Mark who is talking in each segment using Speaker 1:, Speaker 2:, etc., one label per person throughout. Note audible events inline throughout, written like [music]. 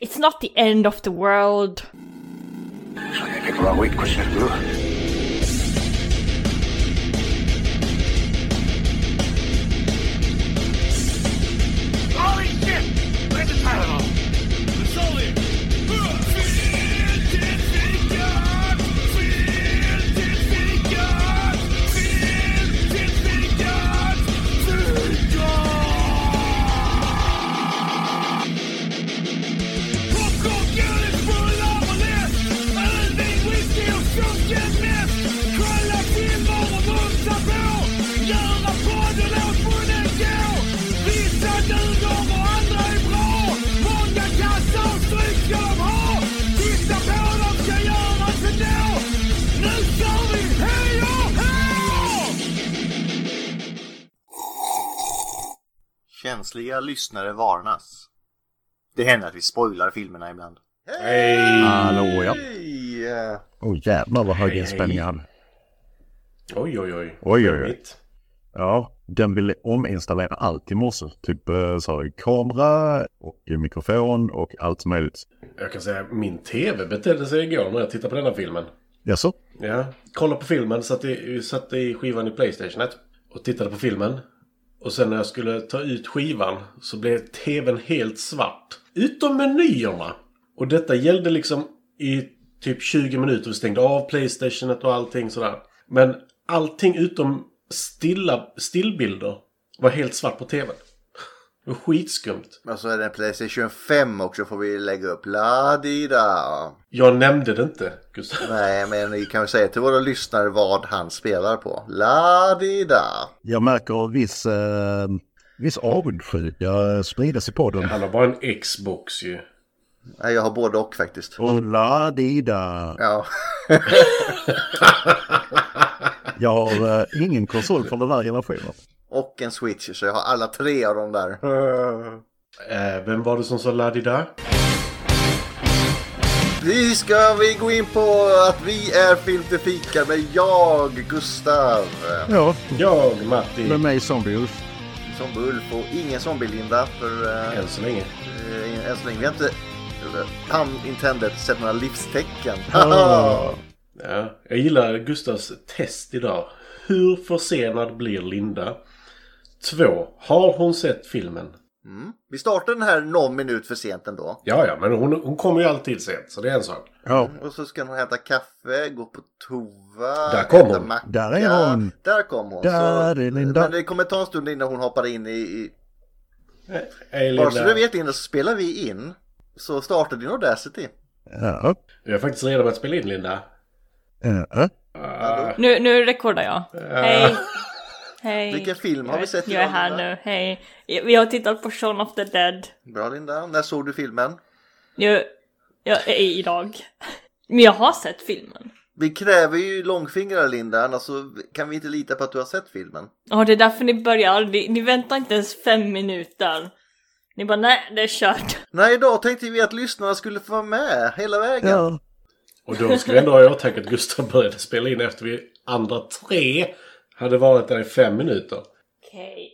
Speaker 1: It's not the end of the world.
Speaker 2: Tekrar wait kuşlar dulu.
Speaker 3: Holy shit! Where's the Tylenol? It's all here. Göra podden åt munnen gå Visa nu de och andra är bra Många kassar stryk ska de ha Titta på dem ska göras ändå Nu kör vi, hej och hå!
Speaker 4: Känsliga lyssnare varnas. Det händer att vi spoilar filmerna ibland.
Speaker 5: Hallå ja.
Speaker 6: Hej! eh,
Speaker 5: Åh jävlar vad hög
Speaker 6: Hej,
Speaker 5: inspänning jag
Speaker 6: hej.
Speaker 5: hade.
Speaker 6: Oj, oj, oj.
Speaker 5: Oj, oj, oj.
Speaker 6: Mitt.
Speaker 5: Ja, den ville ominstallera allt i morse. Typ eh, så här, kamera och mikrofon och allt möjligt.
Speaker 6: Jag kan säga min tv betedde sig igår när jag tittade på denna filmen.
Speaker 5: Jaså?
Speaker 6: Ja. Kollade på filmen, satt i, satt i skivan i Playstationet och tittade på filmen. Och sen när jag skulle ta ut skivan så blev tvn helt svart. Utom menyerna! Och detta gällde liksom i typ 20 minuter. Vi stängde av Playstationet och allting sådär. Men allting utom stilla, stillbilder var helt svart på tvn. Det var skitskumt.
Speaker 4: Men så är det Alltså, Playstation 5 också får vi lägga upp. La di da.
Speaker 6: Jag nämnde det inte, Gustav.
Speaker 4: Nej, men vi kan väl säga till våra lyssnare vad han spelar på. La di da.
Speaker 5: Jag märker viss, eh, viss avundsjuka spridas i podden.
Speaker 6: Han har bara en Xbox ju.
Speaker 4: Nej, jag har både och faktiskt.
Speaker 5: Och la di da.
Speaker 4: Ja,
Speaker 5: Jag har eh, ingen konsol från den här generationen.
Speaker 4: och en Switch så jag har alla tre av dem där.
Speaker 6: Eh, vem var det som sa la där?
Speaker 4: Vi ska vi gå in på att vi är Film till fika med jag, Gustav,
Speaker 5: Ja,
Speaker 6: Jag, Matti,
Speaker 5: med mig som Wolf.
Speaker 4: som Bulf och ingen zombie-Linda för eh,
Speaker 6: än så länge.
Speaker 4: eh, än så länge. Vi har inte, eller, han intended, sett några livstecken.
Speaker 6: Ja, jag gillar Gustavs test idag. Hur försenad blir Linda? Två. Har hon sett filmen?
Speaker 4: Mm. Vi startar den här någon minut för sent ändå.
Speaker 6: Ja, ja, men hon, hon kommer ju alltid sent, så det är en sak.
Speaker 5: Ja,
Speaker 4: Och så ska hon hämta kaffe, gå på toa,
Speaker 6: Där kom
Speaker 4: äta
Speaker 6: hon.
Speaker 4: macka.
Speaker 5: Där är hon.
Speaker 4: Där kom hon.
Speaker 5: Där
Speaker 4: så...
Speaker 5: är Linda.
Speaker 4: Men det kommer ta en stund innan hon hoppar in i... i...
Speaker 6: Eh, Hej
Speaker 4: Bara så
Speaker 6: Linda.
Speaker 4: du vet Linda, så spelar vi in. Så startar din Audacity.
Speaker 5: ja,
Speaker 6: Vi har faktiskt redan börjat spela in Linda.
Speaker 5: ja.
Speaker 1: Nu, nu rekordar jag.
Speaker 4: [laughs]
Speaker 1: Hej! Hej.
Speaker 4: Eh. Vilken film har vi sett
Speaker 1: Jag är
Speaker 4: idag,
Speaker 1: här
Speaker 4: Linda?
Speaker 1: nu, hej. Vi har tittat på Shaun of the Dead.
Speaker 4: Bra Linda. När såg du filmen?
Speaker 1: Jag, jag är idag. [laughs] Men jag har sett filmen.
Speaker 4: Vi kräver ju långfingrar Linda, annars så kan vi inte lita på att du har sett filmen.
Speaker 1: Ja, det är därför ni börjar aldrig. Ni väntar inte ens fem minuter. Ni bara nej, det är kört.
Speaker 4: Nej, idag tänkte vi att lyssnarna skulle få vara med hela vägen.
Speaker 5: ja.
Speaker 6: Och då ska vi ändå ha i åtanke att Gustav började spela in efter vi andra tre hade varit där i fem minuter.
Speaker 1: Okej.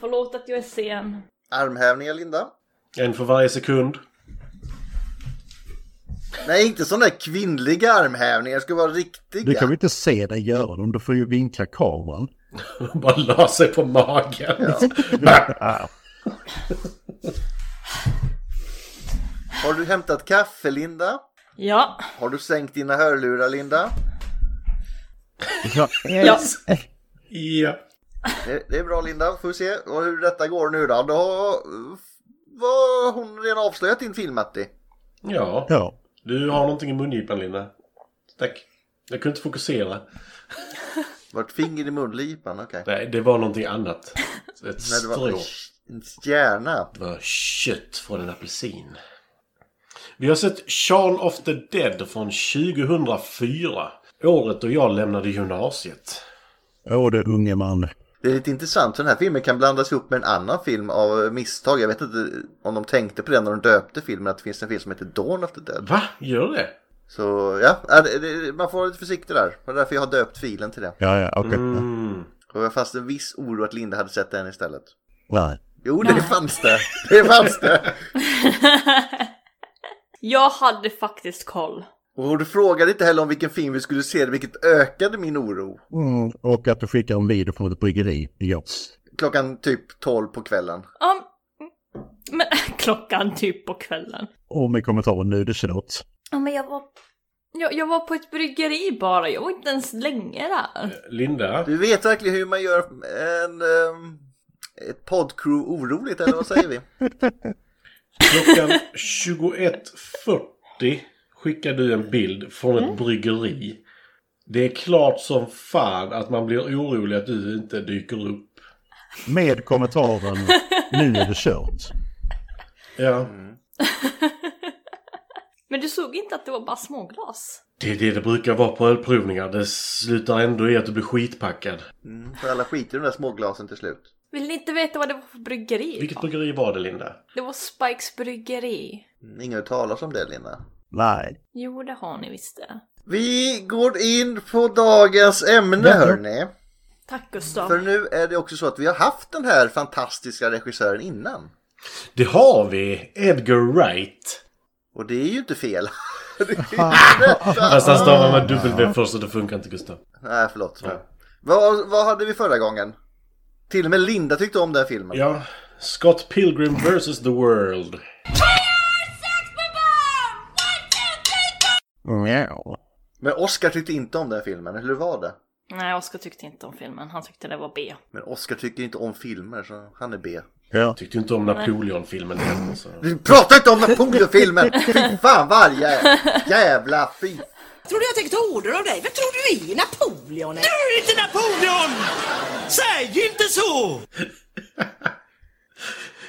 Speaker 1: Förlåt att jag är sen.
Speaker 4: Armhävningar Linda.
Speaker 6: En för varje sekund.
Speaker 4: Nej, inte sådana där kvinnliga armhävningar. Det ska vara riktiga.
Speaker 5: Du kan väl inte se dig göra dem? Du får ju vinkla kameran. [laughs]
Speaker 6: Bara la sig på magen.
Speaker 4: Har du hämtat kaffe Linda?
Speaker 1: Ja,
Speaker 4: Har du sänkt dina hörlurar Linda?
Speaker 5: Ja.
Speaker 1: ja. [laughs]
Speaker 6: Ja.
Speaker 4: Det, det är bra Linda, får vi se och hur detta går nu då. Då var hon redan avslöjat din film Matti.
Speaker 6: Ja.
Speaker 5: ja.
Speaker 6: Du har någonting i mungipan, Linda. Tack. Jag kunde inte fokusera.
Speaker 4: Vart finger i munlipan, okej.
Speaker 6: Nej, det var någonting
Speaker 4: [laughs]
Speaker 6: annat. Ett
Speaker 4: Nej, det
Speaker 6: strå.
Speaker 4: var en stjärna.
Speaker 6: Det var kött från en apelsin. Vi har sett Shaun of the Dead från 2004. Året då jag lämnade gymnasiet.
Speaker 5: Åh, det unge man.
Speaker 4: Det är lite intressant, för den här filmen kan blandas ihop med en annan film av misstag. Jag vet inte om de tänkte på det när de döpte filmen, att det finns en film som heter Dawn of the Dead.
Speaker 6: Va? Gör det?
Speaker 4: Så ja, ja, det- det- man får vara lite försiktig där. Det var därför jag har döpt filen till det.
Speaker 5: Ja, ja, okej.
Speaker 6: Mm.
Speaker 4: Och jag fanns en viss oro att Linda hade sett den istället.
Speaker 5: Nej.
Speaker 4: Jo, det fanns det. Det fanns det.
Speaker 1: Jag hade faktiskt koll.
Speaker 4: Och du frågade inte heller om vilken film vi skulle se, vilket ökade min oro.
Speaker 5: Mm, och att du skickar en video från ett bryggeri igår.
Speaker 4: Klockan typ 12 på kvällen.
Speaker 1: Um, men [laughs] klockan typ på kvällen.
Speaker 5: Och med kommentaren nu är det kört.
Speaker 1: Ja men jag var... Jag, jag var på ett bryggeri bara, jag var inte ens länge där.
Speaker 6: Linda,
Speaker 4: Du vet verkligen hur man gör en... ehm, ett poddcrew oroligt, eller vad säger vi?
Speaker 6: klockan 21.40 skickar du en bild från ett bryggeri. Det är klart som fan att man blir orolig att du inte dyker upp.
Speaker 5: Med kommentaren nu är det kört.
Speaker 6: Ja,
Speaker 1: Men du såg inte att det var bara småglas?
Speaker 6: det är det det brukar vara på ölprovningar. Det slutar ändå i att du blir skitpackad.
Speaker 4: Mm, för alla skiter i de där småglasen till slut.
Speaker 1: Vill ni inte veta vad det var för bryggeri?
Speaker 6: Vilket bryggeri var det Linda?
Speaker 1: Det var Spikes bryggeri.
Speaker 4: Mm, Ingen har talat om det, Lina.
Speaker 5: Nej.
Speaker 1: Jo, det har ni visst det.
Speaker 4: Vi går in på dagens ämne,
Speaker 5: Ja, ja.
Speaker 4: hörni.
Speaker 1: Tack Gustav.
Speaker 4: För nu är det också så att vi har haft den här fantastiska regissören innan.
Speaker 6: Det har vi! Edgar Wright.
Speaker 4: Och det är ju inte fel. [laughs] Ah.
Speaker 6: Fast han stavar med W först så det funkar inte Gustav.
Speaker 4: Nej, förlåt. Vad, vad hade vi förra gången? Till och med Linda tyckte om den filmen.
Speaker 6: Ja, Scott Pilgrim vs. The World.
Speaker 5: Mjau.
Speaker 4: Men Oscar tyckte inte om den filmen, eller hur var det?
Speaker 1: Nej, Oskar tyckte inte om filmen. Han tyckte det var B.
Speaker 4: Men Oscar tycker inte om filmer, så han är B.
Speaker 5: Ja.
Speaker 6: Tyckte inte om Napoleon-filmen heller så.
Speaker 4: Du pratar inte om Napoleon-filmen! Fy fan varje jävla fy!
Speaker 7: Tror du jag tänker ta order av dig? Vem tror du är Napoleon? är?
Speaker 3: Du är inte Napoleon! Säg inte så!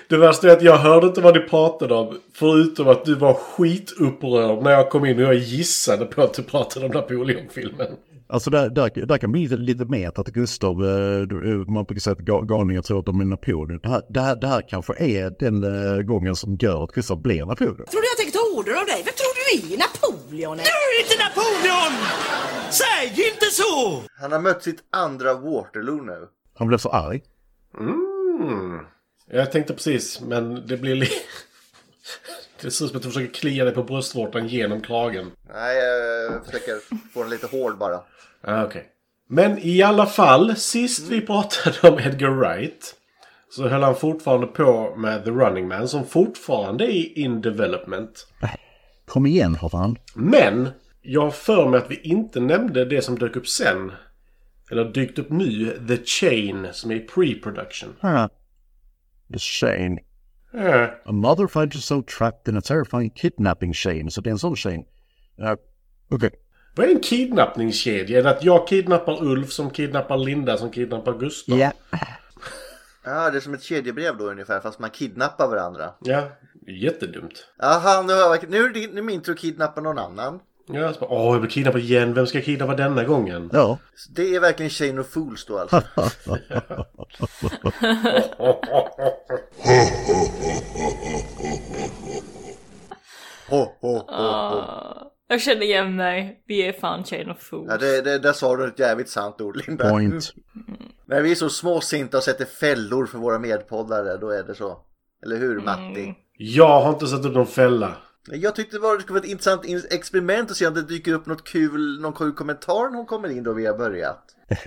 Speaker 6: Det värsta är att jag hörde inte vad ni pratade om. Förutom att du var skitupprörd när jag kom in och jag gissade på att du pratade om Napoleon-filmen.
Speaker 5: Alltså där, där, där kan bli lite, lite mer att Gustav, eh, du- man brukar säga att ga- galningar tror att de är Napoleon. Det här, det här, det här kanske är den eh, gången som gör att Gustav blir Napoleon.
Speaker 7: Tror du jag tänker ta order av dig? Vem tror du är Napoleon? är?
Speaker 3: Du är inte Napoleon! Säg inte så!
Speaker 4: Han har mött sitt andra Waterloo nu.
Speaker 5: Han blev så arg.
Speaker 6: Mm. Jag tänkte precis, men det blir li- [laughs] Det ser ut som att du försöker klia dig på bröstvårtan genom kragen.
Speaker 4: Nej, jag försöker få den lite hård bara.
Speaker 6: Ah, okej. Men i alla fall, sist vi pratade om Edgar Wright så höll han fortfarande på med The Running Man som fortfarande är in development.
Speaker 5: Kom igen för fan.
Speaker 6: Men jag har för mig att vi inte nämnde det som dök upp sen. Eller dykt upp nu, The Chain, som är i pre-production.
Speaker 5: Huh. The shame.
Speaker 6: Äh,
Speaker 5: A mother finds herself trapped in a terrifying kidnapping shame. Så det är en sån shame. Ja, Okej.
Speaker 6: Vad är en kidnappningskedja? Är det att jag kidnappar Ulf som kidnappar Linda som kidnappar Gustav?
Speaker 4: Ja, det är som ett kedjebrev då ungefär, fast man kidnappar varandra.
Speaker 6: Ja, jättedumt.
Speaker 4: Aha, nu, har jag, nu är det din- nu är min tur att kidnappa någon annan.
Speaker 6: Ja, så bara, åh, jag blir kidnappad igen. Vem ska jag kidnappa denna gången?
Speaker 5: Ja.
Speaker 4: Så Det är verkligen Shane och Fools då alltså. Ho, ho, ho, ho.
Speaker 1: Jag känner igen mig. Vi är fan chain of fools.
Speaker 4: Ja, det, det, där sa du ett jävligt sant ord Linda.
Speaker 5: Point.
Speaker 4: När vi är så småsinta och sätter fällor för våra medpoddare, då är det så. Eller hur Matti?
Speaker 6: Jag har inte satt upp någon fälla.
Speaker 4: Jag tyckte bara det skulle vara ett intressant in- experiment att se om det dyker upp något kul, någon kul kommentar när hon kommer in då vi har börjat.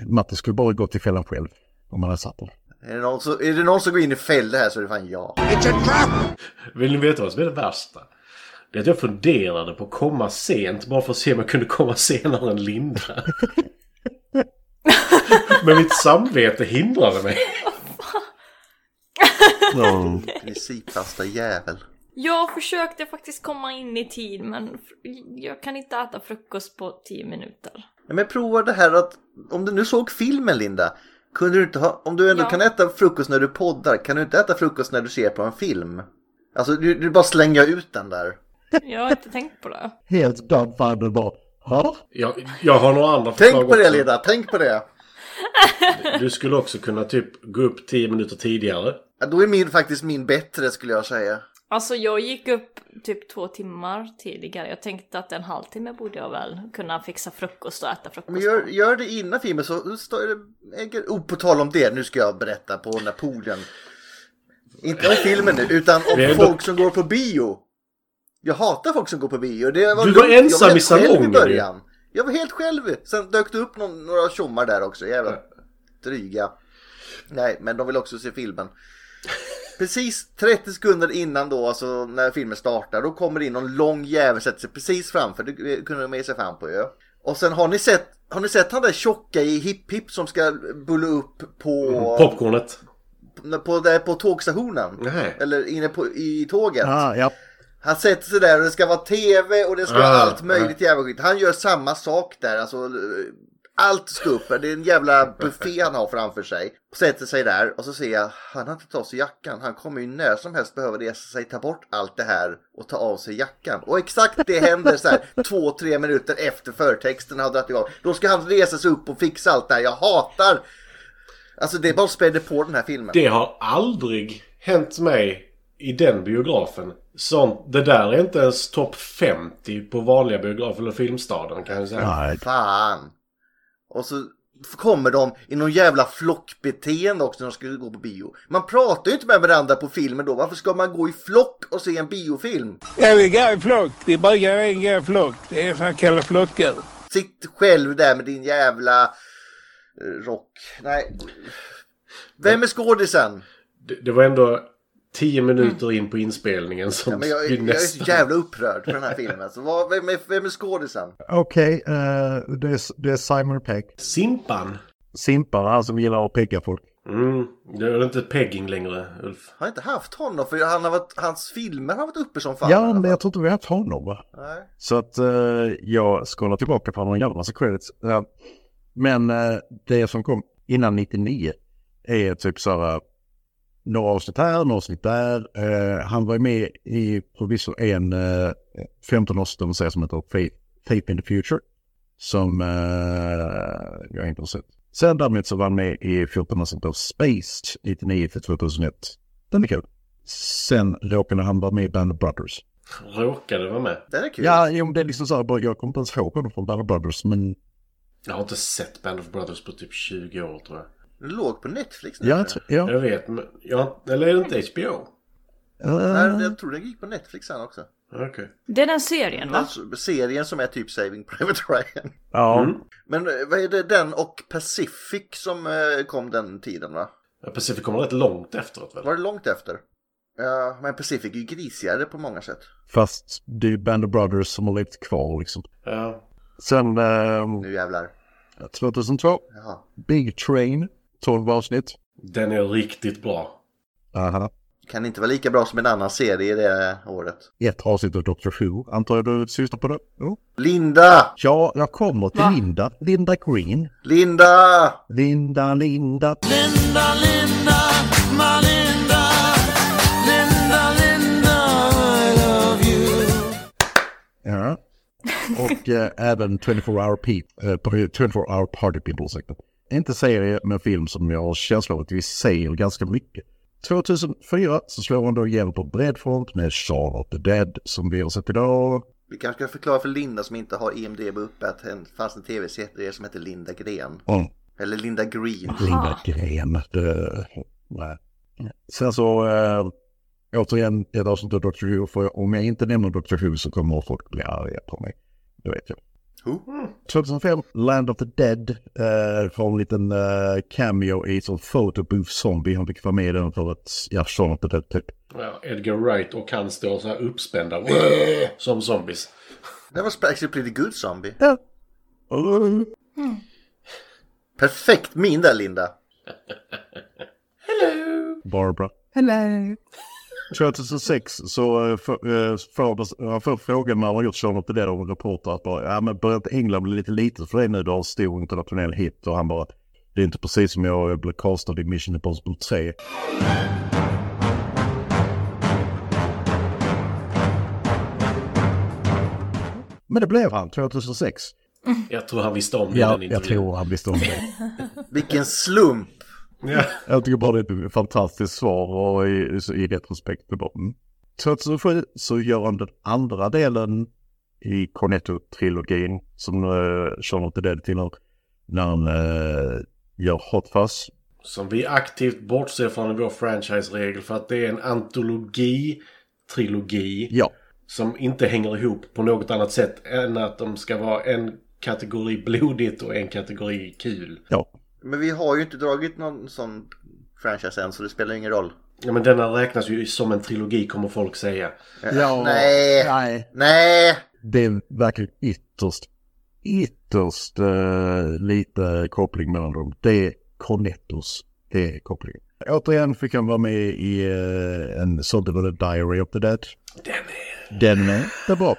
Speaker 5: Matte skulle bara gå till fällan själv. Om han hade satt den.
Speaker 4: Är det någon som, är det någon som går in i fällor här så är det fan jag.
Speaker 6: Vill ni veta vad som är det värsta? Det är att jag funderade på att komma sent bara för att se om jag kunde komma senare än Linda.
Speaker 4: [laughs]
Speaker 6: Men mitt samvete hindrade mig.
Speaker 5: Ja.
Speaker 4: Princippasta jävel.
Speaker 1: Jag försökte faktiskt komma in i tid men fr- jag kan inte äta frukost på 10 minuter.
Speaker 4: Nej, Men prova det här att, om du nu såg filmen Linda, kunde du inte ha, om du ändå
Speaker 1: Ja.
Speaker 4: kan äta frukost när du poddar, kan du inte äta frukost när du ser på en film? Alltså du, du bara slänger ut den där.
Speaker 1: Jag har inte tänkt på det.
Speaker 5: [laughs] Helt dumbfounded bara. Ha?
Speaker 6: Jag, jag har några andra förslag
Speaker 4: Tänk på det
Speaker 6: också.
Speaker 4: Linda, tänk på det.
Speaker 6: Du skulle också kunna typ gå upp 10 minuter tidigare.
Speaker 4: Ja, då är min faktiskt min bättre skulle jag säga.
Speaker 1: Alltså jag gick upp typ två timmar tidigare. Jag tänkte att en halvtimme borde jag väl kunna fixa frukost och äta frukost.
Speaker 4: Men gör, gör det innan filmen så står det... äger- Oh, på tal om det, nu ska jag berätta på Napoleon. Inte om filmen nu, utan
Speaker 6: Vi är
Speaker 4: om
Speaker 6: ändå-
Speaker 4: folk som går på bio. Jag hatar folk som går på bio. Det var
Speaker 6: Du var
Speaker 4: lugnt. Jag
Speaker 6: ensam
Speaker 4: helt
Speaker 6: i salongen,
Speaker 4: själv i
Speaker 6: ju.
Speaker 4: början. Jag var helt själv. Sen dök det upp någon, några tjommar där också. Jävla dryga. Nej, men de vill också se filmen. Precis 30 sekunder innan då, alltså när filmen startar, då kommer det in någon lång jävel sätter sig precis framför. Det kunde de ge sig fram på ju. Och sen har ni sett, har ni sett han där tjocka i Hipp Hipp som ska bulla upp på...
Speaker 6: Mm, Popcornet.
Speaker 4: på, där på tågstationen.
Speaker 6: Nej.
Speaker 4: Eller inne på, i tåget.
Speaker 5: Ah, ja.
Speaker 4: Han sätter sig där och det ska vara tv och det ska vara
Speaker 6: Ah,
Speaker 4: allt möjligt jävla skit. Han gör samma sak där. Alltså, eh, allt ska upp. Det är en jävla buffé han har framför sig. Och sätter sig där och så ser jag, han har inte tagit av sig jackan. Han kommer ju när som helst behöva resa sig, ta bort allt det här och ta av sig jackan. Och exakt det händer så här två, tre minuter efter förtexten har dragit igång. Då ska han resa sig upp och fixa allt det här. Jag hatar! Alltså det bara spädde på den här filmen.
Speaker 6: Det har aldrig hänt mig i den biografen. Sånt, det där är inte ens topp 50 på vanliga biografer eller Filmstaden kan jag säga.
Speaker 5: Nej.
Speaker 4: Fan! Och så kommer de i någon jävla flockbeteende också när de ska gå på bio. Man pratar ju inte med varandra på filmen då. Varför ska man gå i flock och se en biofilm?
Speaker 8: Ja, vi går i flock. Det brukar vara en gå i flock. Det är fan kalla flockar.
Speaker 4: Sitt själv där med din jävla eh, rock. Nej. Vem är skådisen?
Speaker 6: Det, det var ändå 10 minuter in på inspelningen som
Speaker 4: Mm. Ja, men jag,
Speaker 6: vi
Speaker 4: jag är så
Speaker 6: nästan...
Speaker 4: jävla upprörd för den här filmen. Så vad, vem, är, vem är skådisen?
Speaker 5: Okej, eh, det, är- det är Simon Peck.
Speaker 6: Simpan!
Speaker 5: Simpar, han som gillar att pegga folk.
Speaker 6: Mm, det är inte pegging längre, Ulf.
Speaker 4: Har jag inte haft honom? För han har varit, hans filmer har varit uppe som fan. i alla
Speaker 5: ja,
Speaker 4: fall.
Speaker 5: men jag tror inte vi har haft honom va?
Speaker 4: Nej.
Speaker 5: Så att eh, jag scrollar tillbaka på en jävla massa credits. Ja. Men eh, det som kom innan 99 är typ så här eh, några avsnitt här, några avsnitt där. Eh, han var ju med i förvisso en eh, 15-årsdomuseer som heter Faith, Faith in the Future. Som eh, jag inte har sett. Sen däremot så var han med i 14 avsnitt av Spaced 99 till 2001. Den är kul. Sen råkade han vara med i Band of Brothers.
Speaker 6: Råkade vara med.
Speaker 4: Den är kul.
Speaker 5: Ja, jo, men det är liksom så här, bara- jag kommer inte ens ihåg honom från Banner Brothers, men
Speaker 6: Jag har inte sett Band of Brothers på typ 20 år tror jag.
Speaker 4: Den låg på Netflix nu.
Speaker 5: jag
Speaker 4: tror jag.
Speaker 5: tror... Ja,
Speaker 6: Jag vet, men... Jag, eller är det inte HBO?
Speaker 5: eh,
Speaker 4: Nej, jag tror den gick på Netflix sen också.
Speaker 6: Okej.
Speaker 1: Det är den serien va?
Speaker 4: Alltså, serien som är typ Saving Private [laughs] Ryan.
Speaker 5: ja.
Speaker 4: Men eh, vad är det den och Pacific som eh, kom den tiden va?
Speaker 6: Ja, Pacific kommer rätt långt efteråt väl?
Speaker 4: Var det långt efter? Ja, men Pacific är ju grisigare på många sätt.
Speaker 5: fast det är ju Banner Brothers som har levt kvar liksom.
Speaker 6: Ja.
Speaker 5: Sen eh,
Speaker 4: Nu jävlar.
Speaker 5: 2002,
Speaker 4: Mm. Jaha.
Speaker 5: Big Train, 12 avsnitt.
Speaker 6: Den är riktigt bra.
Speaker 5: Aha.
Speaker 4: Kan inte vara lika bra som en annan serie det året.
Speaker 5: Ett avsnitt av Dr. Who, antar jag du syftar på det? Jo.
Speaker 4: Linda!
Speaker 5: Ja, jag kommer till
Speaker 1: Va?
Speaker 5: Linda, Linda Green.
Speaker 4: Linda!
Speaker 5: Linda, Linda. Ja. Och eh, även 24 hour, pe- eh, par- 24 hour party people. Ursäkta. Inte serie, men film som jag har känsla av att vi ser ganska mycket. 2004 så slår han då igenom på bred front med Shaun of the Dead som vi har sett idag.
Speaker 4: Vi kanske ska förklara för Linda som inte har E IMDB uppe att det fanns en tv-serie som hette Linda Gren.
Speaker 5: Mm.
Speaker 4: Eller Linda Green.
Speaker 5: Linda Gren. Det, nej. Sen så eh, återigen ett avsnitt av Dr. Who. För om jag inte nämner Dr. Who så kommer folk bli arga på mig. Det vet jag.
Speaker 4: Who?
Speaker 5: 2005, Land of the Dead. Eh, har en liten eh, cameo i som photobooth zombie. Han fick vara med i den för att, ja, Shaun of the Dead typ.
Speaker 6: Ja, Edgar Wright och han står så här
Speaker 4: [laughs]
Speaker 6: uppspända som zombies.
Speaker 4: Det var actually pretty good zombie.
Speaker 5: Ja. typ.
Speaker 4: Perfekt min där Linda.
Speaker 5: Barbara. Hello. 2006 så eh, får eh, får- han får frågan när han har gjort Shaun of the Dead av en reporter att bara, ja men börjar inte England bli lite litet för dig nu? Du har en stor internationell hit och han bara, det är inte precis som jag eh, blev castad i Mission Impossible 3. Men det blev han 2006.
Speaker 6: Jag tror han visste om det i
Speaker 5: Ja,
Speaker 6: den
Speaker 5: jag
Speaker 6: intervjun.
Speaker 5: tror han visste om det.
Speaker 4: Vilken slump!
Speaker 6: Ja.
Speaker 5: Jag tycker bara det är ett fantastiskt svar och i, så i retrospekt. det bara, mm. 2007 så gör han den andra delen i Cornetto-trilogin som eh, Sean of the Dead tillhör. När han eh, gör Hot Fuzz.
Speaker 6: Som vi aktivt bortser från i vår franchise-regel för att det är en antologi-trilogi.
Speaker 5: Ja,
Speaker 6: Som inte hänger ihop på något annat sätt än att de ska vara en kategori blodigt och en kategori kul.
Speaker 5: Ja,
Speaker 4: Men vi har ju inte dragit någon sån franchise än så det spelar ingen roll.
Speaker 6: Ja, men denna räknas ju som en trilogi kommer folk säga.
Speaker 5: Ja,
Speaker 4: nej.
Speaker 5: nej.
Speaker 4: Nej!
Speaker 5: det är verkligen ytterst, ytterst eh, lite koppling mellan dem. Det är Cornettos, det är kopplingen. Återigen fick han vara med i eh, en såld The Diary of the Dead. Den är... Den är inte bra.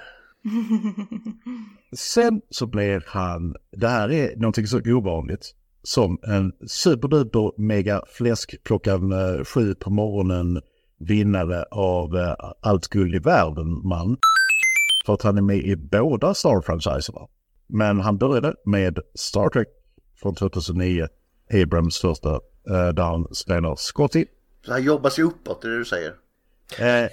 Speaker 5: Sen så blev han, det här är någonting så ovanligt, som en superduper mega fläsk klockan eh, sju på morgonen vinnare av eh, Allt guld i världen man. För att han är med i båda Star-franchiserna. Men han började med Star Trek från 2009, Abrams första, eh, där han spelar Scotty.
Speaker 4: Så han jobbar sig uppåt, är det du säger?
Speaker 5: Eh,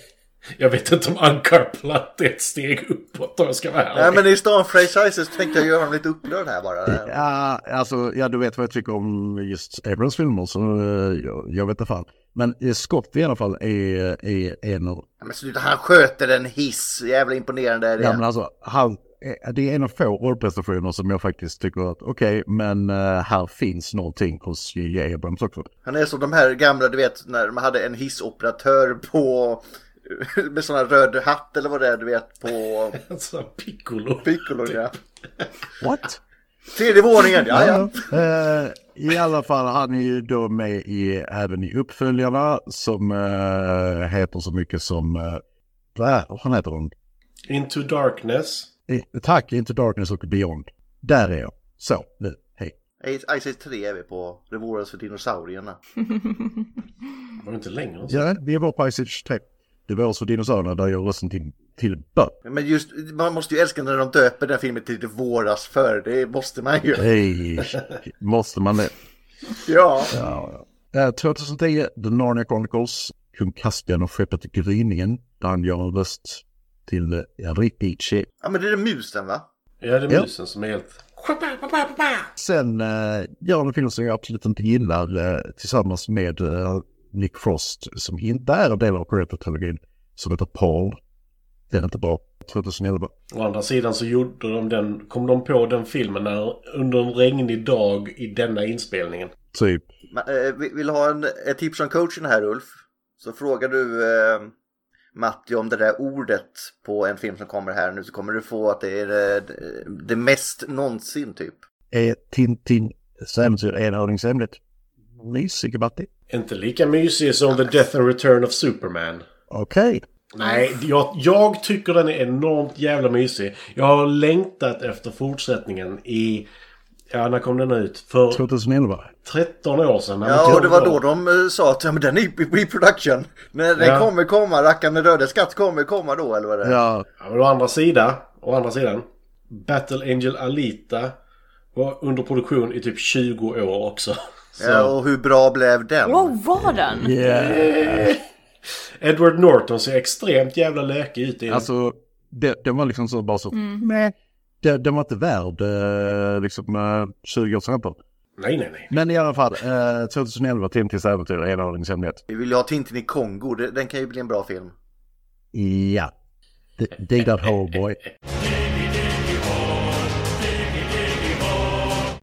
Speaker 6: Jag vet inte om Uncoupled är ett steg uppåt om jag ska vara
Speaker 4: Nej,
Speaker 6: ärlig.
Speaker 4: men i stan franchises tänkte jag göra honom lite upprörd här bara.
Speaker 5: Ja, alltså, ja, du vet vad jag tycker om just Abrams filmer, så eh, jag, jag vet inte fan. Men eh, Scott i alla fall är, är en av...
Speaker 4: Ja, Men sluta, han sköter en hiss. Jävla imponerande är det.
Speaker 5: Ja, men alltså, han, eh, det är en av få rollprestationer som jag faktiskt tycker att okej, men eh, här finns någonting hos J.J. Abrams också.
Speaker 4: Han är som de här gamla, du vet, när man hade en hissoperatör på... [laughs] Med sån här röd hatt eller vad det är, du vet, på
Speaker 6: Alltså, piccolo.
Speaker 4: Piccolo, ja.
Speaker 5: What?
Speaker 4: Tredje våningen, ja, ja.
Speaker 5: Eh, I alla fall, han är ju då med i, även i uppföljarna som eh, heter så mycket som... eh, Vad är- vad heter hon?
Speaker 6: Into Darkness.
Speaker 5: I- Tack, Into Darkness och Beyond. Där är jag. Så, nu, hej.
Speaker 4: I- Ice Age 3 är vi på. Det vore oss för dinosaurierna.
Speaker 6: Var det inte längre? än så?
Speaker 5: Ja, vi var på Ice Age 3. Det var oss och dinosaurierna där jag rösten till, till Bö.
Speaker 4: Men just, man måste ju älska när de döper den filmen till Det våras för Det måste man ju.
Speaker 5: Hej, måste man det?
Speaker 4: Ja.
Speaker 5: Ja, ja. Eh, 2010, The Narnia Chronicles, Kung Caspian och skeppet Gryningen, där han gör en röst till eh, Rikichi.
Speaker 4: Ja, men det är musen va?
Speaker 6: Ja, det
Speaker 5: Ja.
Speaker 6: är musen som är helt...
Speaker 5: Sen eh, gör han en film som jag absolut inte gillar eh, tillsammans med eh, Nick Frost som inte är en del av Creator-trilogin som heter Paul. Den är inte bra. 2011.
Speaker 6: Å andra sidan så gjorde de den, kom de på den filmen när, under en regnig dag i denna inspelningen.
Speaker 5: Typ.
Speaker 4: Ma- eh, vi- Vill du ha en, ett tips från coachen här Ulf? Så frågar du eh, Matti om det där ordet på en film som kommer här nu så kommer du få att det är det, det mest någonsin typ.
Speaker 5: Är Tintins äventyr enhörningsämnet? Mysig Matti.
Speaker 6: Inte lika mysig som The Death and Return of Superman.
Speaker 5: Okej.
Speaker 6: Nej, jag, jag tycker den är enormt jävla mysig. Jag har längtat efter fortsättningen i... Ja, när kom den ut? För
Speaker 5: 2011.
Speaker 6: 13 år sedan. när man
Speaker 4: Ja,
Speaker 6: tog
Speaker 4: och det var
Speaker 6: den.
Speaker 4: då de eh, sa att ja, men den är i- i production. När den
Speaker 6: Ja.
Speaker 4: kommer komma, rackaren med röda skatt kommer komma då eller vad det är.
Speaker 5: Ja,
Speaker 6: Ja, men å andra sidan, å andra sidan. Battle Angel Alita var under produktion i typ 20 år också. [laughs] Så.
Speaker 4: Ja, och hur bra blev den?
Speaker 1: Wow, var den?
Speaker 5: yeah.
Speaker 6: Edward Norton ser extremt jävla lökig ut i den.
Speaker 5: alltså det, den var liksom så bara så. Nej. Den, den var inte värd eh, liksom eh, 20 års samtal.
Speaker 6: Nej, nej, nej.
Speaker 5: Men i alla fall, eh, 2011, Tintins äventyr, enhörningsämnet.
Speaker 4: Vi vill ju ha Tintin i Kongo, Det- den kan ju bli en bra film.
Speaker 5: Ja. D- Dig that hole boy.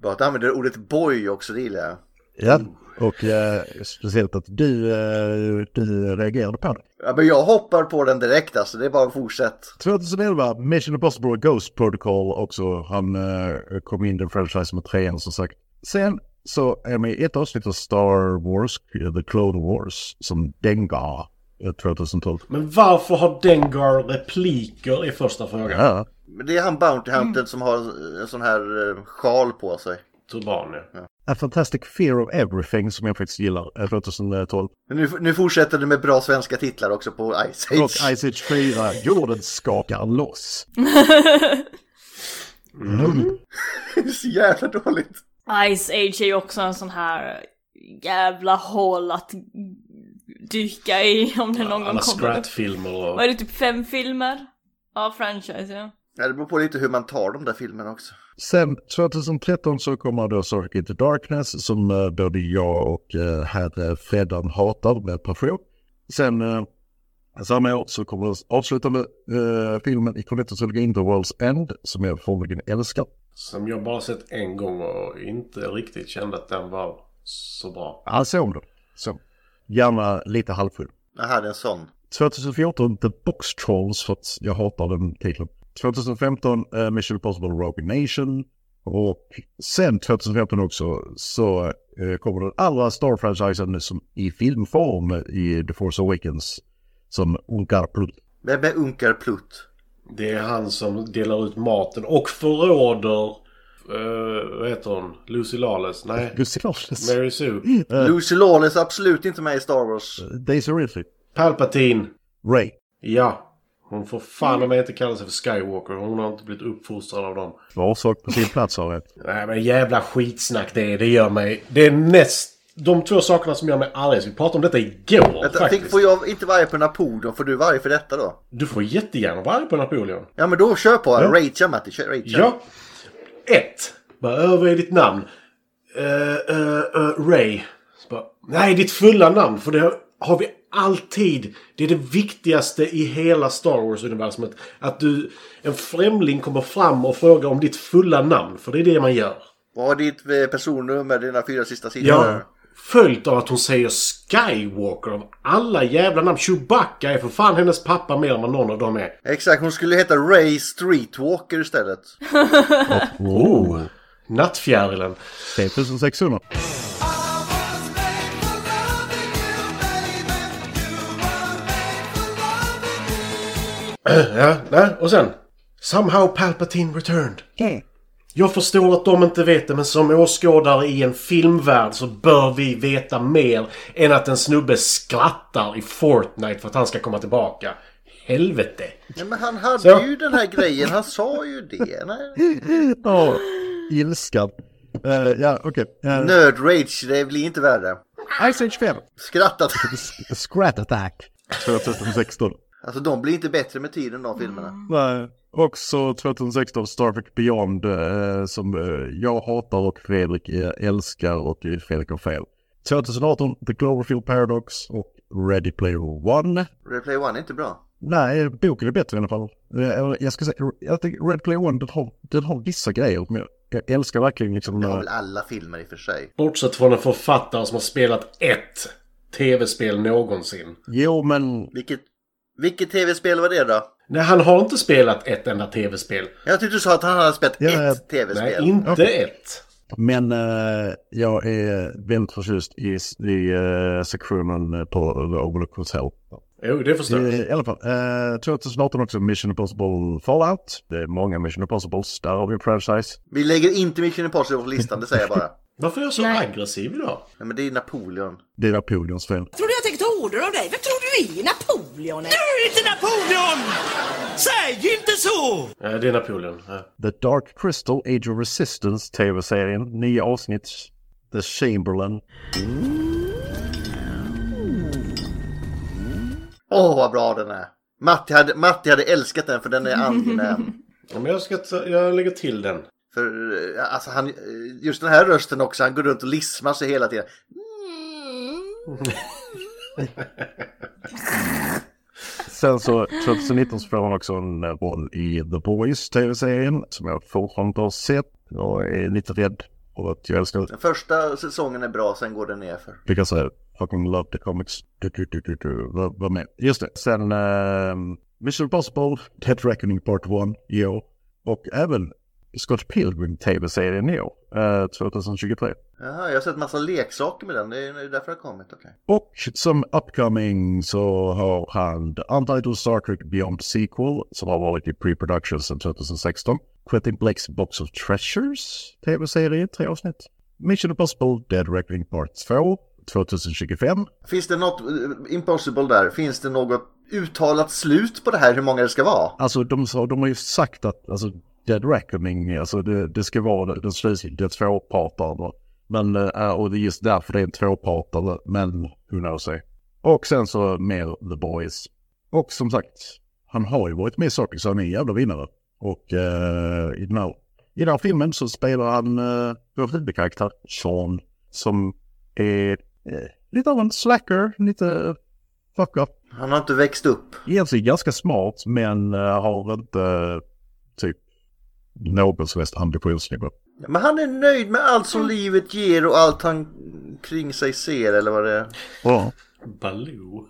Speaker 4: Bara att du använder ordet boy också, det gillar jag.
Speaker 5: Ja. Och eh, speciellt att du, eh, du reagerade på det.
Speaker 4: Ja, men jag hoppar på den direkt alltså, det är bara att fortsätta.
Speaker 5: 2011, Mission Impossible Ghost Protocol också. Han eh, kom in i den franchise med trean som sagt. Sen så är jag med i ett avsnitt av Star Wars, The Clone Wars, som Dengar eh, 2012.
Speaker 6: Men varför har Dengar repliker i första frågan?
Speaker 5: Ja,
Speaker 4: Men det är han Bounty Hunter som har en sån här eh, sjal på sig.
Speaker 6: Turban, ja.
Speaker 5: A Fantastic Fear of Everything som jag faktiskt gillar, eh, 2012.
Speaker 4: Men nu, nu fortsätter det med bra svenska titlar också på Ice Age.
Speaker 5: Och Ice Age 4, jorden skakar loss.
Speaker 4: [laughs] Det är så jävla dåligt.
Speaker 1: Ice Age är ju också en sån här jävla hål att dyka i om det någon gång
Speaker 6: Alla
Speaker 1: kommer.
Speaker 6: skrattfilmer och...
Speaker 1: Vad är det, typ fem filmer? Ja, franchise ja.
Speaker 4: Ja, det beror på lite hur man tar de där filmerna också.
Speaker 5: Sen 2013 så kommer då Circuit Into Darkness som eh, både jag och eh, herr Freddan hatar med passion. Sen eh, Samma år så kommer den avslutande eh, filmen i Cornetto-trilogin The World's End, som jag formligen älskar.
Speaker 6: Som jag bara sett en gång och inte riktigt kände att den var så bra.
Speaker 5: Ja, såg du. Alltså, Så. Gärna lite halvfull.
Speaker 4: Jaha, det är en sån.
Speaker 5: 2014 The Box Trolls för att jag hatar den titeln. 2015 eh, Mission Impossible Rogue Nation. Och sen 2015 också så eh, kommer den allra Star-franchisen som i filmform i The Force Awakens som Unkar Plutt.
Speaker 4: Vem är Unkar Plutt?
Speaker 6: Det är han som delar ut maten och förråder... eh, vad heter hon? Lucy Lawless? Nej.
Speaker 5: Gustav Lawless.
Speaker 6: Mary Sue.
Speaker 4: Lucy Lawless är absolut inte med i Star
Speaker 5: Eh,
Speaker 4: Wars.
Speaker 5: Daisy Ridley.
Speaker 6: Palpatine.
Speaker 5: Ray.
Speaker 6: Ja. Hon får fan om jag inte kalla sig för Skywalker. Hon har inte blivit uppfostrad av dem.
Speaker 5: Var sak på sin plats har jag.
Speaker 6: Nej men jävla skitsnack det är. Det gör mig... Det är näst... De två sakerna som gör mig arg. Vi pratade om detta igår
Speaker 4: Vänta, tänk,
Speaker 6: faktiskt.
Speaker 4: får jag inte varje på Napoleon, får du varje för detta då?
Speaker 6: Du får jättegärna vara arg på Napoleon.
Speaker 4: Ja, men då kör på. Rachel, Matti. Kör, Rachel.
Speaker 6: Ja. Ett. Bara, "Ö, vad är ditt namn? Eh, eh, eh, Ray. Så bara, Nej, ditt fulla namn. För det har vi alltid. Det är det viktigaste i hela Star Wars-universumet. Att du, en främling kommer fram och frågar om ditt fulla namn. För det är det man gör.
Speaker 4: Vad har ditt eh, personnummer, dina fyra sista sidor?
Speaker 6: Ja. Följt av att hon säger Skywalker av alla jävla namn. Chewbacca är för fan hennes pappa mer än vad någon av dem är.
Speaker 4: Exakt, hon skulle heta Ray Streetwalker istället.
Speaker 6: Oh. Nattfjärilen. [clears throat]
Speaker 5: 3600.
Speaker 6: Ja, nej, och sen. Somehow Palpatine returned. Jag förstår att de inte vet det, men som åskådare i en filmvärld så bör vi veta mer än att en snubbe skrattar i Fortnite för att han ska komma tillbaka. Helvete!
Speaker 4: Nej, men han hade
Speaker 6: Så.
Speaker 4: ju den här grejen, han sa ju det. Nej.
Speaker 5: Ja, ilskan. Eh, ja, okej. Eh,
Speaker 4: Nerd rage, det blir inte värre.
Speaker 5: Ice Age 5.
Speaker 4: Skrattat.
Speaker 5: S- Scrat Attack. 2016.
Speaker 4: Alltså de blir inte bättre med tiden de filmerna.
Speaker 5: Nej. Också 2016 Star Trek Beyond eh, som eh, jag hatar och Fredrik eh, älskar och eh, Fredrik har fel. 2018 The Cloverfield Paradox och Ready Player One.
Speaker 4: Replay One är inte bra.
Speaker 5: Nej, boken är bättre i alla fall. Eh, eller Jag ska säga, jag tycker Red Player One den har, den har vissa grejer. Men jag, jag älskar verkligen liksom...
Speaker 4: Det har
Speaker 5: eh,
Speaker 4: väl alla filmer i och för sig.
Speaker 6: Bortsett från en författare som har spelat ett tv-spel någonsin.
Speaker 5: Jo, men
Speaker 4: Vilket, vilket tv-spel var det då?
Speaker 6: Nej, han har inte spelat ett enda tv-spel.
Speaker 4: Jag tyckte du sa att han hade spelat
Speaker 5: Ja,
Speaker 4: ett
Speaker 6: Nej,
Speaker 4: tv-spel.
Speaker 6: inte ett.
Speaker 5: Men eh, jag är väldigt förtjust i, i eh, sektionen på The Overlook Hotel.
Speaker 6: Jo, det förstår jag.
Speaker 5: Eh, I alla fall, eh, 2018 också Mission Impossible Fallout. Det är många Mission Impossibles, där har vi en franchise.
Speaker 4: Vi lägger inte Mission Impossible på listan, det säger jag
Speaker 6: [laughs]
Speaker 4: bara.
Speaker 6: Varför är jag så aggressiv idag?
Speaker 4: Nej, men det är ju Napoleon.
Speaker 5: Det är Napoleons fel.
Speaker 7: Tror du jag tänker ta order av dig? Vem tror du är Napoleon? är?
Speaker 3: Du är inte Napoleon! Säg inte så!
Speaker 6: Nej, det är Napoleon. Ja.
Speaker 5: The Dark Crystal Age of Resistance TV-serien, nya avsnitt. The Chamberlain.
Speaker 4: Åh, vad bra den är! Matti hade, Matti hade älskat den för den är angenäm.
Speaker 6: Ja, Men jag ska... ta- Jag lägger till den.
Speaker 4: För eh, alltså, han, eh, just den här rösten också, han går runt och lismar sig hela tiden.
Speaker 5: Sen så 2019 så får han också en eh, roll i The Boys TV-serien som jag fortfarande inte har sett. Jag är lite rädd och att jag älskar
Speaker 4: Den första säsongen är bra, sen går den ner för.
Speaker 5: Because I fucking love the comics. Du, du, du, du, du. Vad, vad med? Just det. Sen ehm, Mission Impossible, Dead Reckoning Part 1 i år. Och även Scott Pilgrim TV-serien i år, eh, 2023.
Speaker 4: Jaha, jag har sett massa leksaker med den, det är det är därför det har kommit. okej.
Speaker 5: Och som upcoming så har han The Untitled Star Trek Beyond Sequel som har varit i pre-production sedan 2016. Quentin Blakes Box of Treasures TV-serie, tre avsnitt. Mission Impossible Dead Reckoning Part 2, 2025.
Speaker 4: Finns det något, eh, Impossible där, finns det något uttalat slut på det här hur många det ska vara?
Speaker 5: Alltså de, sa, de har ju sagt att alltså, Dead Reckoning, alltså det, det ska vara den slutgiltiga tvåpartaren. Men, eh, och det är just därför det är en tvåpartare, men who knows eh. Och sen så mer The Boys. Och som sagt, han har ju varit med i saker så han är en jävla vinnare. Och eh, i, den här, i den här filmen så spelar han eh, vår huvudkaraktär Sean som är eh, lite av en slacker, lite fuck up.
Speaker 4: Han har inte växt upp.
Speaker 5: Egentligen ganska smart men eh, har inte eh, typ Nobels mest ambitionsnivå.
Speaker 4: Men han är nöjd med allt som livet ger och allt han kring sig ser eller vad det är.
Speaker 5: Ja.
Speaker 6: Baloo.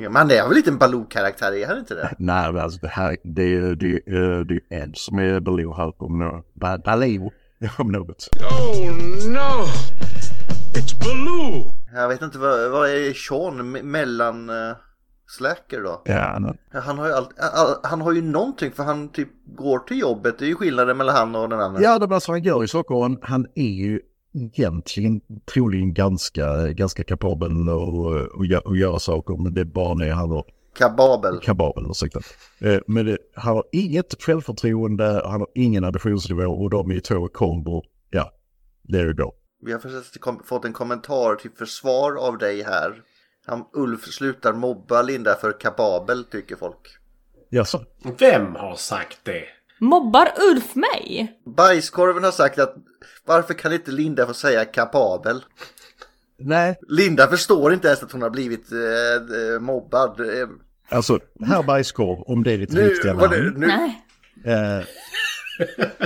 Speaker 4: Ja, men han är väl lite en Baloo-karaktär, är han inte det?
Speaker 5: Nej, men alltså det här det är det, är- eh, det är Ed som är Baloo här om något. Ba- Baloo [laughs] om något.
Speaker 3: Oh no! It's
Speaker 7: Oh
Speaker 3: Baloo!
Speaker 4: Jag vet inte, vad, vad är Sean me- mellan uh, Slacker då?
Speaker 5: Ja, nej.
Speaker 4: Han har, ju allt- all, han har ju någonting för han typ går till jobbet. Det är ju skillnaden mellan han och den andra.
Speaker 5: Ja, det var så han gör ju saker. och Han, han är ju egentligen troligen ganska, ganska kapabel att- att gö- att göra saker. Men det är bara när han har
Speaker 4: Kababel.
Speaker 5: kababel, ursäkta. Eh, Men det, han har inget självförtroende, han har ingen ambitionsnivå och de är ju två kombo. Ja, there you go.
Speaker 4: Vi har precis kom- fått en kommentar till försvar av dig här. Han, Ulf slutar mobba Linda för kababel tycker folk.
Speaker 5: Jaså?
Speaker 6: Vem har sagt det?
Speaker 1: Mobbar Ulf mig?
Speaker 4: Bajskorven har sagt att varför kan inte Linda få säga kapabel?
Speaker 5: Nej,
Speaker 4: Linda förstår inte ens att hon har blivit eh, eh, mobbad. Eh,
Speaker 5: alltså herr Bajskorv, om det är ditt
Speaker 4: nu,
Speaker 5: riktiga
Speaker 4: vad det-
Speaker 5: namn.
Speaker 4: nu,
Speaker 1: Nej.
Speaker 5: Eh,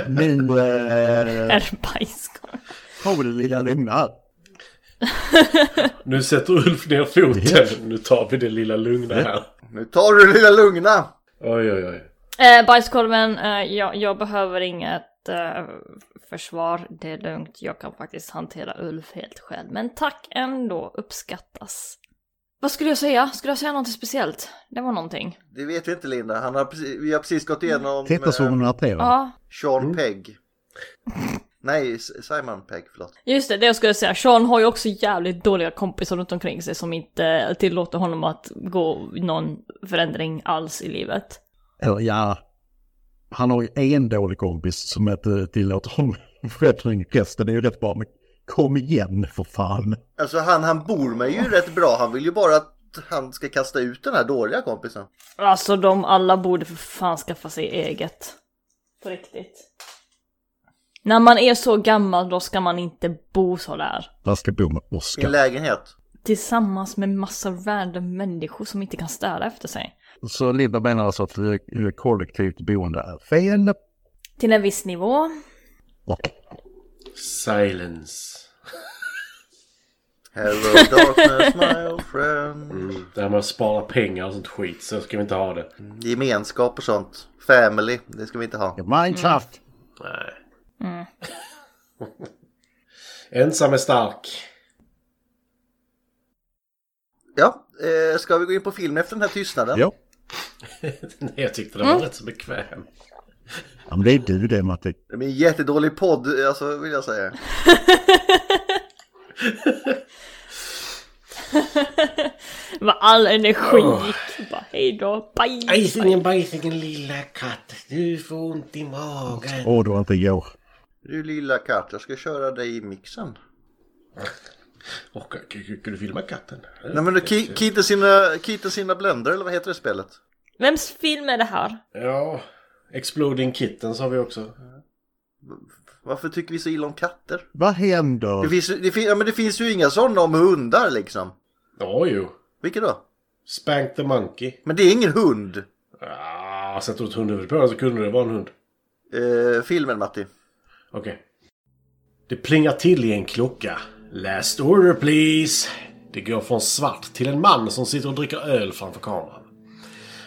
Speaker 5: nu eh,
Speaker 1: Är det bajskorv?
Speaker 5: har vi det lilla lugna.
Speaker 6: Nu sätter Ulf ner foten. Nu tar vi det lilla lugna här.
Speaker 4: nu tar du det lilla lugna.
Speaker 6: Oj, oj, oj.
Speaker 1: Eh, bajskorven, eh, jag, jag behöver inget eh, försvar. Det är lugnt. Jag kan faktiskt hantera Ulf helt själv. Men tack ändå, uppskattas. Vad skulle jag säga? Skulle jag säga något speciellt? Det var någonting.
Speaker 4: Det vet vi inte Linda. Han har precis, vi har precis gått igenom
Speaker 5: Titta så hon
Speaker 4: eh,
Speaker 5: arterar.
Speaker 1: Ja,
Speaker 4: Sean Pegg. Nej, S- Simon Pegg, förlåt.
Speaker 1: just det, det jag skulle säga. Sean har ju också jävligt dåliga kompisar runt omkring sig som inte tillåter honom att gå någon förändring alls i livet.
Speaker 5: Eller ja, han har ju en dålig kompis som inte tillåter honom förändring. Resten är ju rätt bra, men kom igen för fan.
Speaker 4: Alltså han, han bor med ju rätt bra. Han vill ju bara att han ska kasta ut den här dåliga kompisen.
Speaker 1: Alltså de alla borde för fan skaffa sig eget. På riktigt. När man är så gammal då ska man inte bo så där.
Speaker 5: Där ska bo med
Speaker 4: I en
Speaker 5: Oskar.
Speaker 4: lägenhet.
Speaker 1: Tillsammans med massa random människor som inte kan städa efter sig.
Speaker 5: Så Linda menar alltså att eh, kollektivt boende är fel?
Speaker 1: Till en viss nivå.
Speaker 6: Silence.
Speaker 4: Hello darkness my old friend.
Speaker 6: Mm. Där man sparar pengar och sånt skit. Så ska vi inte ha det.
Speaker 4: Gemenskap och sånt. Family, det ska vi inte ha.
Speaker 5: Minecraft!
Speaker 6: Nej. [laughs] Ensam är stark. [laughs]
Speaker 4: Ja, eh, ska vi gå in på film efter den här tystnaden?
Speaker 5: Ja,
Speaker 6: Nej, Jag tyckte den var rätt så bekväm.
Speaker 5: Ja, men det är du det Matti.
Speaker 4: Det blir en jättedålig podd, eh, alltså vill jag säga.
Speaker 1: Med all energi gick bara hejdå, baj.
Speaker 6: Bajsingen, bajsingen, lilla katt. Du får ont i magen.
Speaker 5: Åh, det var inte igår.
Speaker 4: Du lilla katt, jag ska köra dig i mixen.
Speaker 6: Och, eh, k- k- kan du filma katten?
Speaker 4: Nej men ki- kita sina, kita sina bländer eller vad heter det spelet?
Speaker 1: Vems film är det här?
Speaker 6: Ja. Exploding Kittens har vi också.
Speaker 4: Varför tycker vi så illa om katter?
Speaker 5: Vad
Speaker 4: Det
Speaker 5: händer?
Speaker 4: finns, ju- det fin- ja, men det finns ju inga sådana om hundar liksom.
Speaker 6: Ja, jo.
Speaker 4: Vilket då?
Speaker 6: Spank the Monkey.
Speaker 4: Men det är ingen hund.
Speaker 6: Ah, sätt åt hundhuvudet på den så kunde det vara en hund.
Speaker 4: Eh, filmen Matti.
Speaker 6: Okej. Det plingar till i en klocka. Last order please! Det går från svart till en man som sitter och dricker öl framför kameran.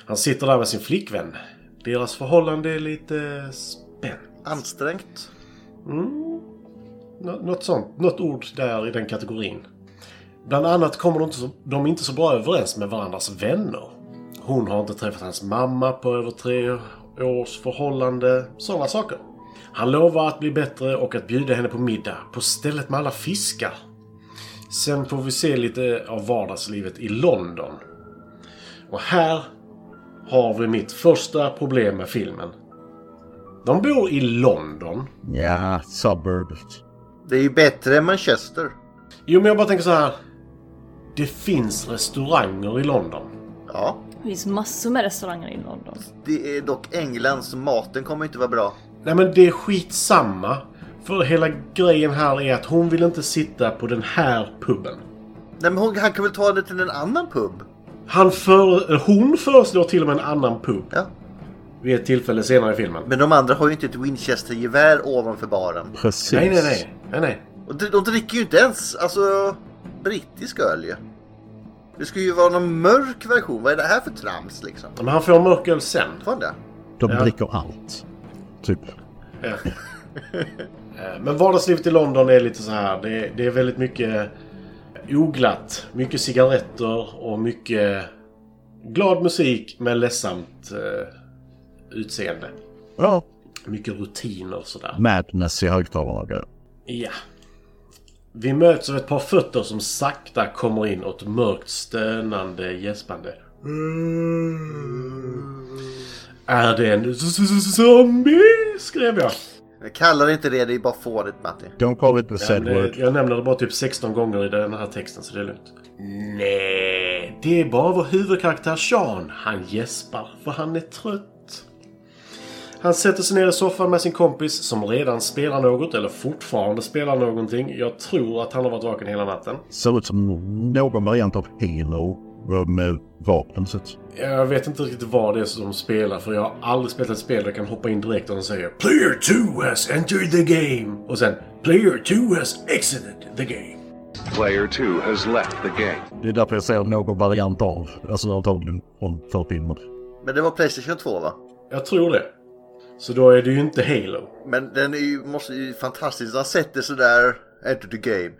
Speaker 6: Han sitter där med sin flickvän. Deras förhållande är lite spänt.
Speaker 4: Ansträngt.
Speaker 6: Nå- Något sånt. Något ord där i den kategorin. Bland annat kommer de inte, så, de inte så bra överens med varandras vänner. Hon har inte träffat hans mamma på över tre års förhållande. Sådana saker. Han lovar att bli bättre och att bjuda henne på middag på stället med alla fiskar. Sen får vi se lite av vardagslivet i London. Och här har vi mitt första problem med filmen. De bor i London.
Speaker 5: Ja, suburb.
Speaker 4: Det är ju bättre än Manchester.
Speaker 6: Jo, men jag bara tänker så här. Det finns restauranger i London.
Speaker 4: Ja.
Speaker 1: Det finns massor med restauranger i London.
Speaker 4: Det är dock England så maten kommer inte vara bra.
Speaker 6: Nej, men det är skitsamma. För hela grejen här är att hon vill inte sitta på den här puben.
Speaker 4: Nej men hon, han kan väl ta det till en annan pub?
Speaker 6: Han för, hon föreslår till och med en annan pub
Speaker 4: Ja.
Speaker 6: vid ett tillfälle senare i filmen.
Speaker 4: Men de andra har ju inte ett Winchester-gevär ovanför baren.
Speaker 5: Precis.
Speaker 6: Nej, nej, nej. nej, nej.
Speaker 4: Och de, de dricker ju inte ens alltså, brittisk öl ju. Det skulle ju vara någon mörk version. Vad är det här för trams liksom?
Speaker 6: Men han får mörköl sen.
Speaker 4: Vad det?
Speaker 5: De
Speaker 6: Ja.
Speaker 5: dricker allt. Typ.
Speaker 6: Ja. Eh, Men vardagslivet i London är lite så här. Det är, det är väldigt mycket oglatt. Mycket cigaretter och mycket glad musik men ledsamt eh, utseende.
Speaker 5: Ja.
Speaker 6: Mycket rutiner och sådär.
Speaker 5: Madness i högtalarna och grejer.
Speaker 6: Ja. Vi möts av ett par fötter som sakta kommer in och ett mörkt stönande gäspande. Är det en z- z- zombie? Skrev jag.
Speaker 4: Jag kallar inte det, det är bara fånigt Matti.
Speaker 5: Don't call it the said
Speaker 6: Men, eh,
Speaker 5: word.
Speaker 6: jag nämner det bara typ 16 gånger i den här texten så det är lugnt. Nej, det är bara vår huvudkaraktär Sean. Han gäspar för han är trött. Han sätter sig ner i soffan med sin kompis som redan spelar något eller fortfarande spelar någonting. Jag tror att han har varit vaken hela natten.
Speaker 5: Ser ut som någon variant av Halo. eh, Med vapen så att-
Speaker 6: Jag vet inte riktigt vad det är som de spelar för jag har aldrig spelat ett spel där jag kan hoppa in direkt och de säger Player 2 has entered the game och sen Player 2 has exited the game.
Speaker 2: Player 2 has left the game.
Speaker 5: Det är därför jag säger någon variant av. Alltså antagligen från förfilmer.
Speaker 4: Men det var Playstation 2 va?
Speaker 6: Jag tror det. Så då är det ju inte Halo.
Speaker 4: Men den är ju, måste ju fantastiskt. Han sätter sig där. Enter the game.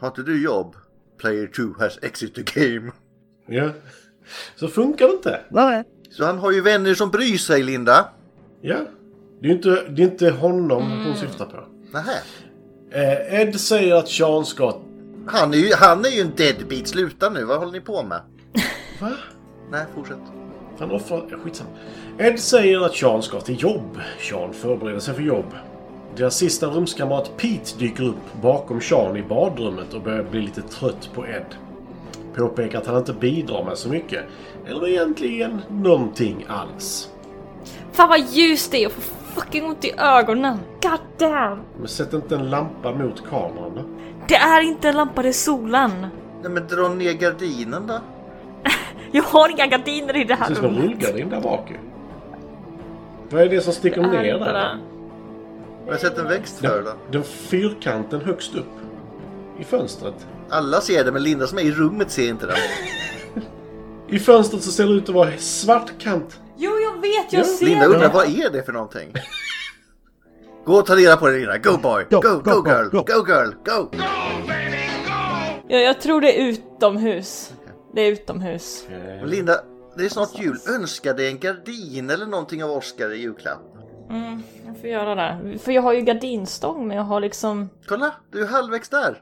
Speaker 4: Har inte du jobb? Player 2 has exit the game.
Speaker 6: Ja. Så funkar det inte.
Speaker 5: Nej.
Speaker 4: Så han har ju vänner som bryr sig Linda.
Speaker 6: Ja. Det är ju inte, det är inte honom hon syftar på.
Speaker 4: Nähä.
Speaker 6: Eh, Ed säger att Sean ska...
Speaker 4: Han är ju, han är ju en deadbeat. Sluta nu, vad håller ni på med?
Speaker 6: Va?
Speaker 4: Nej, fortsätt.
Speaker 6: Han offrar... ja, Skitsamma. Ed säger att Sean ska till jobb. Sean förbereder sig för jobb. Deras sista rumskamrat Pete dyker upp bakom Sean i badrummet och börjar bli lite trött på Ed. Påpekar att han inte bidrar med så mycket. Eller egentligen någonting alls.
Speaker 1: Fan vad ljust det är, jag får fucking ont i ögonen. God damn!
Speaker 6: Men sätt inte en lampa mot kameran då.
Speaker 1: Det är inte en lampa, det är solen.
Speaker 4: Nej men dra ner gardinen då.
Speaker 1: Jag har inga gardiner i det här
Speaker 6: Det ser ut som en
Speaker 1: rummet.
Speaker 6: rullgardin där bak ju. Vad är det som sticker
Speaker 1: Det är
Speaker 6: ner
Speaker 1: inte
Speaker 6: där?
Speaker 1: det.
Speaker 4: Har jag sett en växt för
Speaker 6: Den,
Speaker 4: då?
Speaker 6: den fyrkanten högst upp. I fönstret.
Speaker 4: Alla ser det men Linda som är i rummet ser inte den.
Speaker 6: I fönstret så ser det ut att vara svart kant.
Speaker 1: Jo, jag vet, jag ser
Speaker 4: Linda undrar
Speaker 1: det.
Speaker 4: vad är det för någonting? Gå och ta reda på det Linda. Go boy! Go,
Speaker 5: Go,
Speaker 4: go,
Speaker 5: go, go,
Speaker 4: girl! Go,
Speaker 5: go.
Speaker 4: girl! Go!
Speaker 1: Ja, jag tror det är utomhus. Det är utomhus.
Speaker 4: Men Linda, det är snart jul. Önska dig en gardin eller någonting av Oscar i julklapp.
Speaker 1: Mm, jag får göra det. För jag har ju gardinstång, men jag har liksom...
Speaker 4: Kolla, du är halvvägs där.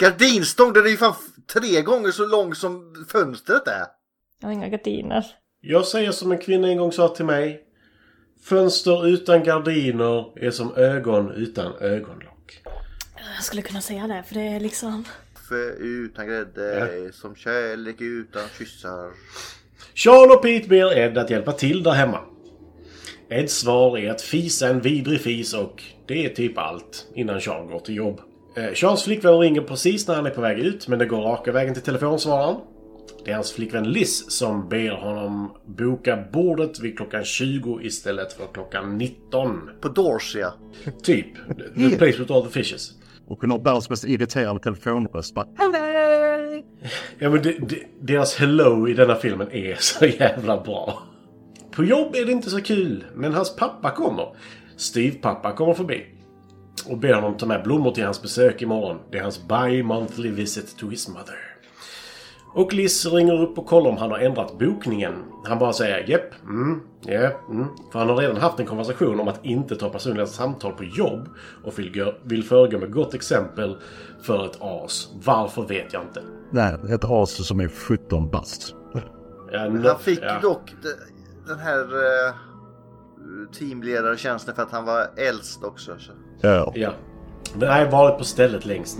Speaker 4: Gardinstång, den är ju fan f- tre gånger så lång som fönstret är.
Speaker 1: Jag har inga gardiner.
Speaker 6: Jag säger som en kvinna en gång sa till mig. Fönster utan gardiner är som ögon utan ögonlock.
Speaker 1: Jag skulle kunna säga det, för det är liksom...
Speaker 4: Kaffe utan grädde är som kärlek utan kyssar.
Speaker 6: Sean och Pete ber Ed att hjälpa till där hemma. Eds svar är att fisa en vidrig fis och det är typ allt innan Sean går till jobb. Eh, Seans flickvän ringer precis när han är på väg ut men det går raka vägen till telefonsvararen. Det är hans flickvän Liz som ber honom boka bordet vid klockan 20 istället för klockan 19.
Speaker 4: På Dorsia.
Speaker 6: Typ. The place with all the fishes.
Speaker 5: Och hon har världens mest irriterande telefonröst. Bara,
Speaker 6: Ja, men det, det, deras hello i denna filmen är så jävla bra. På jobb är det inte så kul, men hans pappa kommer. Steve-pappa kommer förbi. Och ber honom ta med blommor till hans besök imorgon. Det är hans bi-monthly visit to his mother. Och Liz ringer upp och kollar om han har ändrat bokningen. Han bara säger japp, mm, ja, mm. För han har redan haft en konversation om att inte ta personliga samtal på jobb och vill, gö- vill föregå med gott exempel för ett as. Varför vet jag inte.
Speaker 5: Nej, ett as som är 17 bast.
Speaker 6: Ja,
Speaker 4: Han fick
Speaker 6: ja.
Speaker 4: ju dock de- den här uh, teamledartjänsten för att han var äldst också. Så.
Speaker 5: Ja.
Speaker 6: Ja. Men jag har varit på stället längst.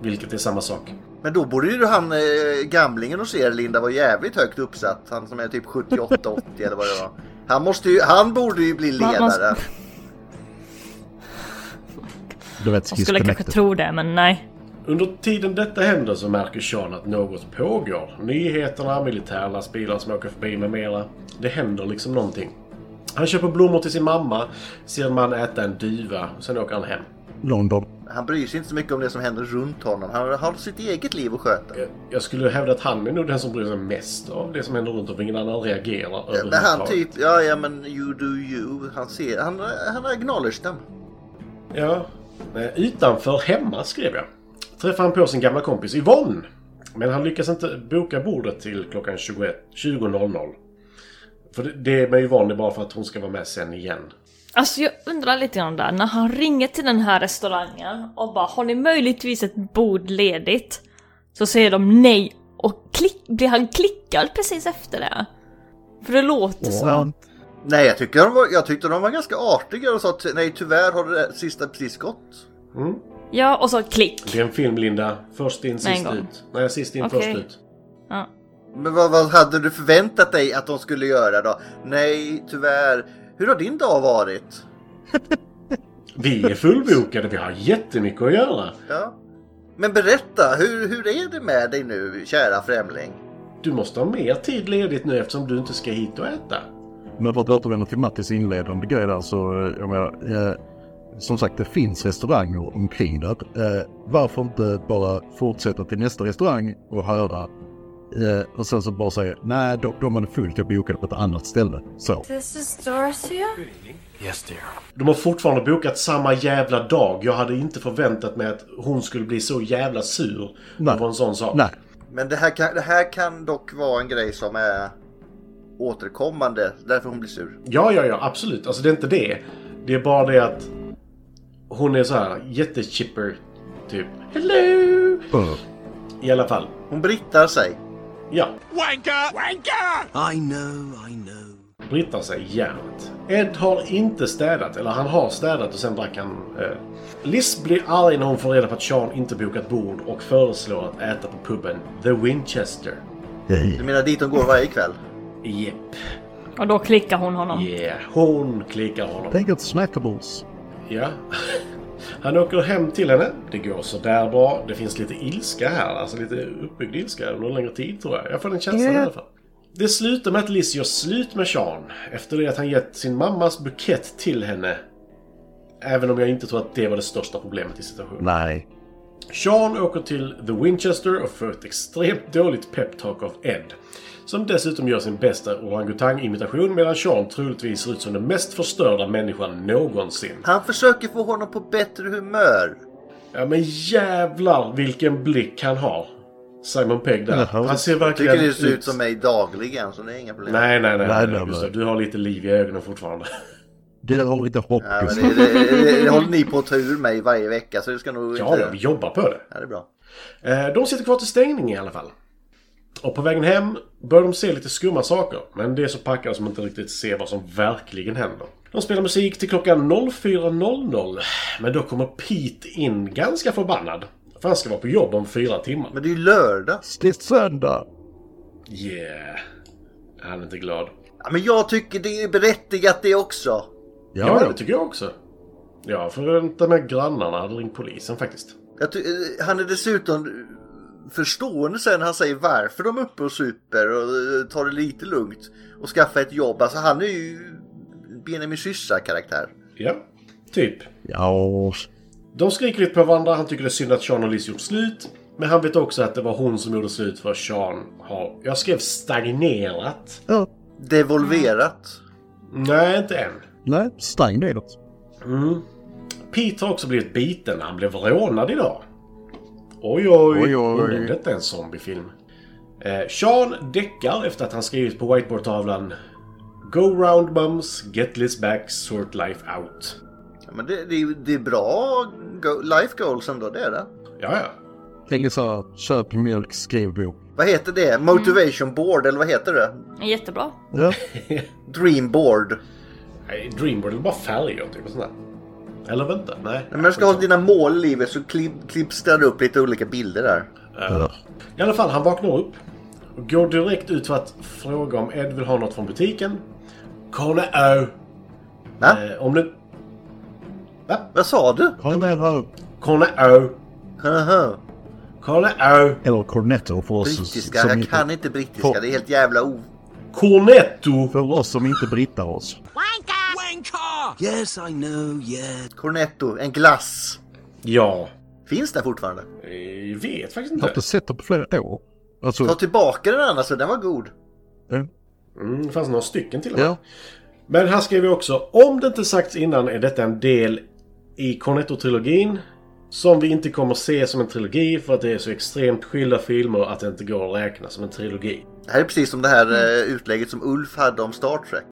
Speaker 6: Vilket är samma sak.
Speaker 4: Men då borde ju han eh, gamlingen och ser Linda var jävligt högt uppsatt. Han som är typ 78-80 eller vad det var. Han, måste ju, han borde ju bli
Speaker 1: Man- man-
Speaker 4: ledare.
Speaker 5: Du vet,
Speaker 1: Jag skulle kanske
Speaker 5: disconnected.
Speaker 1: tro det, men nej.
Speaker 6: Under tiden detta händer så märker Sean att något pågår. Nyheterna, militärlastbilar som åker förbi med mera. Det händer liksom någonting. Han köper blommor till sin mamma, ser en man äta en duva, sen åker han hem.
Speaker 5: London.
Speaker 4: Han bryr sig inte så mycket om det som händer runt honom. Han har sitt eget liv att sköta.
Speaker 6: Jag- Jag skulle hävda att han är nog den som bryr sig mest av det som händer runt omkring. Ingen annan reagerar
Speaker 4: Men han
Speaker 6: överhuvudtaget.
Speaker 4: typ, ja ja men you do you. Han ser, han, han acknowledge dem.
Speaker 6: Ja. Eh, Utanför hemma skrev jag. Träffade han på sin gamla kompis Yvonne. Men han lyckas inte boka bordet till klockan 21 20.00. För det- det med Yvonne är bara för att hon ska vara med sen igen.
Speaker 1: Alltså jag undrar lite grann där, när han ringer till den här restaurangen och bara har ni möjligtvis ett bord ledigt? Så säger de nej och klick, blir han klickad precis efter det? För det låter så.
Speaker 4: Nej, jag, tycker de var, jag tyckte de var ganska artiga och sa att nej tyvärr har det sista precis gått.
Speaker 1: Ja, och så klick.
Speaker 6: Det är en film Linda. Först in, sist
Speaker 1: gång.
Speaker 6: ut. Nej, sist in,
Speaker 1: Okej.
Speaker 6: först ut.
Speaker 1: Ja.
Speaker 4: Men vad, vad hade du förväntat dig att de skulle göra då? Nej, tyvärr. Hur har din dag varit?
Speaker 6: Vi är fullbokade. Vi har jättemycket att göra.
Speaker 4: Ja. Men berätta, hur, hur är det med dig nu, kära främling?
Speaker 6: Du måste ha mer tid ledigt nu eftersom du inte ska hit och äta.
Speaker 5: Men för att återvända till Mattis inledande grej där så, eh, jag menar, eh, som sagt det finns restauranger omkring där. Eh, varför inte bara fortsätta till nästa restaurang och höra eh, och sen så bara säga nej, de, de hade fullt, jag bokade på ett annat ställe. Så.
Speaker 9: This is Dorothea?
Speaker 6: De har fortfarande bokat samma jävla dag. Jag hade inte förväntat mig att hon skulle bli så jävla sur
Speaker 5: Nej.
Speaker 6: över en sån sak.
Speaker 5: Nej,
Speaker 4: Men det här, kan, det här kan dock vara en grej som är återkommande, därför hon blir sur.
Speaker 6: Ja, ja, ja, absolut. Alltså det är inte det. Det är bara det att hon är så här jättechipper, typ. Hello!
Speaker 5: uh,
Speaker 6: I alla fall.
Speaker 4: Hon brittar sig.
Speaker 6: Ja,
Speaker 8: Wanker! Wanker!
Speaker 6: brittar sig järnet. Ed har inte städat, eller han har städat och sen drack han... Eh. Liz blir arg när hon får reda på att Sean inte bokat bord och föreslår att äta på puben The Winchester.
Speaker 4: Du menar dit hon går varje kväll?
Speaker 6: Jep.
Speaker 1: Och då klickar hon honom.
Speaker 6: Yeah. Hon klickar honom.
Speaker 5: tänk att snackables.
Speaker 6: Ja. Han åker hem till henne. Det går sådär bra. Det finns lite ilska här. Alltså lite uppbyggd ilska under en längre tid tror jag. Jag får den känslan i alla fall. Det slutar med att Liz gör slut med Sean. Efter det att han gett sin mammas bukett till henne. Även om jag inte tror att det var det största problemet i situationen.
Speaker 5: Nej.
Speaker 6: Sean åker till The Winchester och får ett extremt dåligt peptalk av Ed. Som dessutom gör sin bästa orangutang-imitation medan Sean troligtvis ser ut som den mest förstörda människan någonsin.
Speaker 4: Han försöker få honom på bättre humör.
Speaker 6: Ja men jävlar vilken blick han har. Simon Pegg där.
Speaker 5: Jaha.
Speaker 6: Han ser verkligen
Speaker 4: Tycker det ser ut som mig dagligen, så det är inga problem.
Speaker 6: Nej, nej, nej.
Speaker 5: Nej,
Speaker 6: nej,
Speaker 5: nej,
Speaker 6: Gustav,
Speaker 5: nej.
Speaker 6: Du har lite liv i
Speaker 4: [laughs]
Speaker 6: ögonen fortfarande.
Speaker 5: Det där har inte
Speaker 4: Ja,
Speaker 5: hoppats.
Speaker 4: men det, det, det, det håller ni på att ta ur mig varje vecka, så det ska nog
Speaker 6: Ja, ja,
Speaker 4: inte...
Speaker 6: vi jobbar på det.
Speaker 4: Ja, det är bra.
Speaker 6: Eh, De sitter kvar till stängning i alla fall. Och på vägen hem börjar de se lite skumma saker. Men det är så packade som inte riktigt ser vad som verkligen händer. De spelar musik till klockan 04.00. Men då kommer Pete in ganska förbannad. För han ska vara på jobb om fyra timmar.
Speaker 4: Men det är ju lördag.
Speaker 5: Det är söndag.
Speaker 6: Yeah. Han är inte glad.
Speaker 4: Ja, men jag tycker det är berättigat det också.
Speaker 6: Ja,
Speaker 5: Ja,
Speaker 6: det tycker jag också. Jag förväntar mig att grannarna hade ringt polisen faktiskt.
Speaker 4: Jag ty- eh, han är dessutom eh, förstående sen när han säger varför de är uppe och super och eh, tar det lite lugnt och skaffar ett jobb. Alltså han är ju Benjamin Syrsa-karaktär.
Speaker 6: Ja, typ.
Speaker 5: ja.
Speaker 6: De skriker lite på varandra. Han tycker det är synd att Sean och Liz gjort slut. Men han vet också att det var hon som gjorde slut för Sean har... Jag skrev stagnerat.
Speaker 5: ja.
Speaker 4: Devolverat.
Speaker 5: Mm.
Speaker 6: Nej, inte än.
Speaker 5: Nej, stäng det då.
Speaker 6: Pete har också blivit biten när han blev rånad idag. Oj, oj,
Speaker 5: Oj,
Speaker 6: oj.
Speaker 5: oj.
Speaker 6: Undrar om detta är en zombiefilm. Eh, Sean däckar efter att han skrivit på whiteboardtavlan Go round mums, get Liz back, sort life out.
Speaker 4: Ja, men det, det, är ju- det är bra go- life goals ändå, det är det.
Speaker 6: Ja, ja.
Speaker 5: Tänk så här, köp mjölk, skriv bok.
Speaker 4: Vad heter det? Motivation
Speaker 5: Mm.
Speaker 4: board eller vad heter det?
Speaker 1: Jättebra.
Speaker 5: Ja.
Speaker 4: Dream board.
Speaker 6: Nej, Dreamboard är bara färger typ. och Sånt där. Eller vänta, nej.
Speaker 4: När man ska ha dina mål i livet så klipp- klippstrar du upp lite olika bilder där.
Speaker 5: Ja.
Speaker 6: I alla fall, han vaknar upp. Och går direkt ut för att fråga om Ed vill ha något från butiken. Kolla ö.
Speaker 4: Va?
Speaker 6: Eh, om du... Va?
Speaker 4: Vad sa du?
Speaker 5: Kom här.
Speaker 6: Kolla ö.
Speaker 4: Haha.
Speaker 6: Carl är...
Speaker 5: Eller Cornetto för oss.
Speaker 4: Brittiska,
Speaker 5: som
Speaker 4: jag
Speaker 5: inte-
Speaker 4: kan inte brittiska.
Speaker 5: På-
Speaker 4: Det är helt jävla o...
Speaker 6: Cornetto!
Speaker 5: För oss som inte brittar oss.
Speaker 4: Cornetto, en glass.
Speaker 6: Ja.
Speaker 4: Finns den fortfarande?
Speaker 6: Jag vet faktiskt
Speaker 5: Jag har inte
Speaker 6: inte.
Speaker 5: sett den på flera år. Alltså, eh,
Speaker 4: Ta tillbaka den annars, så den var god.
Speaker 6: Mm, det fanns några stycken till och med.
Speaker 5: ja.
Speaker 6: Men här skriver vi också. Om det inte sagts innan är detta en del i Cornetto-trilogin. Som vi inte kommer se som en trilogi för att det är så extremt skilda filmer att det inte går att räkna som en trilogi.
Speaker 4: Det här är precis som det här eh, utlägget som Ulf hade om Star Trek.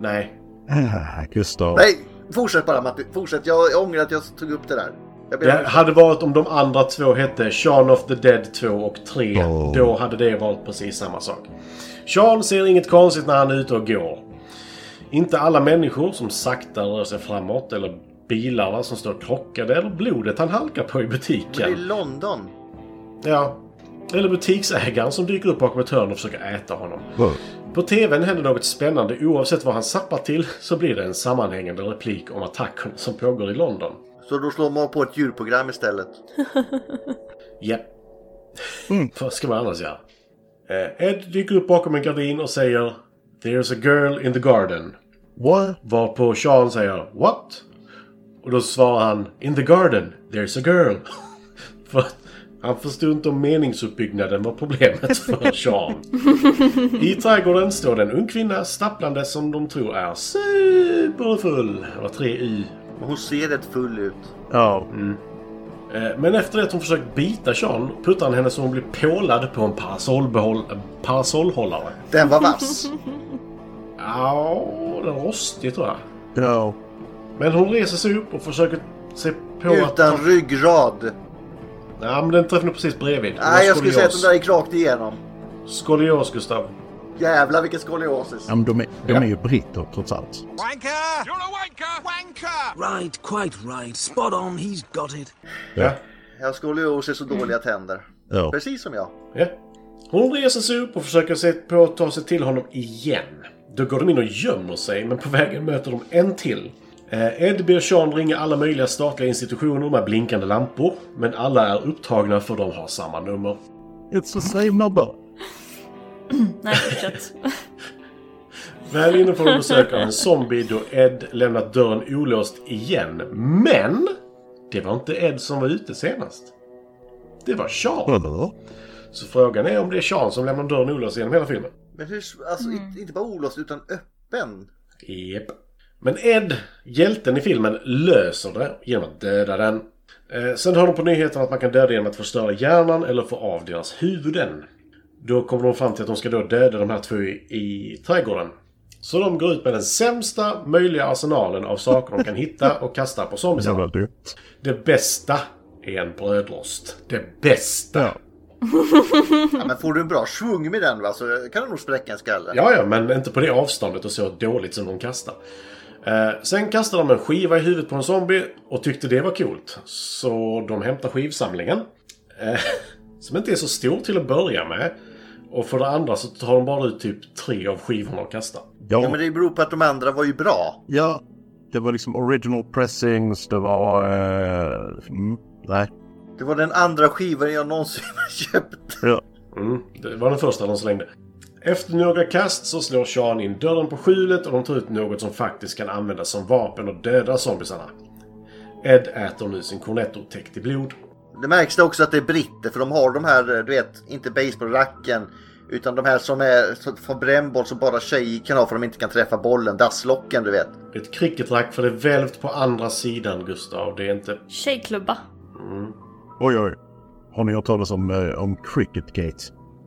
Speaker 6: Nej.
Speaker 5: Ah, Gustav.
Speaker 4: Nej, fortsätt bara Matti. Fortsätt. Jag, jag ångrar att jag tog upp det där. Jag ber om
Speaker 6: Det
Speaker 4: ursäkt.
Speaker 6: hade varit om de andra två hette Shaun of the Dead 2 och 3.
Speaker 5: Oh.
Speaker 6: Då hade det varit precis samma sak. Sean ser inget konstigt när han är ute och går. Inte alla människor som sakta rör sig framåt eller bilarna som står krockade eller blodet han halkar på i
Speaker 4: Det är
Speaker 6: butiken.
Speaker 4: London.
Speaker 6: Ja. Eller butiksägaren som dyker upp bakom ett hörn och försöker äta honom.
Speaker 5: Wow.
Speaker 6: På TVn händer något spännande. Oavsett vad han zappar till så blir det en sammanhängande replik om attacken som pågår i London.
Speaker 4: Så då slår man på ett djurprogram istället.
Speaker 6: Ja. [laughs] Vad ska man annars göra? Eh, Ed dyker upp bakom en gardin och säger “There's a girl in the garden”.
Speaker 5: What?
Speaker 6: Varpå Sean säger “What?” Och då svarar han “In the garden, there's a girl”. [laughs] För att han förstod inte om meningsuppbyggnaden var problemet för Sean. I trädgården står det en ung kvinna stapplande som de tror är superfull. Det var tre Y
Speaker 4: Och hon ser rätt full ut.
Speaker 5: Ja.
Speaker 4: Mm.
Speaker 6: Eh, Men efter att hon försökt bita Sean puttar han henne så hon blir pålad på en parasollbehåll- en parasollhållare.
Speaker 4: Den var vass.
Speaker 6: Ja, den är rostig tror jag.
Speaker 5: Ja.
Speaker 6: Men hon reser sig upp och försöker se på att...
Speaker 4: Utan ryggrad.
Speaker 6: Ja, men den träffar nog precis bredvid.
Speaker 4: Nej, jag skulle säga att den där gick rakt igenom.
Speaker 6: Skolios, Gustav.
Speaker 4: Jävlar vilken skoliosis.
Speaker 5: ja men de är, de är ju britter trots allt.
Speaker 10: Right, quite right. Spot on, he's got it.
Speaker 6: Ja.
Speaker 4: Jag har skoliosis och dåliga tänder.
Speaker 5: Ja.
Speaker 4: Precis som jag.
Speaker 6: ja. Hon reser sig upp och försöker se på att ta sig till honom igen. Då går de in och gömmer sig, men på vägen möter de en till. Eh, Ed ber Sean ringa alla möjliga statliga institutioner med blinkande lampor, men alla är upptagna för de har samma nummer.
Speaker 5: It's the same number.
Speaker 1: Nej, fortsätt.
Speaker 6: Väl inne får de besök av en zombie då Ed lämnat dörren olåst igen. Men! Det var inte Ed som var ute senast. Det var Sean.
Speaker 5: Eller?
Speaker 6: Så frågan är om det är Sean som lämnar dörren olåst genom hela filmen.
Speaker 4: Men hur... Alltså, inte- inte bara olåst utan öppen.
Speaker 6: Jep. Men Ed, hjälten i filmen, löser det genom att döda den. Eh, sen hör de på nyheten att man kan döda genom att förstöra hjärnan eller få av deras huvuden. Då kommer de fram till att de ska då döda de här två i, i trädgården. Så de går ut med den sämsta möjliga arsenalen av saker de kan hitta och kasta på
Speaker 5: Jävla
Speaker 6: zombiesarna.
Speaker 5: du.
Speaker 6: Det bästa är en brödrost. Det bästa!
Speaker 5: Ja.
Speaker 4: Ja, men får du en bra svung med den va så kan du nog spräcka en skalle.
Speaker 6: Ja, ja, men inte på det avståndet och så dåligt som de kastar. Eh, sen kastade de en skiva i huvudet på en zombie och tyckte det var coolt. Så de hämtar skivsamlingen. Eh, [laughs] som inte är så stor till att börja med. Och för det andra så tar de bara ut typ tre av skivorna och kastar.
Speaker 4: Ja, men
Speaker 5: Ja.
Speaker 4: det beror på att de andra var ju bra.
Speaker 5: ja. Det var liksom original pressings. Det var... eh, mm, nej.
Speaker 4: Det var den andra skivan jag någonsin [laughs] har köpt.
Speaker 5: Ja.
Speaker 6: Mm, det var den första de slängde. Efter några kast så slår Sean in dörren på skjulet och de tar ut något som faktiskt kan användas som vapen och döda zombisarna. Ed äter nu sin cornetto täckt i blod.
Speaker 4: Det märks det också att det är britter för de har de här, du vet, inte baseballracken utan de här som är så- från brännboll som bara tjejer kan ha för de inte kan träffa bollen. Dasslocken du vet.
Speaker 6: Ett cricketrack för det är välvt på andra sidan, Gustav. Det är inte...
Speaker 1: Tjejklubba.
Speaker 5: Oj, oj. Har ni hört talas om, eh, om Cricket Gate?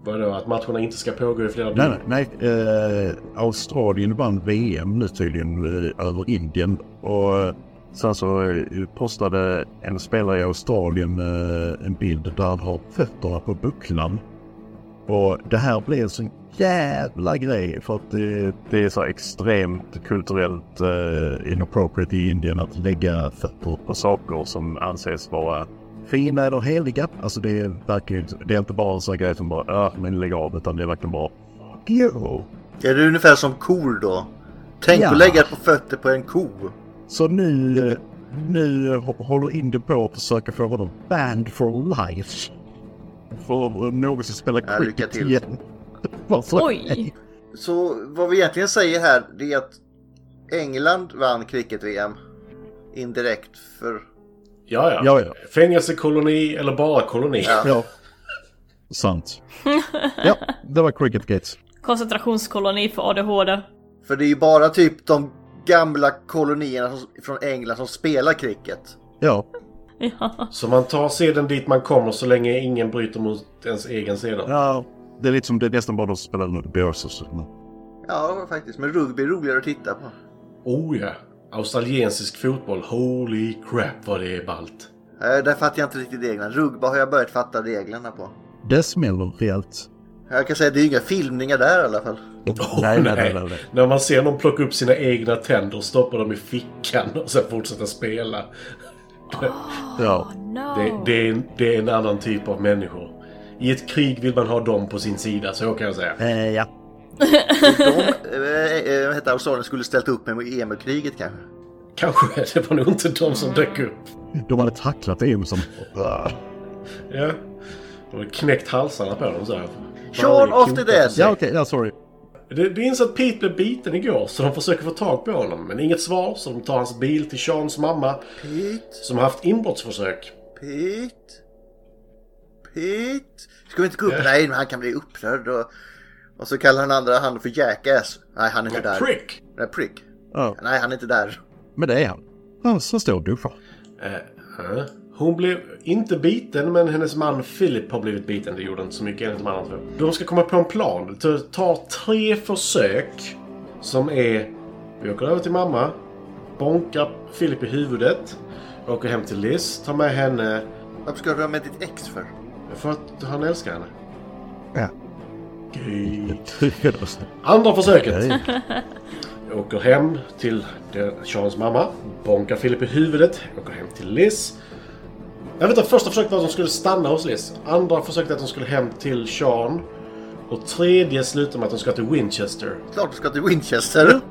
Speaker 6: Vadå, att matcherna inte ska pågå i flera
Speaker 5: Nej,
Speaker 6: dygn?
Speaker 5: nej. nej. Eh, Australien vann VM nu tydligen eh, över Indien. Och eh, sen så eh, postade en spelare i Australien eh, en bild där han har fötterna på bucklan. Och det här blev en sån jävla grej för att det, det är så extremt kulturellt eh, inappropriate i Indien att lägga fötter på saker som anses vara fina eller heliga. Alltså det är verkligen, det är inte bara en sån grej som bara ah, men lägg av utan det är verkligen bara fuck you.
Speaker 4: Är det ungefär som kor då? Tänk
Speaker 5: Ja.
Speaker 4: att lägga på fötter på en ko.
Speaker 9: Så nu, eh, nu eh, hå- håller Indy på att försöka få honom banned for life. För att någonsin spela
Speaker 4: Ja, lycka
Speaker 9: cricket
Speaker 4: till.
Speaker 5: [laughs]
Speaker 9: igen. Varför?
Speaker 1: Oj!
Speaker 4: Så vad vi egentligen säger här det är att England vann cricket-VM indirekt för...
Speaker 6: Ja, ja.
Speaker 9: Ja, ja.
Speaker 6: Fängelsekoloni eller bara koloni.
Speaker 9: Ja. [laughs] Sant. Ja, det var cricket gates.
Speaker 1: Koncentrationskoloni för ADHD.
Speaker 4: För det är ju bara typ de gamla kolonierna som- från England som spelar cricket.
Speaker 9: Ja,
Speaker 1: Ja.
Speaker 6: Så man tar seden dit man kommer så länge ingen bryter mot ens egen seden.
Speaker 9: ja. Det är lite som det är nästan bara de som spelar under Bears.
Speaker 4: Ja, faktiskt. Men rugby är roligare att titta på.
Speaker 6: Oh ja. Australiensisk fotboll. Holy crap vad det är ballt.
Speaker 4: Eh, Där fattar jag inte riktigt reglerna. Rugby har jag börjat fatta reglerna på.
Speaker 9: Det smäller rejält.
Speaker 4: Jag kan säga att det är ju inga filmningar där i alla fall.
Speaker 6: Åh, När man ser någon plocka upp sina egna tänder och stoppa dem i fickan och sen fortsätta spela.
Speaker 9: Ja.
Speaker 1: No.
Speaker 6: Det, det, är, en- det är en annan typ av människor. I ett krig vill man ha dem på sin sida, så kan jag säga.
Speaker 9: Eh, ja.
Speaker 4: De, eh, eh, vad heter Australien, skulle ställt upp med i EM-kriget kanske.
Speaker 6: Kanske det var nog inte de som dök upp.
Speaker 9: De hade tacklat EU som...
Speaker 6: Ja. De hade knäckt halsarna på dem så här.
Speaker 4: Sean of the Dead!
Speaker 9: Ja, okej. ja, sorry.
Speaker 6: Det, det inser att Pete blev biten igår så de försöker få tag på honom. Men inget svar så de tar hans bil till Seans mamma
Speaker 4: Pete,
Speaker 6: som har haft inbrottsförsök.
Speaker 4: Pete, Pete. Ska vi inte gå upp? Nej, men han kan bli upprörd. Och, och så kallar han andra han för jackass. Nej, han är inte där.
Speaker 6: Prick!
Speaker 4: Nej, prick.
Speaker 9: Ja,
Speaker 4: Nej, han är inte där.
Speaker 9: men det är han. Han som står och duschar. [laughs]
Speaker 6: Eh, eh. Hon blev inte biten men hennes man Philip har blivit biten. Det gjorde inte så mycket enligt de andra två. De ska komma på en plan. Det tar tre försök som är... Vi åker över till mamma, bonkar Philip i huvudet, åker hem till Liz, tar med henne
Speaker 4: Varför ska du ha med ditt ex för?
Speaker 6: för att han älskar henne.
Speaker 9: Ja.
Speaker 6: Gud.
Speaker 9: Tryckröst.
Speaker 6: Andra försöket.
Speaker 9: Nej.
Speaker 6: Jag åker hem till det- Seans mamma. Bonkar Philip i huvudet. Jag åker hem till Liz. Jag vet inte, första försöket var att de skulle stanna hos Liz. Andra försöket att de skulle hem till Sean. Och tredje slutar med att de ska till Winchester.
Speaker 4: Klart du ska till Winchester.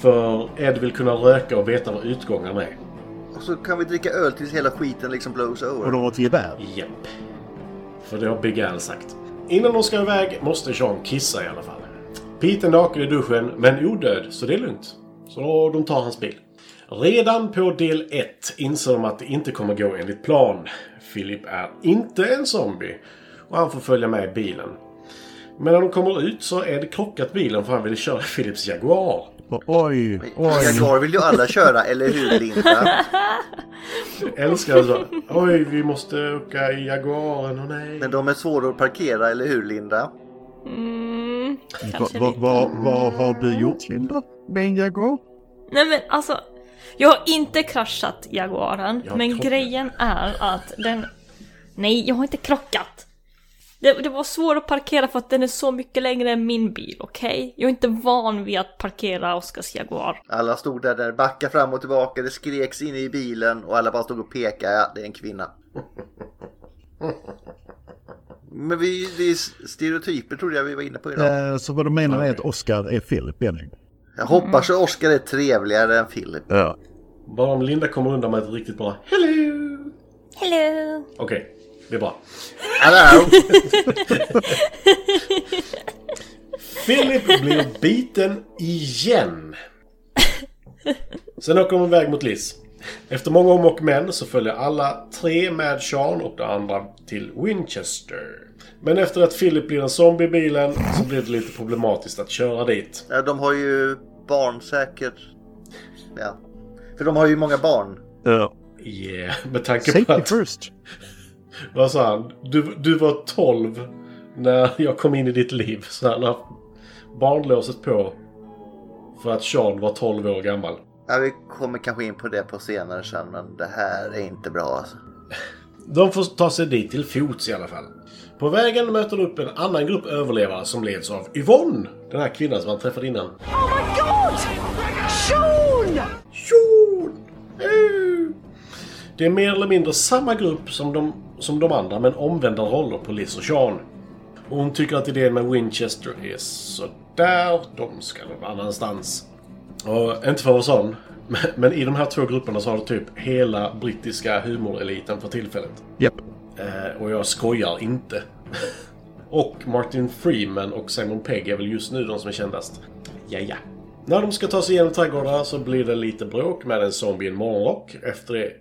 Speaker 6: För Ed vill kunna röka och veta vad utgången är.
Speaker 4: Och så kan vi dricka öl tills hela skiten liksom blows over.
Speaker 9: Och de har ett gevär.
Speaker 6: Japp. För det har Big Al sagt. Innan de ska iväg måste Sean kissa i alla fall. Pete är naken i duschen, men odöd, så det är lugnt. Så de tar hans bil. Redan på del 1 inser de att det inte kommer gå enligt plan. Philip är inte en zombie. Och han får följa med i bilen. Men när de kommer ut så är det krockat bilen för han ville köra Philips Jaguar.
Speaker 9: Och Oj, oj.
Speaker 4: Jaguar vill ju alla köra, eller hur Linda?
Speaker 6: Älskar alltså. Oj, vi måste åka i Jaguaren, och nej.
Speaker 4: Men de är svåra att parkera, eller hur Linda?
Speaker 1: Mm, kanske
Speaker 9: Vad
Speaker 1: lite.
Speaker 9: va, va har du gjort, Linda? Men jag går.
Speaker 1: Nej men alltså, jag har inte kraschat Jaguaren,
Speaker 6: Jag har
Speaker 1: men
Speaker 6: krockat.
Speaker 1: grejen är att den... Nej, jag har inte krockat! Det, det var svårt att parkera för att den är så mycket längre än min bil, okej? Jag är inte van vid att parkera Oskars Jaguar. [laughs]
Speaker 4: Alla stod där, där backade fram och tillbaka, det skreks inne i bilen och alla bara stod och pekade. Ja, det är en kvinna. Men vi, det är stereotyper trodde jag vi var inne på idag.
Speaker 9: Eh, så vad du menar är att Oscar är Philip, Benning?
Speaker 4: Jag hoppas att Oscar är trevligare än Philip.
Speaker 9: Ja.
Speaker 6: Bara om Linda kommer undan med ett riktigt bra Hello!
Speaker 1: Hello!
Speaker 6: Okej, det är bra.
Speaker 4: Hello!
Speaker 6: Philip blir biten igen. Sen åker de iväg mot Liz. Efter många om och men så följer alla tre med Sean och de andra till Winchester. Men efter att Philip blir en zombie i bilen så blir det lite problematiskt att köra dit.
Speaker 4: Ja, de har ju barn säkert. Ja. För de har ju många barn.
Speaker 9: Eh,
Speaker 6: Yeah, med tanke på
Speaker 9: safety
Speaker 6: att...
Speaker 9: first.
Speaker 6: Vad sa han? Du, du var 12 när jag kom in i ditt liv. Så han har barnlåset på. För att Sean var 12 år gammal.
Speaker 4: Ja, vi kommer kanske in på det på senare sen, men det här är inte bra alltså.
Speaker 6: De får ta sig dit till fots i alla fall. På vägen möter de upp en annan grupp överlevare som leds av Yvonne. Den här kvinnan som man träffade innan.
Speaker 7: Oh my god! Sean!
Speaker 6: Tjon! Eh! Det är mer eller mindre samma grupp som de, som de andra men omvända roller på Liz och Sean. Och hon tycker att idén med Winchester är sådär. De ska någon annanstans. Och inte för att vara sån, men- men i de här två grupperna så har du typ hela brittiska humoreliten för tillfället.
Speaker 5: Japp.
Speaker 6: Eh, och jag skojar inte. [laughs] och Martin Freeman och Simon Pegg är väl just nu de som är kändast. Ja, ja. När de ska ta sig igenom trädgårdarna så blir det lite bråk med en zombie i en morgonrock efter, det,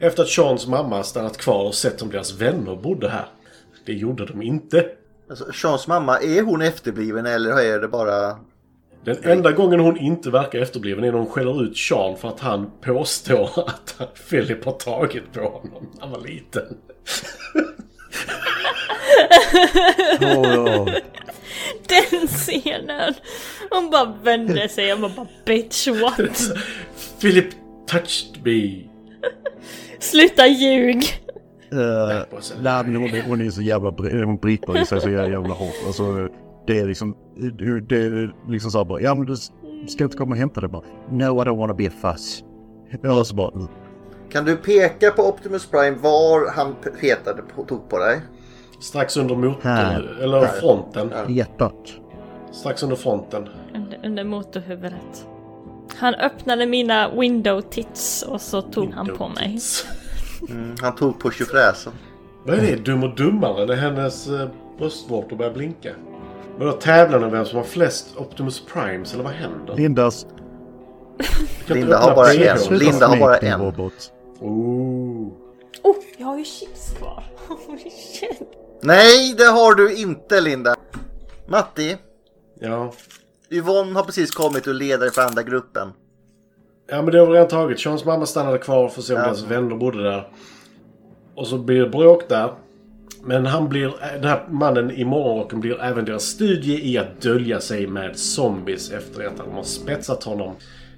Speaker 6: efter att Seans mamma stannat kvar och sett om deras vänner bodde här. Det gjorde de inte.
Speaker 4: Alltså, Seans mamma, är hon efterbliven eller är det bara...
Speaker 6: Den enda gången hon inte verkar efterbliven är när hon skäller ut Sean för att han påstår [laughs] att han- Philip har tagit på honom när han var liten.
Speaker 5: [laughs]
Speaker 6: [laughs]
Speaker 5: Åh,
Speaker 1: Den scenen! Hon bara vände sig och man bara bitch
Speaker 6: [laughs]
Speaker 1: what?
Speaker 6: Philip touched me.
Speaker 1: Sluta ljug!
Speaker 5: eh, Nej, men hon, är- hon är så jävla... br- Hon brittar i sig så jävla, jävla hårt. Alltså, det är liksom... det- Det är liksom så här bara... Ja, men du s- ska inte komma och hämta det bara. No, I don't wanna be a fuss. Eller så bara...
Speaker 4: Kan du peka på Optimus Prime var han petade på, tog på dig?
Speaker 6: Strax under motorn,
Speaker 5: Här.
Speaker 6: eller
Speaker 4: Här.
Speaker 6: fronten.
Speaker 4: Här.
Speaker 5: Hjärtat.
Speaker 6: Strax under fronten.
Speaker 1: Under, under motorhuvudet. Han öppnade mina window tits och så tog han på mig. [laughs]
Speaker 4: Mm, han tog på tjofräsen.
Speaker 6: Vad är det? Dum och dummare? Det är hennes eh, bröstvårtor börjar blinka. Vadå tävlan om vem som har flest Optimus Primes, eller vad händer?
Speaker 5: Lindas...
Speaker 6: Jag kan inte
Speaker 4: Linda har
Speaker 6: öppna
Speaker 4: bara
Speaker 6: playground.
Speaker 4: en. Linda har bara en.
Speaker 5: Robot.
Speaker 6: Oh.
Speaker 1: Oh, jag har ju chips kvar! Oh shit!
Speaker 4: Nej, det har du inte Linda. Matti,
Speaker 6: Ja.
Speaker 4: Yvonne har precis kommit och ledare för andra gruppen.
Speaker 6: Ja men det har vi redan tagit. Seans mamma stannade kvar för att se om
Speaker 4: Ja.
Speaker 6: deras vänner bodde där. Och så blir det bråk där. Men han blir, den här mannen i morgonrocken blir även deras studie i att dölja sig med zombies efter att de har spetsat honom.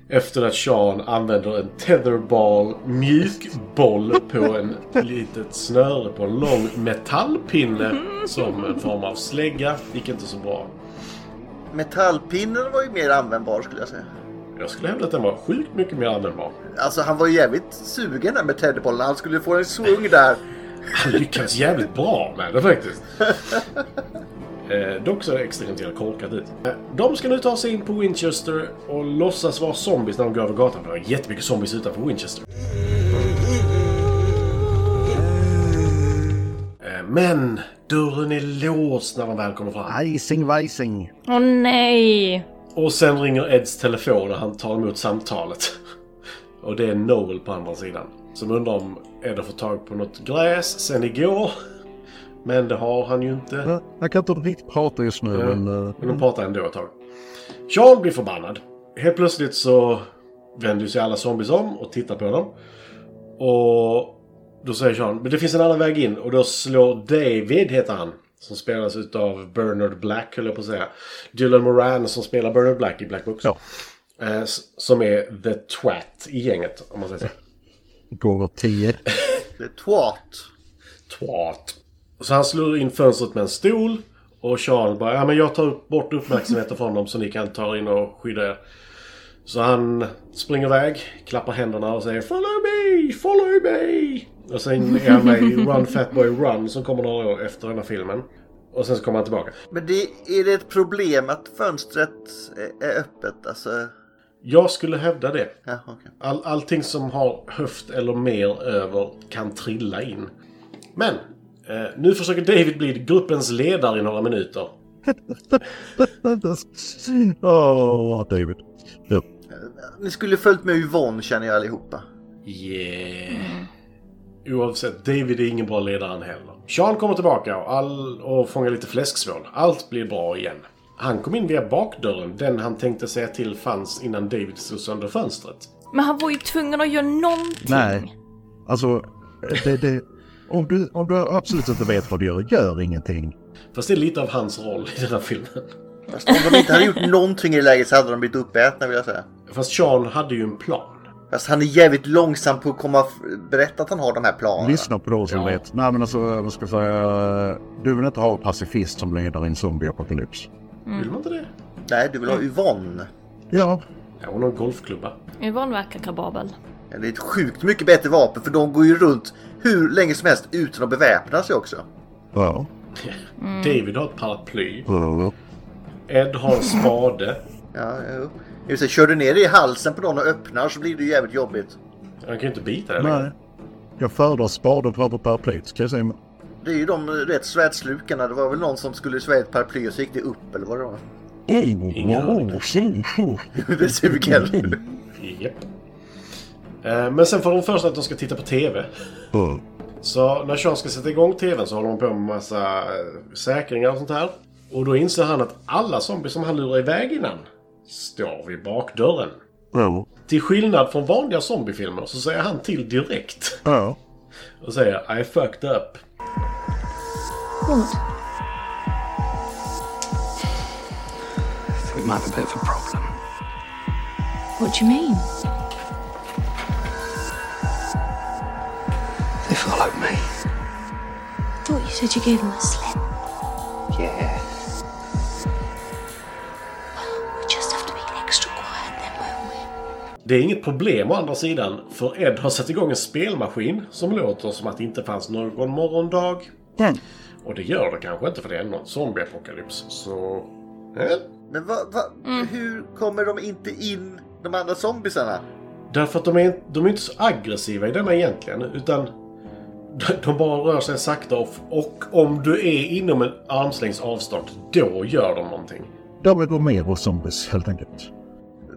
Speaker 6: Efter att Sean använder en tetherball, mjukboll, på en litet snöre på en lång metallpinne som en form av slägga. Gick inte så bra.
Speaker 4: Metallpinnen var ju mer användbar skulle jag säga.
Speaker 6: Jag skulle hävda att den var sjukt mycket mer användbar.
Speaker 4: Alltså han var ju jävligt sugen där med teddybollen. Han skulle få en svung där.
Speaker 6: Han lyckades jävligt bra med det faktiskt. Eh, dock så är det extremt jävla korkat ut. Eh, De ska nu ta sig in på Winchester och låtsas vara zombies när de går över gatan. För det är jättemycket zombies utanför Winchester. Eh, Men dörren är låst när de väl kommer fram.
Speaker 5: Icing, vicing.
Speaker 1: Åh nej!
Speaker 6: Och sen ringer Eds telefon och han tar emot samtalet. [laughs] Och det är Noel på andra sidan. Som undrar om Ed har fått tag på något gräs sen igår. Men det har han ju inte.
Speaker 5: Ja, Jag kan inte riktigt prata just nu, men... eh,
Speaker 6: Men de pratar ändå ett tag. Sean blir förbannad. Helt plötsligt så vänder sig alla zombies om och tittar på dem. Och då säger Sean, men det finns en annan väg in. Och då slår David, heter han. Som spelas utav Bernard Black, höll jag på att säga. Dylan Moran som spelar Bernard Black i Black Books.
Speaker 5: Ja.
Speaker 6: Eh, s- som är the twat i gänget, om man säger så.
Speaker 5: Gånger tio. [laughs]
Speaker 4: Det är twat.
Speaker 6: Twat. Så han slår in fönstret med en stol. Och Charles bara, ja men jag tar upp- bort uppmärksamheten från dem så ni kan ta er in och skydda er. Så han springer iväg, klappar händerna och säger Follow me, follow me! Och sen är han med i Run Fatboy Run som kommer några år efter den här filmen. Och sen så kommer han tillbaka.
Speaker 4: Men det, är det ett problem att fönstret är- är öppet? Alltså,
Speaker 6: Jag skulle hävda det.
Speaker 4: ja, okej.
Speaker 6: All, allting som har höft eller mer över kan trilla in. Men! Eh, nu försöker David bli gruppens ledare i några minuter.
Speaker 5: Åh, David. Ja.
Speaker 4: Ni skulle följt med Yvonne känner jag allihopa.
Speaker 6: Yeah. Mm. Oavsett, David är ingen bra ledare han heller. Sean kommer tillbaka och, all, och fångar lite fläsksvål. Allt blir bra igen. Han kom in via bakdörren, den han tänkte säga till fanns innan David slog sönder fönstret.
Speaker 1: Men han var ju tvungen att göra någonting!
Speaker 5: Nej. Alltså, det, det, om, du, om du absolut inte vet vad du gör, gör ingenting.
Speaker 6: Fast det är lite av hans roll i den här filmen.
Speaker 4: Fast om de inte hade gjort någonting i läget så hade de blivit uppätna vill jag säga.
Speaker 6: Fast Sean hade ju en plan.
Speaker 4: Fast han är jävligt långsam på att komma och f- berätta att han har de här planerna.
Speaker 5: Lyssna på de som
Speaker 6: Ja.
Speaker 5: vet. Nej, men alltså, vad ska jag säga? Du vill inte ha en pacifist som leder i en zombieapokalyps.
Speaker 6: Vill man inte det?
Speaker 4: Nej, du vill ha Yvonne.
Speaker 5: Ja,
Speaker 6: Ja, hon har en golfklubba.
Speaker 1: Yvonne verkar kapabel.
Speaker 4: Ja, Det är ett sjukt mycket bättre vapen för de går ju runt hur länge som helst utan att beväpna sig också.
Speaker 5: ja.
Speaker 6: David har ett paraply.
Speaker 5: ja.
Speaker 6: Ed har en spade.
Speaker 4: Ja, jo. Det vill säga, kör du ner det i halsen på någon och öppnar så blir det ju jävligt jobbigt.
Speaker 6: Han kan ju inte bita det
Speaker 5: Nej.
Speaker 6: längre.
Speaker 5: Jag föredrar spaden framför paraplyet kan jag säga.
Speaker 4: Det är ju de eh, rätt svätslukarna. Det var väl någon som skulle svä ett paraply och så gick det upp eller vad det var. [laughs]
Speaker 6: Ingen aning. [laughs]
Speaker 4: Det
Speaker 5: Mm.
Speaker 4: suger.
Speaker 6: Japp. Eh, Men sen får de först att de ska titta på TV.
Speaker 5: Mm.
Speaker 6: Så när Sean ska sätta igång TVn så håller de på med massa eh, säkringar och sånt här. Och då inser han att alla zombies som han lurar iväg innan står vid bakdörren.
Speaker 5: Ja.
Speaker 6: Till skillnad från vanliga zombiefilmer så säger han till direkt.
Speaker 5: Ja.
Speaker 6: Och säger I fucked up.
Speaker 11: We might have a bit of a problem.
Speaker 1: What do you mean?
Speaker 11: They followed me.
Speaker 12: Thought you said you gave him a slip.
Speaker 11: Yeah.
Speaker 12: We just have to be extra quiet then, won't we?
Speaker 6: Det är inget problem å andra sidan, för Ed har satt igång en spelmaskin som låter som att det inte fanns någon morgondag. Och det gör det kanske inte för det är ändå en zombieapokalyps, så... Eh?
Speaker 4: Men va, va, hur kommer de inte in, de andra zombisarna?
Speaker 6: Därför att de är, de är inte så aggressiva i denna egentligen, utan de- de bara rör sig sakta och, och om du är inom en armslängds avstånd, då gör de någonting.
Speaker 5: De är Romero zombies helt enkelt.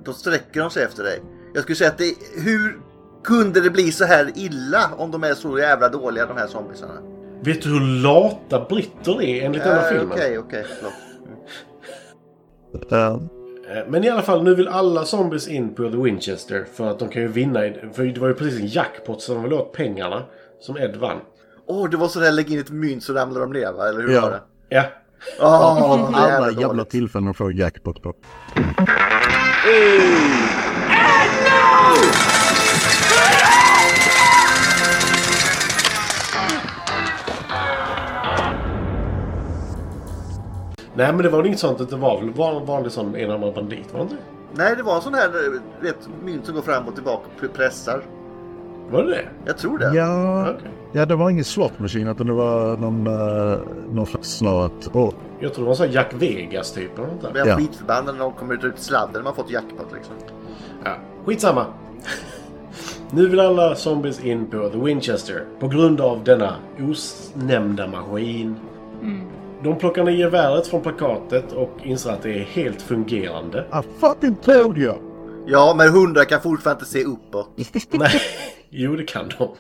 Speaker 4: Då sträcker de sig efter dig. Jag skulle säga att det, hur kunde det bli så här illa om de är så jävla dåliga de här zombisarna?
Speaker 6: Vet du hur lata britter är enligt denna
Speaker 4: Eh,
Speaker 6: filmen?
Speaker 4: Okej, okej, förlåt.
Speaker 5: Ja.
Speaker 6: Eh, Men i alla fall, nu vill alla zombies in på The Winchester för att de kan ju vinna. i- För det var ju precis en jackpot som de ville åt pengarna som Ed vann.
Speaker 4: Åh, det var sådär lägg in ett mynt så ramlar de ner va? Eller hur
Speaker 5: Ja.
Speaker 4: var det?
Speaker 6: Ja.
Speaker 4: Åh, vad
Speaker 5: Alla
Speaker 4: dåligt.
Speaker 5: jävla tillfällen att få jackpot på.
Speaker 6: Nej men det var väl inget sånt. Det var väl bara en vanlig sån enarmad bandit, var det inte?
Speaker 4: Nej, det var en sån här eh, vet, mynt som går fram och tillbaka och pressar.
Speaker 6: Var det det?
Speaker 4: Jag tror det.
Speaker 5: Ja,
Speaker 6: Okej.
Speaker 5: ja det var ingen slot machine utan det var någon, uh, någon slags snarare att... åh,
Speaker 6: Jag tror det var en sån Jack Vegas typ eller något där.
Speaker 4: Blir
Speaker 5: Ja.
Speaker 4: jag skitförbannad när de kommer ut ur ett sladd när man fått jackpot liksom.
Speaker 6: Ja. Skitsamma. nu vill alla zombies in på The Winchester på grund av denna osnämnda maskin. De plockar ner geväret från plakatet och inser att det är helt fungerande.
Speaker 5: I ah, fucking told you!
Speaker 4: Ja, men hundar kan fortfarande inte se uppåt.
Speaker 6: Nej, jo det kan de.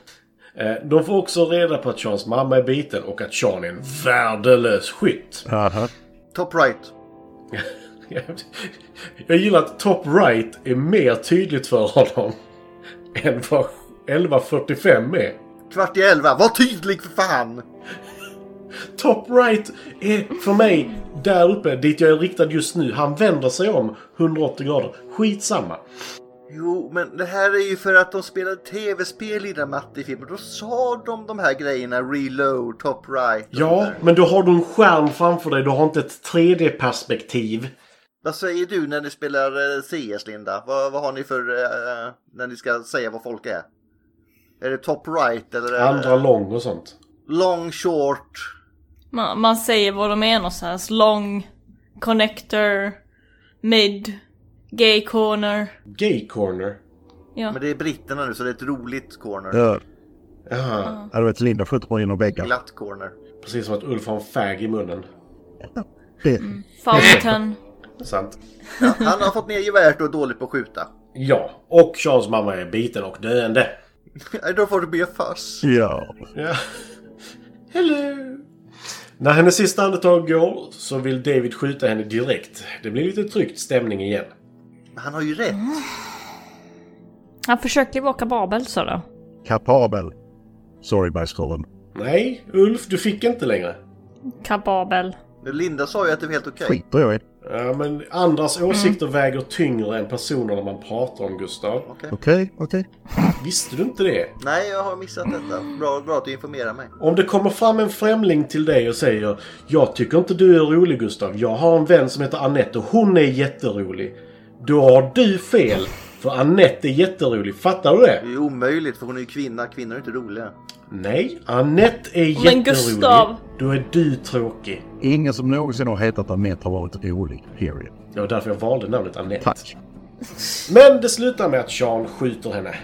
Speaker 6: Eh, De får också reda på att Seans mamma är biten och att Sean är en värdelös skytt. [laughs]
Speaker 5: Aha.
Speaker 4: Top right.
Speaker 6: Jag gillar att Top Right är mer tydligt för honom [laughs] än vad 11.45 är.
Speaker 4: Kvart i elva. Var tydlig för fan!
Speaker 6: Top Right är för mig där uppe, dit jag är riktad just nu. Han vänder sig om 180 grader. Skitsamma.
Speaker 4: Jo, men det här är ju för att de spelade tv-spel i den Matti-filmen. Då sa de de här grejerna. Reload, top right. och
Speaker 6: Ja,
Speaker 4: sånt där.
Speaker 6: men då har du en skärm framför dig. Du har inte ett 3D-perspektiv.
Speaker 4: Vad säger du när ni spelar eh, CS, Linda? Vad, vad har ni för... eh, när ni ska säga vad folk är? Är det top right eller är det
Speaker 6: Andra lång och sånt.
Speaker 4: long short?
Speaker 1: Man, man säger vad de är någonstans. Long, connector, mid, gay corner.
Speaker 6: Gay corner.
Speaker 1: Ja.
Speaker 4: Men det är britterna nu så det är ett roligt corner.
Speaker 5: Ja,
Speaker 6: Ja,
Speaker 5: Ja, du vet Linda skjuter mig genom väggen.
Speaker 4: Glatt corner.
Speaker 6: precis som att Ulf har en fag i munnen.
Speaker 5: Det,
Speaker 1: Fountain.
Speaker 6: Sant.
Speaker 4: Ja, han har fått ner geväret och är dålig på att skjuta.
Speaker 6: Ja, och Charles mamma är biten och döende.
Speaker 4: Då får det bli fuss.
Speaker 5: ja.
Speaker 6: Ja. Hello! När hennes sista andetag går så vill David skjuta henne direkt. Det blir lite tryckt stämning igen.
Speaker 4: Men han har ju rätt.
Speaker 1: Han försöker vara kapabel sa du.
Speaker 5: Kapabel. Sorry bajskorven.
Speaker 6: Nej, Ulf, du fick inte längre.
Speaker 1: Kapabel.
Speaker 4: Men Linda sa ju att det var helt okej.
Speaker 5: Skiter jag i.
Speaker 6: Ja, men andras
Speaker 1: Mm.
Speaker 6: åsikter väger tyngre än personer när man pratar om Gustav.
Speaker 5: Okej, okej.
Speaker 6: Visste du inte det?
Speaker 4: Nej, jag har missat detta. Bra, bra att du informerar mig.
Speaker 6: Om det kommer fram en främling till dig och säger Jag tycker inte du är rolig Gustav. Jag har en vän som heter Annette och hon är jätterolig. Då har du fel. För Annette är jätterolig. Fattar du det?
Speaker 4: Det är ju omöjligt för hon är ju kvinna. Kvinnor är inte roliga.
Speaker 6: Nej, Annette är jätterolig.
Speaker 1: Men Gustav!
Speaker 6: Då är du tråkig.
Speaker 5: Ingen som någonsin har hetat Anette har varit rolig. Period.
Speaker 6: Det var därför jag valde namnet Annette. Men det slutar med att Sean skjuter henne.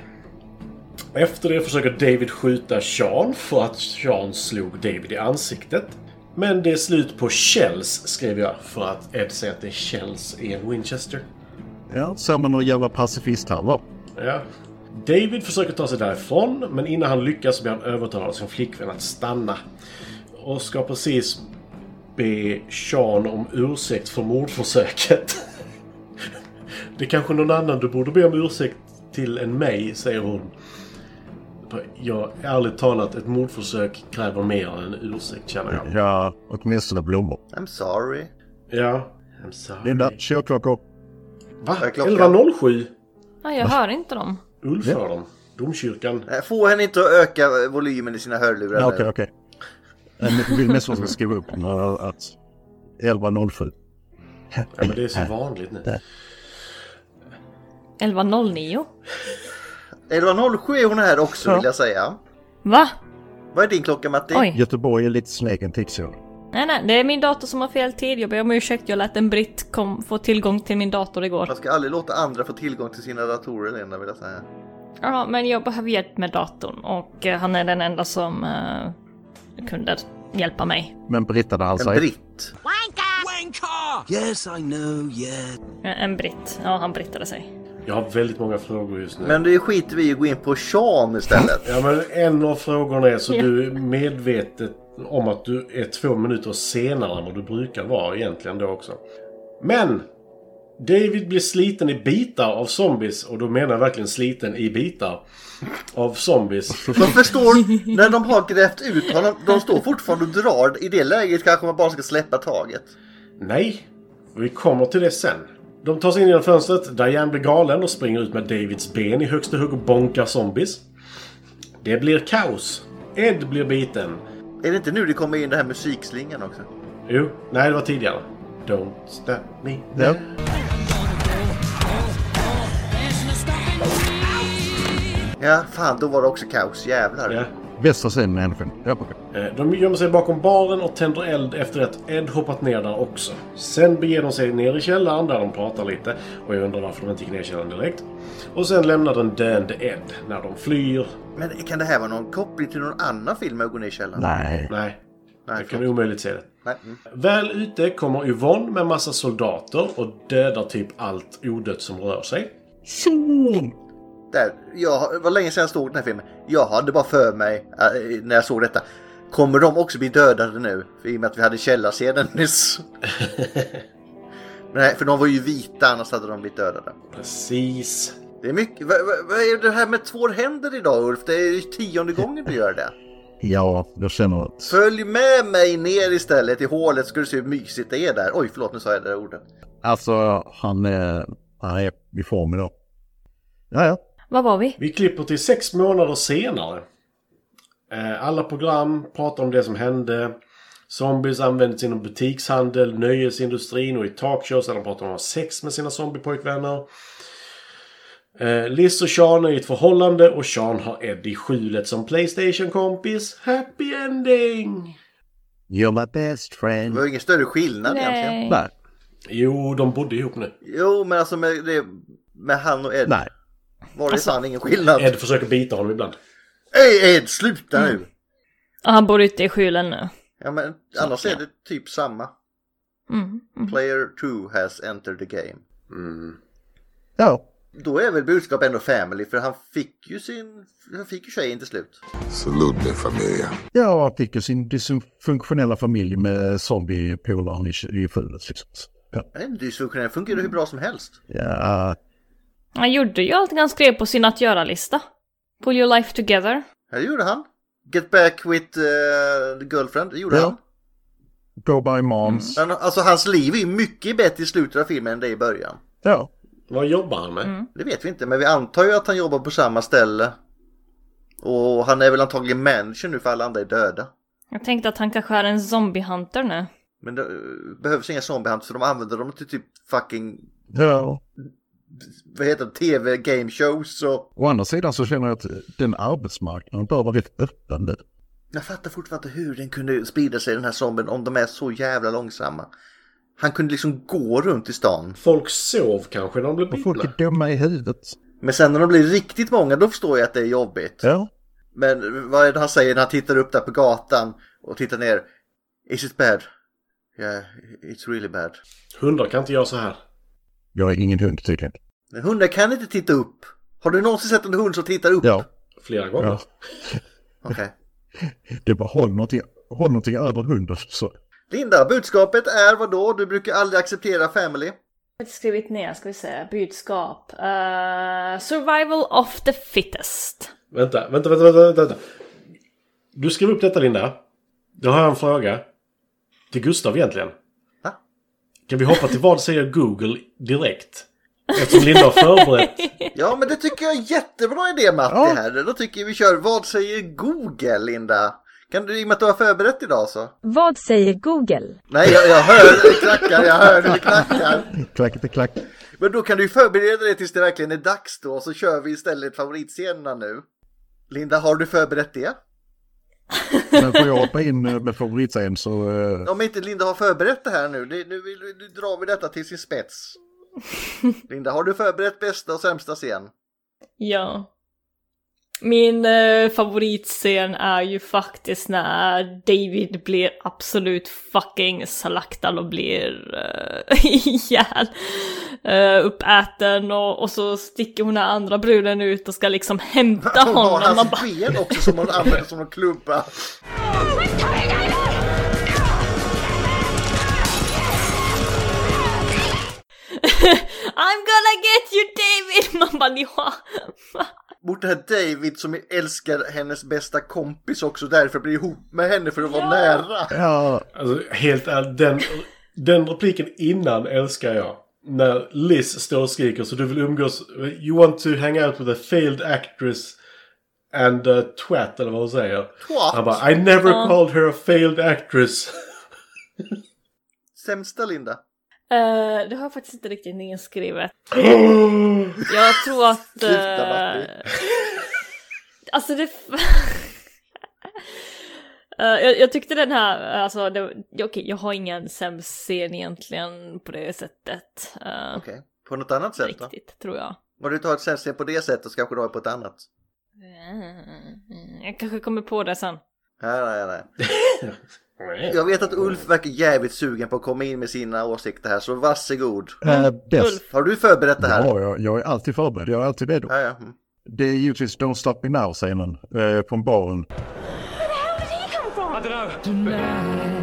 Speaker 6: Efter det försöker David skjuta Sean för att Sean slog David i ansiktet. Men det är slut på Shells, skrev jag, för att Ed säger att det är Shells i en Winchester.
Speaker 5: Ja, ser man någon jävla pacifist här va?
Speaker 6: Ja. David försöker ta sig därifrån, men innan han lyckas blir han övertalad av sin flickvän att stanna. Och ska precis be Sean om ursäkt för mordförsöket. Det är kanske någon annan du borde be om ursäkt till än mig, säger hon. Ja, ärligt talat, ett mordförsök kräver mer än en ursäkt känner jag.
Speaker 5: Ja, åtminstone blommor.
Speaker 4: I'm sorry.
Speaker 6: Ja. I'm sorry.
Speaker 5: Linda, kyrkklockor.
Speaker 6: Va?
Speaker 4: Vad är klockan?
Speaker 6: 11.07?
Speaker 1: Nej, jag hör inte dem.
Speaker 6: Ulf hör dem. Domkyrkan.
Speaker 4: Nej, Få henne inte att öka eh, volymen i sina hörlurar
Speaker 5: Ja,
Speaker 4: nu.
Speaker 5: Okej, okej. Jag vill mest att jag ska skriva upp den här, att 11.07.
Speaker 6: Ja, men det är så vanligt nu.
Speaker 1: 11.09.
Speaker 4: 11.07 är hon här också
Speaker 5: Ja.
Speaker 4: vill jag säga.
Speaker 1: Va?
Speaker 4: Vad är din klocka Matti?
Speaker 1: Oj.
Speaker 5: Göteborg är lite sin egen tidszon.
Speaker 1: Nej, nej, det är min dator som har fel tid. Jag ber om ursäkt, jag lät en britt kom, få tillgång till min dator igår.
Speaker 4: Man ska aldrig låta andra få tillgång till sina datorer Linda vill jag säga.
Speaker 1: Ja, men jag behöver hjälp med datorn och eh, han är den enda som eh, kunde hjälpa mig.
Speaker 5: Men alltså Britta där han
Speaker 4: En
Speaker 5: säger...
Speaker 4: britt.
Speaker 11: Yes, I know, yeah.
Speaker 1: Eh, En britt. Ja, han brittade sig.
Speaker 6: Jag har väldigt många frågor just nu.
Speaker 4: Men det skiter vi i att gå in på Sean istället.
Speaker 6: Ja, men en av frågorna är så
Speaker 1: Ja.
Speaker 6: du är medvetet om att du är två minuter senare än vad du brukar vara egentligen då också. Men! David blir sliten i bitar av zombies och då menar jag verkligen sliten i bitar av zombies.
Speaker 4: De förstår, när de har grävt ut honom, de står fortfarande och drar. I det läget kanske man bara ska släppa taget.
Speaker 6: Nej, vi kommer till det sen. De tar sig in genom fönstret. Diane blir galen och springer ut med Davids ben i högsta hugg och bonkar zombies. Det blir kaos. Ed blir biten.
Speaker 4: Är det inte nu det kommer in den här musikslingan också?
Speaker 6: Jo, nej det var tidigare. Don't stop me.
Speaker 5: Ja.
Speaker 4: Ja, fan då var det också kaos. Jävlar.
Speaker 6: Ja.
Speaker 5: Bästa scenen i människan. Ja, okej.
Speaker 6: Eh, De gömmer sig bakom baren och tänder eld efter att Ed hoppat ner där också. Sen beger de sig ner i källaren där de pratar lite. Och jag undrar varför de inte gick ner i källaren direkt. Och sen lämnar den döende Ed när de flyr.
Speaker 4: Men kan det här vara någon koppling till någon annan film med att gå ner i källaren?
Speaker 5: Nej.
Speaker 6: Nej,
Speaker 4: Nej,
Speaker 6: jag kan
Speaker 4: förlåt.
Speaker 6: omöjligt se det.
Speaker 4: Nej. Mm.
Speaker 6: Väl ute kommer Yvonne med massa soldater och dödar typ allt odött som rör sig.
Speaker 4: Där, jag, det var länge sedan jag såg den här filmen. Jag hade bara för mig äh, när jag såg detta. Kommer de också bli dödade nu? För I och med att vi hade källarscenen
Speaker 6: [laughs]
Speaker 4: nyss. Nej, för de var ju vita annars hade de blivit dödade.
Speaker 6: Precis.
Speaker 4: Det är mycket. Vad, vad, vad är det här med två händer idag Ulf? Det är ju tionde gången du
Speaker 1: [laughs]
Speaker 4: gör det.
Speaker 5: Ja, jag känner att...
Speaker 4: Följ med mig ner istället i hålet ska du se hur mysigt det är där. Oj, förlåt nu sa jag det där ordet.
Speaker 5: Alltså, han är, han är i form idag. Ja, ja.
Speaker 1: Var var vi?
Speaker 6: Vi klipper till sex månader senare. Eh, Alla program pratar om det som hände. Zombies används inom butikshandel, nöjesindustrin och i talkshows där de pratar om att ha sex med sina zombiepojkvänner. Eh, Liz och Sean är i ett förhållande och Sean har Ed i skjulet som Playstation-kompis. Happy ending!
Speaker 5: You're my best
Speaker 4: Det
Speaker 5: friend.
Speaker 4: var ju ingen större skillnad egentligen.
Speaker 1: Nej.
Speaker 5: Nej.
Speaker 6: Jo, de bodde ihop nu.
Speaker 4: Jo, men alltså med, det, med han och Ed
Speaker 5: Nej.
Speaker 4: var
Speaker 1: Alltså,
Speaker 4: det fan ingen skillnad.
Speaker 6: Ed försöker bita honom ibland.
Speaker 4: Ey Ed, sluta
Speaker 1: Mm.
Speaker 4: nu!
Speaker 1: Ja, han bor ute i skylen nu.
Speaker 4: Ja, men annars är det typ samma.
Speaker 1: Mm.
Speaker 4: Player 2 has entered the game.
Speaker 5: Ja.
Speaker 4: Då är väl budskap ändå family, för han fick ju sin... Han fick ju tjejen till slut.
Speaker 13: Salute mi familia.
Speaker 5: Ja, han fick ju sin dysfunktionella familj med zombiepolaren i, i fulet liksom. Ja.
Speaker 4: Men det är inte dysfunktionell, fungerar hur bra som helst.
Speaker 5: ja.
Speaker 1: Han gjorde ju allt han skrev på sin att göra-lista. Pull your life together.
Speaker 4: Ja, det gjorde han. Get back with eh, the girlfriend, det gjorde
Speaker 5: Ja.
Speaker 4: han.
Speaker 5: Go by moms.
Speaker 4: Men, alltså hans liv är mycket bättre i slutet av filmen än det i början.
Speaker 5: Ja.
Speaker 6: Vad jobbar han med?
Speaker 5: Mm.
Speaker 4: Det vet vi inte, men vi antar ju att han jobbar på samma ställe. Och han är väl antagligen manager nu för alla andra är döda.
Speaker 1: Jag tänkte att han kanske är en zombie-hunter nu.
Speaker 4: Men det eh, behövs inga zombiehunt för de använder dem till typ fucking,
Speaker 5: Ja.
Speaker 4: vad heter det, tv game shows och...
Speaker 5: Å andra sidan så känner jag att den arbetsmarknaden bör vara rätt öppen nu.
Speaker 4: Jag fattar fortfarande inte hur den kunde sprida sig den här zombien om de är så jävla långsamma. Han kunde liksom gå runt i stan.
Speaker 6: Folk sov kanske när de blev
Speaker 5: Och folk är dumma i huvudet.
Speaker 4: Men sen när de blir riktigt många då förstår jag att det är jobbigt.
Speaker 5: Ja.
Speaker 4: Men vad är det han säger när han tittar upp där på gatan och tittar ner? Is it bad? Yeah, it's really bad.
Speaker 6: Hundar kan inte göra så här.
Speaker 5: Jag är ingen hund tydligen.
Speaker 4: Men hundar kan inte titta upp. Har du någonsin sett en hund som tittar upp?
Speaker 5: Ja.
Speaker 6: Flera gånger.
Speaker 5: Ja.
Speaker 4: Okej.
Speaker 5: Det bara håll någonting, håll någonting över hunden. Så.
Speaker 4: Linda, budskapet är vad då? Du brukar aldrig acceptera family.
Speaker 1: Jag har skrivit ner, ska vi se, budskap. Eh, survival of the fittest.
Speaker 6: Vänta, vänta, vänta, vänta, vänta. Du skrev upp detta Linda. Då har jag en fråga. Till Gustav egentligen.
Speaker 4: Va?
Speaker 6: Kan vi hoppa till vad säger Google direkt? Eftersom Linda har förberett.
Speaker 4: Ja, men det tycker jag är en jättebra idé Matti
Speaker 5: Ja.
Speaker 4: här. Då tycker jag vi kör Vad säger Google, Linda? Kan du, i och med att du har förberett idag så.
Speaker 14: Vad säger Google?
Speaker 4: Nej, jag, jag hör hur det knackar, jag hör hur det knackar.
Speaker 5: Klack inte klack.
Speaker 4: Men då kan du ju förbereda dig tills det verkligen är dags då, så kör vi istället favoritscenerna nu. Linda, har du förberett det?
Speaker 5: Men får jag hoppa in eh, med favoritscen så... eh,
Speaker 4: Om inte Linda har förberett det här nu, det, nu, vill, nu drar vi detta till
Speaker 1: [laughs]
Speaker 4: sin spets. Linda, har du förberett bästa och sämsta scen?
Speaker 1: Ja. Min eh, favoritscen är ju faktiskt när David blir absolut fucking slaktad och blir eh, [laughs] ihjäl. Eh, uppäten och, och så sticker hon den andra bruden ut och ska liksom hämta
Speaker 4: [laughs] Hon har
Speaker 1: honom. Man
Speaker 4: hans
Speaker 1: bara,
Speaker 4: ben också som hon använder som en klubba.
Speaker 1: I'm gonna get you David! [laughs] Man bara, ni har...
Speaker 4: Mot den här David som älskar hennes bästa kompis också därför blir ihop med henne för att vara nära.
Speaker 5: Ja,
Speaker 6: Alltså helt ärligt, den, den repliken innan älskar jag. När Liz står och skriker så du vill umgås. You want to hang out with a failed actress and a twat eller vad hon säger.
Speaker 4: Twat?
Speaker 6: Han bara I never
Speaker 1: Ja.
Speaker 6: called her a
Speaker 4: [laughs]
Speaker 6: failed actress.
Speaker 4: Sämsta Linda.
Speaker 1: Eh, det har jag faktiskt inte riktigt nedskrivet. Jag tror att...
Speaker 4: Sluta,
Speaker 1: eh,
Speaker 4: Matti.
Speaker 1: alltså det... [laughs] Eh, jag, jag tyckte den här, alltså det, ja, okej jag har ingen sämst scen egentligen på det sättet. eh,
Speaker 4: Okej, på något annat sätt då?
Speaker 1: Riktigt, tror jag.
Speaker 4: Om du tar ett sämsta scen på det sättet så kanske du har det på ett annat.
Speaker 1: Eh, Jag kanske kommer på det sen.
Speaker 4: Nej, nej, nej. Jag vet att Ulf verkar jävligt sugen på att komma in med sina åsikter här, så varsågod.
Speaker 5: eh, bäst.
Speaker 4: Har du förberett Mm. det här?
Speaker 5: Ja, jag, jag är alltid förberedd. Jag är alltid redo.
Speaker 4: Ja, ja. Mm.
Speaker 5: Det är givetvis Don't Stop Me Now-scenen eh, från baren.
Speaker 3: I don't know.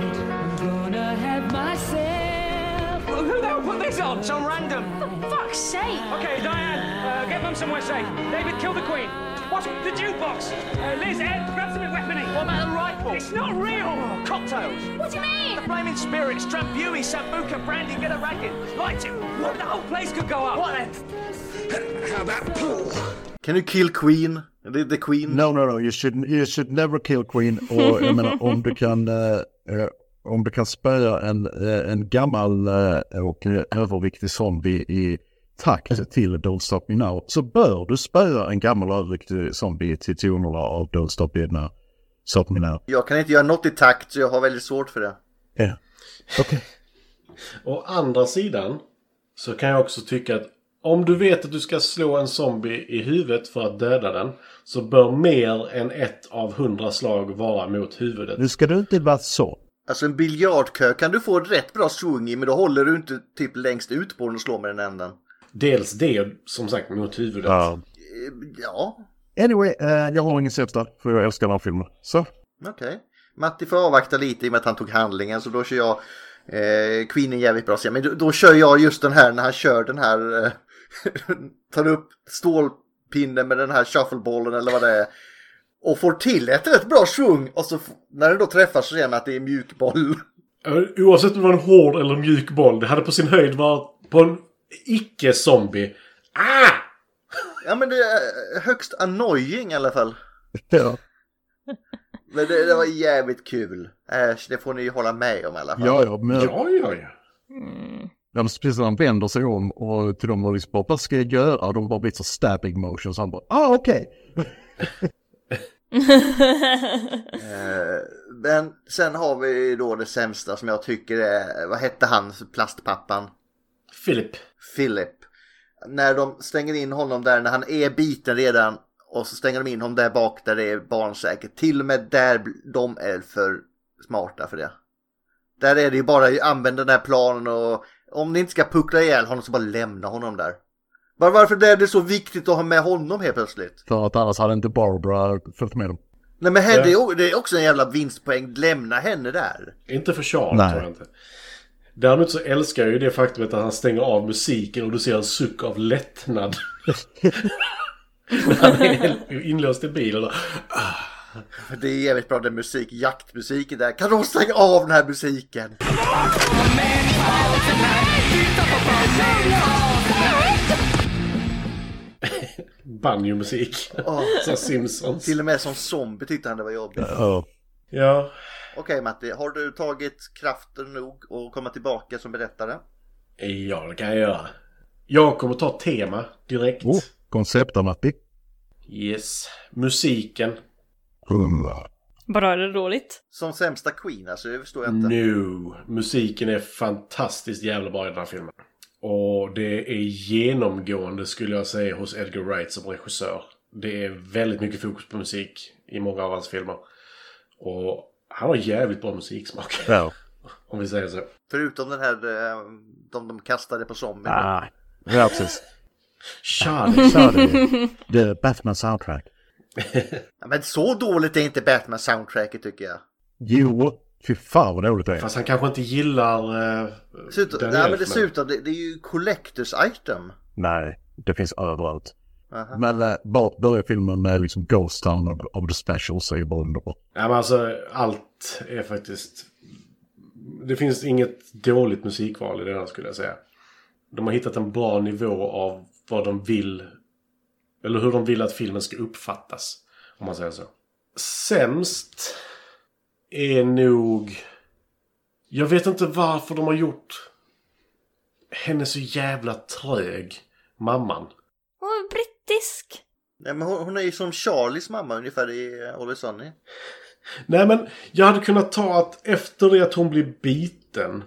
Speaker 3: Well, who the hell put this on? Some random. For fuck's sake. Okay, Diane, uh, get them somewhere safe. David, kill the queen. What's the jukebox? Uh, Liz, Ed, grab some weaponry. What about the rifle? It's not real. Cocktails. What do you mean? The flaming spirits, Drambuie, Sambuca, brandy, get a racket. Light it. Look, the whole place could go up. What then? How about pool?
Speaker 4: Can you kill Queen? The, the Queen?
Speaker 5: No, no, no, you should, you should never kill Queen. Och jag menar om du kan, eh, eh, om du kan spöa en, eh, en gammal eh, och eh, överviktig zombie i takt till Don't Stop Me Now så bör du spöa en gammal och överviktig zombie till tonerna av Don't Stop Me Now. Stop Me Now.
Speaker 4: Jag kan inte göra något i takt, så jag har väldigt svårt för det.
Speaker 5: Ja. Okej.
Speaker 6: Å andra sidan så kan jag också tycka att om du vet att du ska slå en zombie i huvudet för att döda den så bör mer än ett av hundra slag vara mot huvudet.
Speaker 5: Nu ska du inte vara så.
Speaker 4: Alltså en biljardkö kan du få ett rätt bra swing i, men då håller du inte typ längst ut på den och slår med den änden.
Speaker 6: Dels det, som sagt, mot huvudet.
Speaker 4: Eh, Ja,
Speaker 5: Anyway, eh, jag har ingen sämsta för jag älskar den här filmen. Så.
Speaker 4: okej. Matti får avvakta lite i och med att han tog handlingen, så då kör jag eh, Queen är en jävligt bra scen. Men då, då kör jag just den här när han kör den här, eh, [laughs] tar upp stålpinnen med den här shuffleballen eller vad det är. Och får till ett rätt bra swing och så f- när den då träffar så ser man att det är mjukboll.
Speaker 6: Ö, Oavsett om det var en hård eller mjuk boll, det hade på sin höjd varit på en icke-zombie. Ah!
Speaker 4: [laughs] Ja men det är eh, högst annoying i alla fall.
Speaker 5: Ja.
Speaker 4: Men det, det var jävligt kul. Äsch, det får ni ju hålla med om i alla fall.
Speaker 5: Ja, ja, men
Speaker 6: Ja, ja, ja.
Speaker 5: Ja, men precis när han vänder sig om och till dem och liksom bara, vad ska jag göra? Och de bara blir så stabbing motions. Han bara, ah okej.
Speaker 4: Eh, Men sen har vi då det sämsta som jag tycker är, vad hette han, plastpappan?
Speaker 6: Philip.
Speaker 4: Philip. När de stänger in honom där när han är biten redan och så stänger de in honom där bak där det är barnsäkert. Till och med där bl- de är för smarta för det. Där är det ju bara använd den här planen och om ni inte ska puckla ihjäl honom så bara lämna honom där. Bara varför är det så viktigt att ha med honom helt plötsligt?
Speaker 5: För att annars hade inte Barbara följt med dem.
Speaker 4: Nej men henne, ja. det är också en jävla vinstpoäng. Lämna henne där.
Speaker 6: Inte för Charles
Speaker 5: Nej.
Speaker 6: tror jag inte. Däremot så älskar jag ju det faktumet att han stänger av musiken och du ser en suck av lättnad. När han är inlåst i bilen. och-
Speaker 4: För det är jävligt bra den musik, jaktmusiken där. Kan de stänga av den här musiken?
Speaker 6: Banjo-musik.
Speaker 4: Åh.
Speaker 6: Så Simpsons.
Speaker 4: Till och med som zombie tyckte han det var jobbigt.
Speaker 5: Ja.
Speaker 6: Ja.
Speaker 4: Okej Matti, har du tagit kraften nog och komma tillbaka som berättare?
Speaker 6: ja, det kan jag göra. Jag kommer ta tema direkt.
Speaker 5: Oh, konceptet Matti.
Speaker 6: Yes. Musiken.
Speaker 5: Hundra.
Speaker 1: Bara är det dåligt?
Speaker 4: Som sämsta Queen alltså, det förstår jag inte.
Speaker 5: Mm.
Speaker 6: No. Musiken är fantastiskt jävla bra i den här filmen. Och det är genomgående skulle jag säga hos Edgar Wright som regissör. Det är väldigt mycket fokus på musik i många av hans filmer. Och han har jävligt bra musiksmak. [laughs]
Speaker 5: Ja.
Speaker 6: Om vi säger så.
Speaker 4: Förutom den här eh, de, de kastade på zombien.
Speaker 5: Ah, ja, precis.
Speaker 6: Charlie.
Speaker 5: Så är det. Det är Batman soundtrack.
Speaker 4: Ja, men så dåligt är inte Batman soundtracket tycker jag.
Speaker 5: Jo, fy fan vad dåligt det är.
Speaker 6: Fast han kanske inte gillar... Eh,
Speaker 4: Dessutom,
Speaker 6: Danny
Speaker 4: nej, men
Speaker 6: Elfman.
Speaker 4: dessutom det, det är ju collectors item.
Speaker 5: Nej, det finns överallt.
Speaker 4: Aha.
Speaker 5: Men äh, bara börjar filmen med liksom Ghost Town of, of the Specials är ju bara underbart.
Speaker 6: Nej men alltså allt är faktiskt... Det finns inget dåligt musikval i den här skulle jag säga. De har hittat en bra nivå av vad de vill... Eller hur de vill att filmen ska uppfattas. Om man säger så. Sämst är nog... Jag vet inte varför de har gjort henne så jävla trög, mamman.
Speaker 1: Hon är brittisk.
Speaker 4: Nej, men hon, hon är ju som Charlies mamma ungefär i eh, Always Sunny.
Speaker 6: Nej men jag hade kunnat ta att efter det att hon blir biten.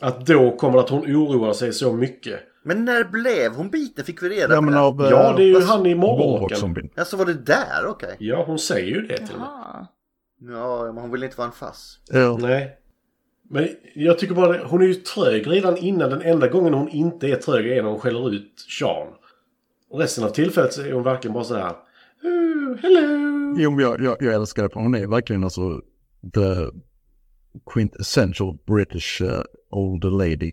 Speaker 6: Att då kommer att hon oroar sig så mycket.
Speaker 4: Men när blev hon biten? Fick vi reda
Speaker 5: Ja,
Speaker 4: på
Speaker 5: men
Speaker 4: det?
Speaker 5: av... eh,
Speaker 6: Ja, det är ju han i
Speaker 5: Warlock
Speaker 6: morgonrocken.
Speaker 5: zombien.
Speaker 4: Ja, så var det där, okej.
Speaker 6: Ja, hon säger ju det till mig.
Speaker 1: Jaha.
Speaker 4: Ja, men hon vill inte vara en fass.
Speaker 5: Ja.
Speaker 6: Nej. Men jag tycker bara det, hon är ju trög redan innan. Den enda gången hon inte är trög är när hon skäller ut Sean. Och resten av tillfället så är hon verkligen bara så här. "Ooh, Hello!
Speaker 5: Jo, men jag, jag, jag älskar det. för Hon är verkligen alltså the quintessential British eh, older lady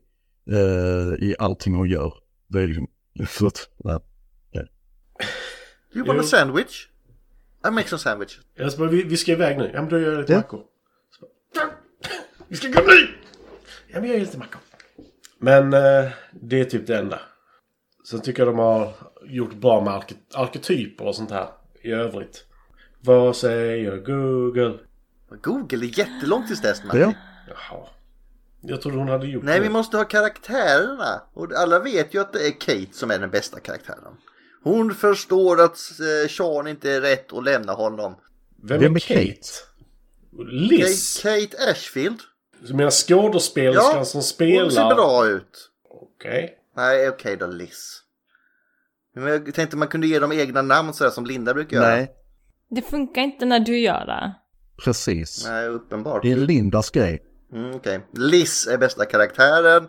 Speaker 5: eh, i allting hon gör. Det är liksom... [laughs] För att, nej.
Speaker 4: You want a
Speaker 6: Jo.
Speaker 4: sandwich? I make some sandwich.
Speaker 6: Jag bara, vi, vi ska iväg nu. Ja men då gör jag lite
Speaker 5: Ja.
Speaker 6: mackor. Så bara, "Fan, Vi ska gå nu! Ja men jag gör lite mackor. Men eh, det är typ det enda. Sen tycker jag de har gjort bra med arke arketyper och sånt här i övrigt. Vad säger Google?
Speaker 4: Google är jättelångt tills dess, Matti.
Speaker 5: Ja.
Speaker 6: Jaha. Jag trodde hon hade gjort
Speaker 4: Nej,
Speaker 6: det.
Speaker 4: vi måste ha karaktärerna. Och alla vet ju att det är Kate som är den bästa karaktären. Hon förstår att eh, Sean inte är rätt och lämnar honom.
Speaker 6: Vem,
Speaker 5: Vem
Speaker 6: är
Speaker 5: är
Speaker 6: Kate? Liz?
Speaker 4: Kate, Kate Ashfield.
Speaker 6: Du menar skådespelerskan
Speaker 4: Ja,
Speaker 6: som spelar?
Speaker 4: Hon ser bra ut.
Speaker 6: Okej.
Speaker 4: Nej, okej då, Liz. Men jag tänkte man kunde ge dem egna namn sådär som Linda brukar göra.
Speaker 5: nej,
Speaker 1: Det funkar inte när du gör det.
Speaker 5: precis.
Speaker 4: Nej, uppenbart.
Speaker 5: Det är Lindas grej.
Speaker 4: Mm, okej. Liz är bästa karaktären.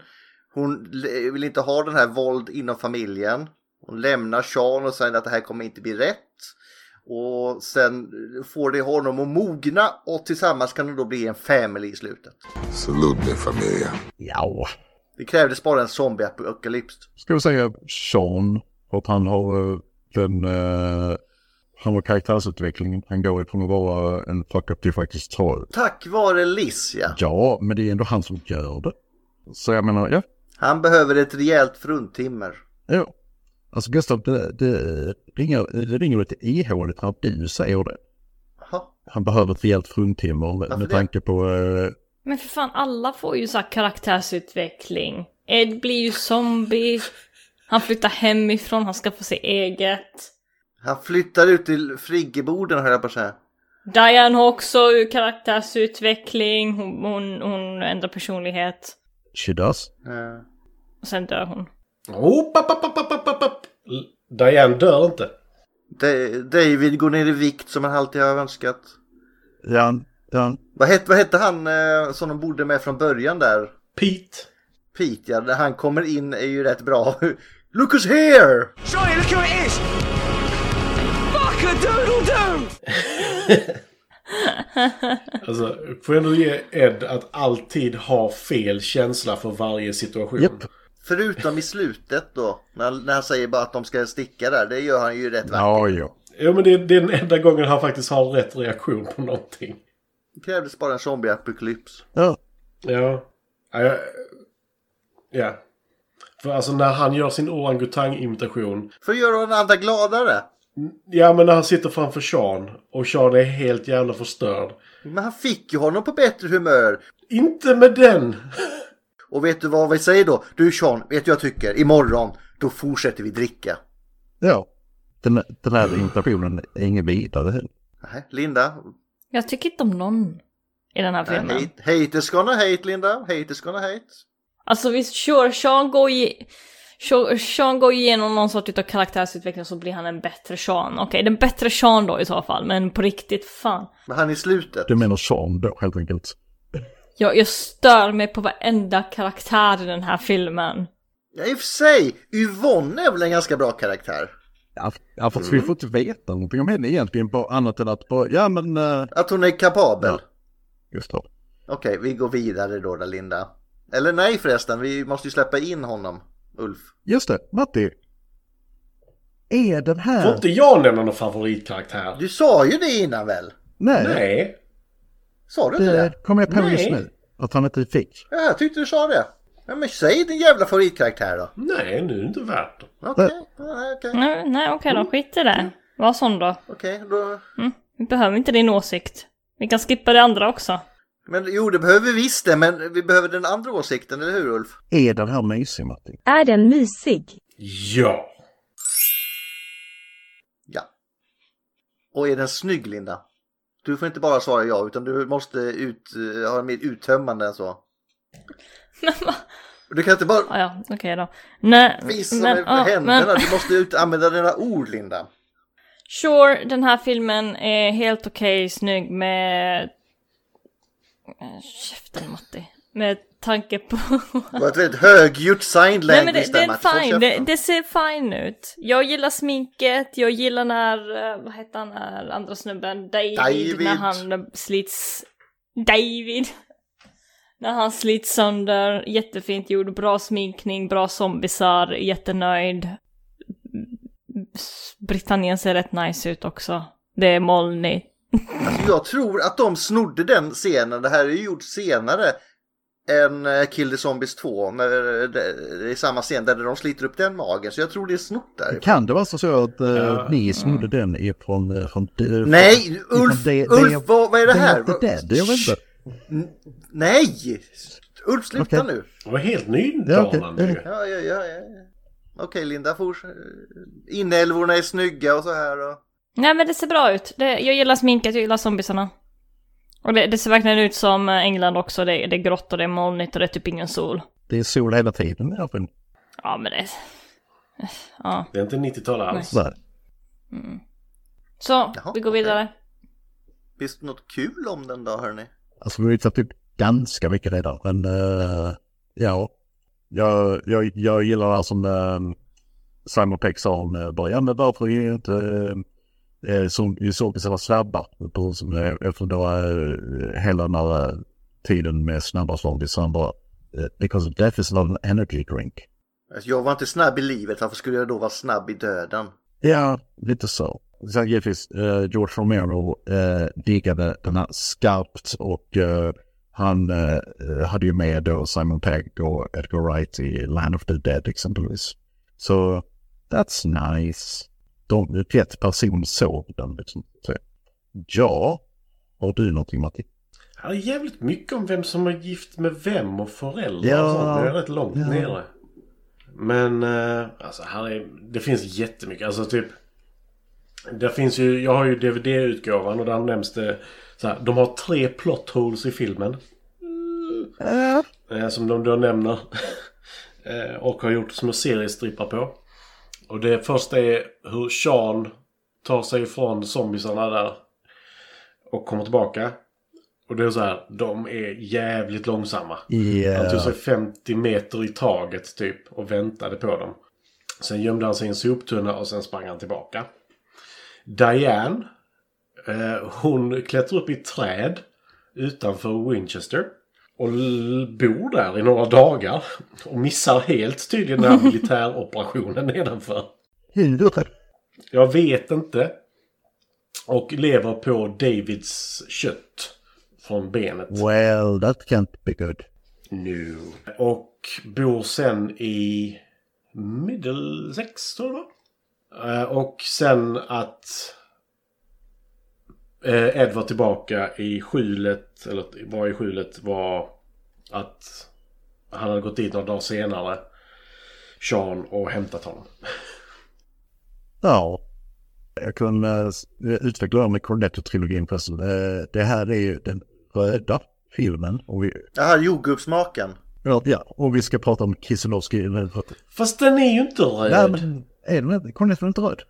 Speaker 4: Hon l- vill inte ha den här våld inom familjen. Hon lämnar Sean och säger att det här kommer inte bli rätt. Och sen får det honom att mogna och tillsammans kan de då bli en family i slutet.
Speaker 15: Salute me, familia.
Speaker 5: Ja.
Speaker 4: Det krävdes bara en zombieapokalyps.
Speaker 5: Ska vi säga Sean, för att han har eh, den... eh, han har karaktärsutvecklingen. Han går ifrån att vara en fuck-up till faktiskt troll.
Speaker 4: Tack vare Liz ja.
Speaker 5: Ja, men det är ändå han som gör det. Så jag menar, ja.
Speaker 4: Han behöver ett rejält fruntimmer.
Speaker 5: Ja. Alltså Gustav, det, det, ringer, det ringer lite ihåligt när du säger det.
Speaker 4: Jaha.
Speaker 5: Han behöver ett rejält fruntimmer med,
Speaker 4: Varför
Speaker 5: med
Speaker 4: det?
Speaker 5: tanke på... eh,
Speaker 1: Men för fan, alla får ju så här karaktärsutveckling. Ed blir ju zombie. Han flyttar hemifrån, han ska få se eget.
Speaker 4: Han flyttar ut till friggeboden höll jag på att säga.
Speaker 1: Diane har också karaktärsutveckling, hon, hon, hon ändrar personlighet.
Speaker 5: She does.
Speaker 4: Ja.
Speaker 1: Och sen dör hon.
Speaker 6: Oh, papp, papp, papp, papp, papp. Diane dör inte.
Speaker 4: Da- David går ner i vikt som han alltid har önskat.
Speaker 5: Ja, ja.
Speaker 4: Vad hette, vad hette han eh, som de bodde med från början där?
Speaker 6: Pete.
Speaker 4: Pete, ja. När han kommer in är ju rätt bra. [laughs] Look who's here!
Speaker 3: Johnny, look who it is! Fuck a doodle doo!
Speaker 6: Alltså, får jag ändå ge Ed att alltid ha fel känsla för varje situation.
Speaker 5: Japp.
Speaker 4: Förutom i slutet då. När, när han säger bara att de ska sticka där. Det gör han ju rätt vackert.
Speaker 5: Ja, ja.
Speaker 6: Ja, men det, det är den enda gången han faktiskt har rätt reaktion på någonting.
Speaker 4: Det krävdes bara en zombieapokalyps.
Speaker 5: Ja.
Speaker 6: Ja. Ja. jag- ja. För alltså när han gör sin orangutang-imitation.
Speaker 4: För att göra den andra gladare.
Speaker 6: Ja, men när han sitter framför Sean och Sean är helt jävla förstörd.
Speaker 4: Men han fick ju honom på bättre humör.
Speaker 6: Inte med den!
Speaker 4: Och vet du vad vi säger då? Du Sean, vet du vad jag tycker? Imorgon, då fortsätter vi dricka.
Speaker 5: ja. Den, den här imitationen är ingen vidare heller.
Speaker 4: Nej, Linda.
Speaker 1: Jag tycker inte om någon i den här
Speaker 4: Nej,
Speaker 1: filmen.
Speaker 4: hate, haters gonna hate Linda. Haters gonna hate.
Speaker 1: Alltså visst, sure, Sean går, i, Sean, Sean går igenom någon sorts utav karaktärsutveckling så blir han en bättre Sean. Okej, den bättre Sean då i så fall, men på riktigt, fan.
Speaker 4: Men han i slutet.
Speaker 5: Du menar Sean då helt enkelt?
Speaker 1: Jag, jag stör mig på varenda karaktär i den här filmen.
Speaker 4: Ja, i och för sig. Yvonne är väl en ganska bra karaktär?
Speaker 5: Ja, ja fast vi får inte veta någonting om henne egentligen, bara annat än att bara, ja men... eh,
Speaker 4: Att hon är kapabel.
Speaker 5: Ja. Just det.
Speaker 4: Okej, vi går vidare då, då Linda. Eller nej förresten, vi måste ju släppa in honom, Ulf.
Speaker 5: Just det, Matti. Är den
Speaker 6: Får
Speaker 5: här...
Speaker 6: inte jag nämna någon favoritkaraktär?
Speaker 4: Du sa ju det innan väl?
Speaker 5: Nej,
Speaker 6: Nej.
Speaker 4: Sa du inte det?
Speaker 5: det kommer jag på just
Speaker 6: Nej.
Speaker 5: nu. Att han inte fick.
Speaker 4: Ja, jag tyckte du sa det. Ja, men säg din jävla favoritkaraktär då.
Speaker 6: Nej, nu är det inte värt det.
Speaker 4: Okej, ja, okej,
Speaker 1: Nej, nej okej då, skit i det. Var sån då.
Speaker 4: okej. då-
Speaker 1: Vi behöver inte din åsikt. Vi kan skippa det andra också.
Speaker 4: Men jo, det behöver vi visst det, men vi behöver den andra åsikten, eller hur Ulf?
Speaker 5: Är den här mysig Matti?
Speaker 16: Är den mysig?
Speaker 6: Ja.
Speaker 4: Ja. Och är den snygg Linda? Du får inte bara svara ja, utan du måste ut, eh, ha mer uttömmande än så.
Speaker 1: [laughs] Men vad?
Speaker 4: Du kan inte bara
Speaker 1: Ah, ja, okej då. Nej,
Speaker 4: visa
Speaker 1: men,
Speaker 4: med
Speaker 1: ah,
Speaker 4: händerna,
Speaker 1: men-
Speaker 4: du måste ut, använda dina ord Linda.
Speaker 1: Sure, den här filmen är helt okej, snygg med... Eh, Käften Matti. Med tanke på...
Speaker 4: Det var ett väldigt högljutt sign
Speaker 1: Nej men
Speaker 4: language
Speaker 1: det, det
Speaker 4: där
Speaker 1: är
Speaker 4: Mats.
Speaker 1: fine, det, det ser fine ut. Jag gillar sminket, jag gillar när, eh, vad heter han här, andra snubben, David,
Speaker 4: David.
Speaker 1: när han slits... David! [laughs] När han slits sönder, jättefint gjord, bra sminkning, bra zombisar, jättenöjd. Britannien ser rätt nice ut också. Det är molnigt.
Speaker 4: Alltså, jag tror att de snodde den scenen, det här är ju gjort senare än eh, Kill the Zombies 2. När det det är samma scen där de sliter upp den magen, så jag tror det är snott där.
Speaker 5: Kan det vara så så att eh,
Speaker 6: Ja.
Speaker 5: ni snodde den ifrån... eh, från, eh,
Speaker 4: Mm. Nej,
Speaker 5: från-
Speaker 4: Ulf,
Speaker 5: ifrån det- det-
Speaker 4: Ulf vad, vad är det
Speaker 5: det
Speaker 4: här?
Speaker 5: var inte
Speaker 4: Vad-
Speaker 5: det, jag vet inte.
Speaker 4: Nej! Ulf, sluta
Speaker 5: Okej.
Speaker 4: nu.
Speaker 6: Det var helt nydanande
Speaker 5: Ja,
Speaker 6: ju.
Speaker 5: okej.
Speaker 4: Ja, ja, ja, ja. Okej, Linda, fors. Inälvorna är snygga och så här. Och...
Speaker 1: Nej men det ser bra ut. Det, jag gillar sminket, jag gillar zombisarna. Och det, det ser verkligen ut som eh, England också. Det, det är grått och det är molnigt och det är typ ingen sol.
Speaker 5: Det är sol hela tiden i alla fall.
Speaker 1: Ja men det... Ja.
Speaker 6: Det är inte 90-tal alls.
Speaker 5: Sådär.
Speaker 1: Så,
Speaker 4: Jaha,
Speaker 1: vi går
Speaker 4: okej.
Speaker 1: vidare.
Speaker 4: Visst något kul om den då, hörni?
Speaker 5: Alltså vi har ju tagit upp ganska mycket redan, men eh, ja. Jag, jag, jag gillar det här som eh, Simon Peck sa om eh, början, men varför är det inte eh, som vi såg så snabba? På- som, eh, Efter då eh, hela den här eh, tiden med snabba slag, så han bara eh, Because death is not an energy drink.
Speaker 4: Alltså, jag var inte snabb i livet, varför skulle jag då vara snabb i döden?
Speaker 5: Ja, lite så. Sen givetvis eh, George Romero eh, diggade den här skarpt och eh, han eh, hade ju med då Simon Pegg och Edgar Wright i Land of the Dead exempelvis. Så that's nice. De, rätt person såg den liksom. Så, ja, har du någonting Matti?
Speaker 6: Ja, Det är jävligt mycket om vem som är gift med vem och föräldrar
Speaker 5: Ja.
Speaker 6: och sånt. Det är rätt långt
Speaker 5: Ja.
Speaker 6: nere. Men eh, alltså, här är, det finns jättemycket. Alltså typ Det finns ju, jag har ju DVD-utgåvan och där nämns det så här, de har tre plot holes i filmen. Eh, Som de då nämner. [laughs] Eh, och har gjort små seriestrippar på. Och det första är hur Sean tar sig ifrån zombisarna där. Och kommer tillbaka. Och det är så här, de är jävligt långsamma.
Speaker 5: Ja.
Speaker 6: Han tog sig 50 meter i taget typ och väntade på dem. Sen gömde han sig i en soptunna och sen sprang han tillbaka. Diane, eh, hon klättrar upp i ett träd utanför Winchester. Och l- bor där i några dagar. Och missar helt tydligen den här militäroperationen nedanför.
Speaker 5: Hur?
Speaker 6: Jag vet inte. Och lever på Davids kött. Från benet.
Speaker 5: Well, that can't be good.
Speaker 6: Nu. Och bor sen i Middlesex, tror jag det var. Eh, Och sen att eh, Ed var tillbaka i skjulet, eller var i skjulet, var att han hade gått dit några dagar senare, Sean, och hämtat honom.
Speaker 5: Ja. Jag kan eh, s- utveckla det här med Cornetto-trilogin förresten. Eh, Det här är ju den röda filmen. Och vi,
Speaker 4: Jaha, jordgubbsmaken.
Speaker 5: ja, och vi ska prata om Kieselowski nu.
Speaker 6: Fast den är ju inte röd.
Speaker 5: Nej, men är den inte? Cornetto är inte röd.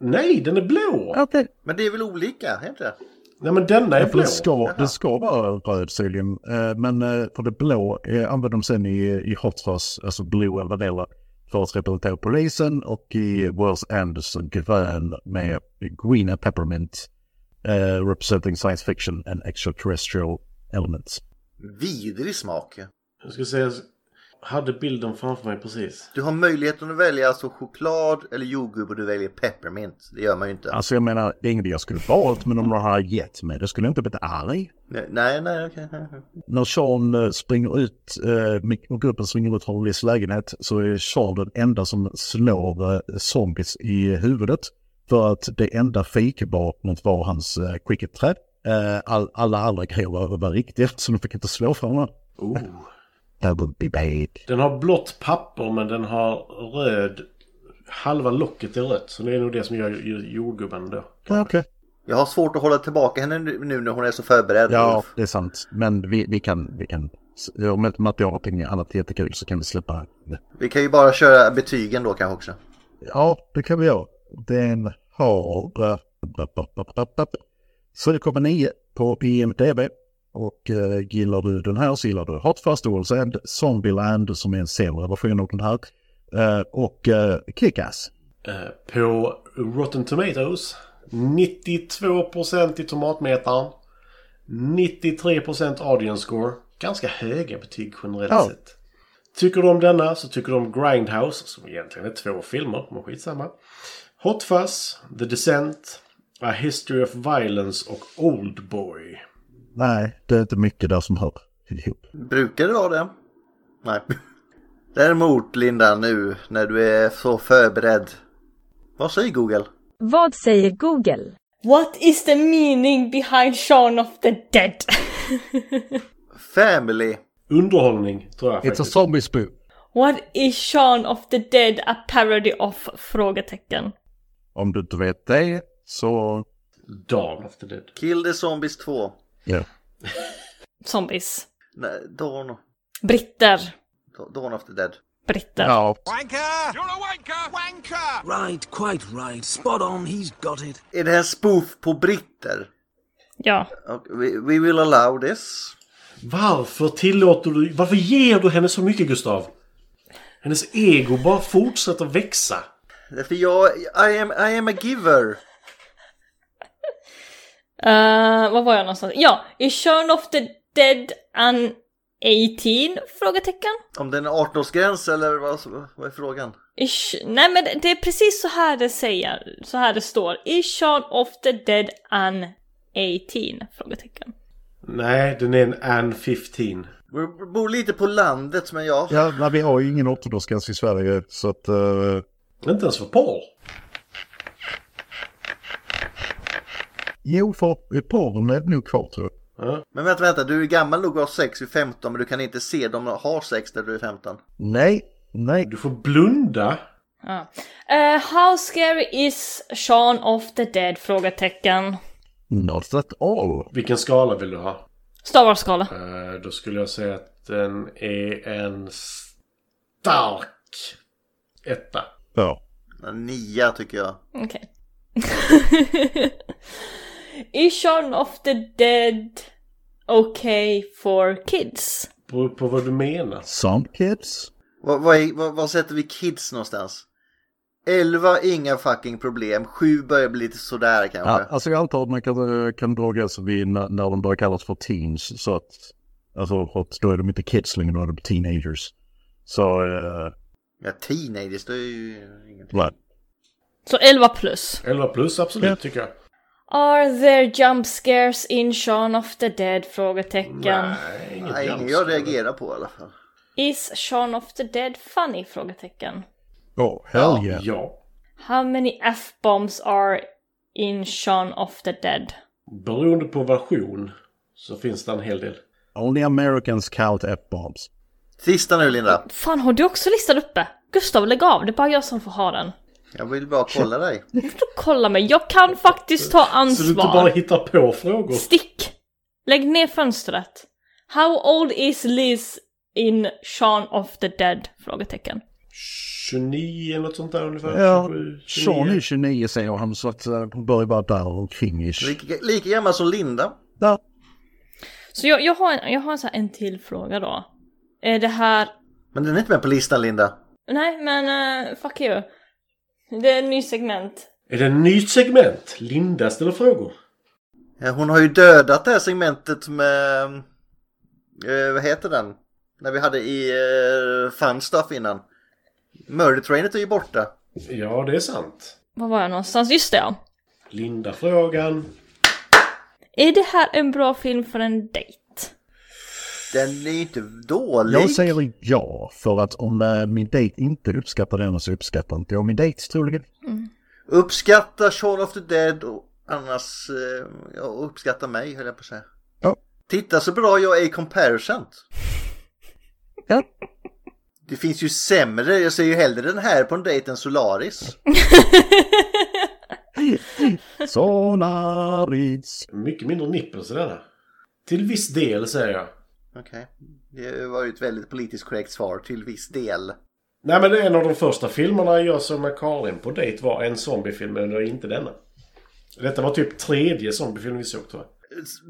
Speaker 6: Nej, den är blå!
Speaker 5: Okej.
Speaker 4: Men det är väl olika, är det inte?
Speaker 6: Nej, men denna är
Speaker 5: Ja, för
Speaker 6: blå.
Speaker 5: det ska, det ska vara röd tydligen. Eh, Men eh, för det blå eh, använder de sen i, i Hot Fuzz, alltså Blue eller Vanilla, för att representera polisen och i Wells Anderson grön med Greena Peppermint, eh, representing science fiction and extraterrestrial elements.
Speaker 4: Vidrig smak.
Speaker 6: Jag ska säga, jag hade bilden framför mig precis.
Speaker 4: Du har möjligheten att välja alltså choklad eller jordgubb och du väljer peppermint. Det gör man ju inte.
Speaker 5: Alltså jag menar, det är inget jag skulle valt, men om de hade gett mig det skulle jag inte blivit arg.
Speaker 4: Nej, nej, nej, okej.
Speaker 5: När Sean eh, springer ut, eh, Mick och gruppen springer ut från Lillys lägenhet så är Sean den enda som slår eh, zombies i huvudet. För att det enda fikvapnet var hans eh, cricketträd. Eh, all, alla andra grejer var, var riktiga [laughs] så de fick inte slå fram honom.
Speaker 6: Oh.
Speaker 5: That would be bad.
Speaker 6: Den har blått papper men den har röd... Halva locket är rött. Så det är nog det som gör ju- jordgubben då. Eh,
Speaker 5: Ja, Okej.
Speaker 4: Jag har svårt att hålla tillbaka henne nu nu när hon är så förberedd.
Speaker 5: Ja, det är sant. Men vi, vi kan, vi kan, om inte materialet är annat jättekul så kan vi släppa det.
Speaker 4: Vi kan ju bara köra betygen då kanske också.
Speaker 5: Ja, det kan vi göra. Den har... bap, bap, bap, bap, bap. 7,9 på IMDB. Och eh, gillar du den här så gillar du Hot Fast Wheels and Zombieland som är en sämre version av den här. Eh, och eh, Kick-Ass.
Speaker 6: Eh, På Rotten Tomatoes. 92% i tomatmetaren. 93% audience score. Ganska höga betyg generellt
Speaker 5: Ja.
Speaker 6: sett. Tycker du om denna så tycker du om Grindhouse, som egentligen är två filmer, men skitsamma. Hot Fuzz, The Descent, A History of Violence och Oldboy.
Speaker 5: Nej, det är inte mycket där som hör ihop.
Speaker 4: Brukar det vara det? Nej. Däremot Linda nu när du är så förberedd. Vad säger Google?
Speaker 14: Vad säger Google?
Speaker 1: What is the meaning behind Shaun of the Dead?
Speaker 4: Family.
Speaker 6: Underhållning, tror jag
Speaker 5: It's a
Speaker 6: faktiskt.
Speaker 5: zombie spoo.
Speaker 1: What is Shaun of the Dead a parody of? Frågetecken.
Speaker 5: Om du inte vet det så...
Speaker 6: Dawn of the Dead.
Speaker 4: Kill the Zombies 2.
Speaker 5: Ja.
Speaker 1: Zombies.
Speaker 4: Nej, Dawn,
Speaker 1: Britter.
Speaker 4: Dawn of the Dead.
Speaker 1: Britter.
Speaker 5: Ja.
Speaker 3: Wanker! You're a wanker! Wanker!
Speaker 11: Right, quite right. Spot on, he's got it.
Speaker 4: Är det här spoof på britter?
Speaker 1: Ja.
Speaker 4: Och We, we will allow this.
Speaker 6: Varför tillåter du... Varför ger du henne så mycket, Gustav? Hennes ego bara fortsätter växa.
Speaker 4: För jag, I am, I am a giver.
Speaker 1: Eh, vad var jag någonstans? Ja, is Shaun of the Dead an 18? Frågetecken.
Speaker 4: Om den är 18-årsgräns eller vad, vad är frågan?
Speaker 1: Is, nej men det- det är precis så här det säger, så här det står. Is Shaun of the Dead an 18? Frågetecken.
Speaker 6: Nej, den är en Ann 15.
Speaker 4: Vi bor lite på landet men ja.
Speaker 5: Ja, nej, vi har ju ingen åttondagarsgräns i Sverige så att... eh,
Speaker 6: Inte ens för Paul.
Speaker 5: jo, för porren är nog kvar tror jag.
Speaker 4: Men vänta, vänta, du är gammal nog att ha sex vid 15 men du kan inte se dem har sex när du är 15.
Speaker 5: Nej, nej.
Speaker 6: Du får blunda.
Speaker 1: Ja. Eh, how scary is Shaun of the Dead? Frågetecken.
Speaker 5: Not at all.
Speaker 6: Vilken skala vill du ha?
Speaker 1: Star Wars-skala.
Speaker 6: Eh, då skulle jag säga att den är en stark etta.
Speaker 5: Ja.
Speaker 4: En nia tycker jag.
Speaker 1: Okej. is Shaun of the Dead okay for kids?
Speaker 6: Beror på vad du menar.
Speaker 5: Some kids?
Speaker 4: Vad, vad, är- vad, vad sätter vi kids någonstans? 11, inga fucking problem. 7 börjar bli lite sådär kanske.
Speaker 5: Ja, alltså jag antar att man kan, kan dra gränsen vid när, när de börjar kallas för teens. Så att, alltså, för att då är de inte kids längre, då är de teenagers. Så, eh,
Speaker 4: Ja, teenagers, det är ju ingenting.
Speaker 5: nej.
Speaker 1: Så 11 plus.
Speaker 6: 11 plus, absolut, tycker jag.
Speaker 1: Are there jump scares in Shaun of the Dead? Frågetecken.
Speaker 6: Nej, inget
Speaker 4: Nej, ingen
Speaker 6: jämnt.
Speaker 4: jag reagerar på i alla fall.
Speaker 1: Is Shaun of the Dead funny? Frågetecken.
Speaker 5: Oh, hell yeah.
Speaker 6: Ja.
Speaker 1: How many F-bombs are in Shaun of the Dead?
Speaker 6: Beroende på version så finns det en hel del.
Speaker 5: Only Americans count F-bombs.
Speaker 4: Sista nu Linda.
Speaker 1: Fan, har du också listan uppe? Gustav, lägg av. Det är bara jag som får ha den.
Speaker 4: Jag vill bara kolla dig.
Speaker 1: Nu får du kolla mig. Jag kan faktiskt ta
Speaker 6: Så du inte bara
Speaker 1: ansvar.
Speaker 6: hittar på frågor.
Speaker 1: Stick! Lägg ner fönstret. How old is Liz in Shaun of the Dead? Frågetecken.
Speaker 6: 29, något sånt där ungefär.
Speaker 5: Ja,
Speaker 6: 27, 29.
Speaker 5: Sean är 29 säger han, så att eh, hon börjar bara där omkring ish.
Speaker 4: Lika, lika gammal som Linda.
Speaker 5: Ja.
Speaker 1: Så jag, jag har, en, jag har en, så här, en till fråga då. Är det här...
Speaker 4: Men den är inte med på listan Linda.
Speaker 1: Nej, men eh, fuck you. Det är en ny segment.
Speaker 6: Är det en ny segment? Linda ställer frågor.
Speaker 4: Ja, Eh, hon har ju dödat det här segmentet med... eh, vad heter den? När vi hade i uh, Fun Stuff innan. Murder Trainet är ju borta.
Speaker 6: Ja, det är sant.
Speaker 1: Var var jag någonstans? Just det, ja.
Speaker 6: Linda-frågan.
Speaker 1: Är det här en bra film för en dejt?
Speaker 4: Den är ju inte dålig.
Speaker 5: Jag säger ja, för att om eh, min dejt inte uppskattar den så uppskattar inte jag min dejt troligen.
Speaker 4: Uppskatta Shaun of the Dead och annars... eh, ja, uppskatta mig höll jag på att säga.
Speaker 5: Ja.
Speaker 4: Titta så bra jag är i comparison.
Speaker 5: [laughs] Ja.
Speaker 4: Det finns ju sämre. Jag ser ju hellre den här på en dejt än Solaris.
Speaker 5: [laughs] Solaris.
Speaker 6: Mycket mindre nippels i denna. Till viss del, säger jag.
Speaker 4: Okej. Det var ju ett väldigt politiskt korrekt svar till viss del.
Speaker 6: Nej, men det är en av de första filmerna jag såg med Karin på dejt var en zombiefilm, men det är inte denna. Detta var typ tredje zombiefilm vi såg, tror jag.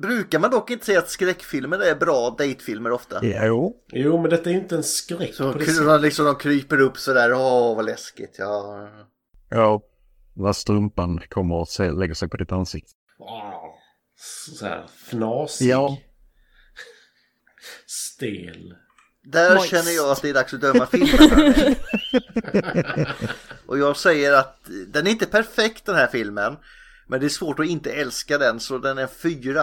Speaker 4: Brukar man dock inte säga att skräckfilmer är bra dejtfilmer ofta?
Speaker 5: Jo.
Speaker 6: Jo, men detta är inte en skräck
Speaker 4: Så
Speaker 6: på
Speaker 4: de,
Speaker 6: det
Speaker 4: kry-
Speaker 6: sättet.
Speaker 4: de liksom, de kryper upp sådär, åh vad läskigt. Ja.
Speaker 5: Ja. Vad strumpan kommer att se- lägga sig på ditt ansikte.
Speaker 6: Wow. Så här fnasig.
Speaker 5: Ja.
Speaker 6: [laughs] Stel.
Speaker 4: Där
Speaker 1: Moist.
Speaker 4: känner jag att det är dags att döma filmen. hörni. Och jag säger att den är inte perfekt den här filmen. Men det är svårt att inte älska den så den är en fyra.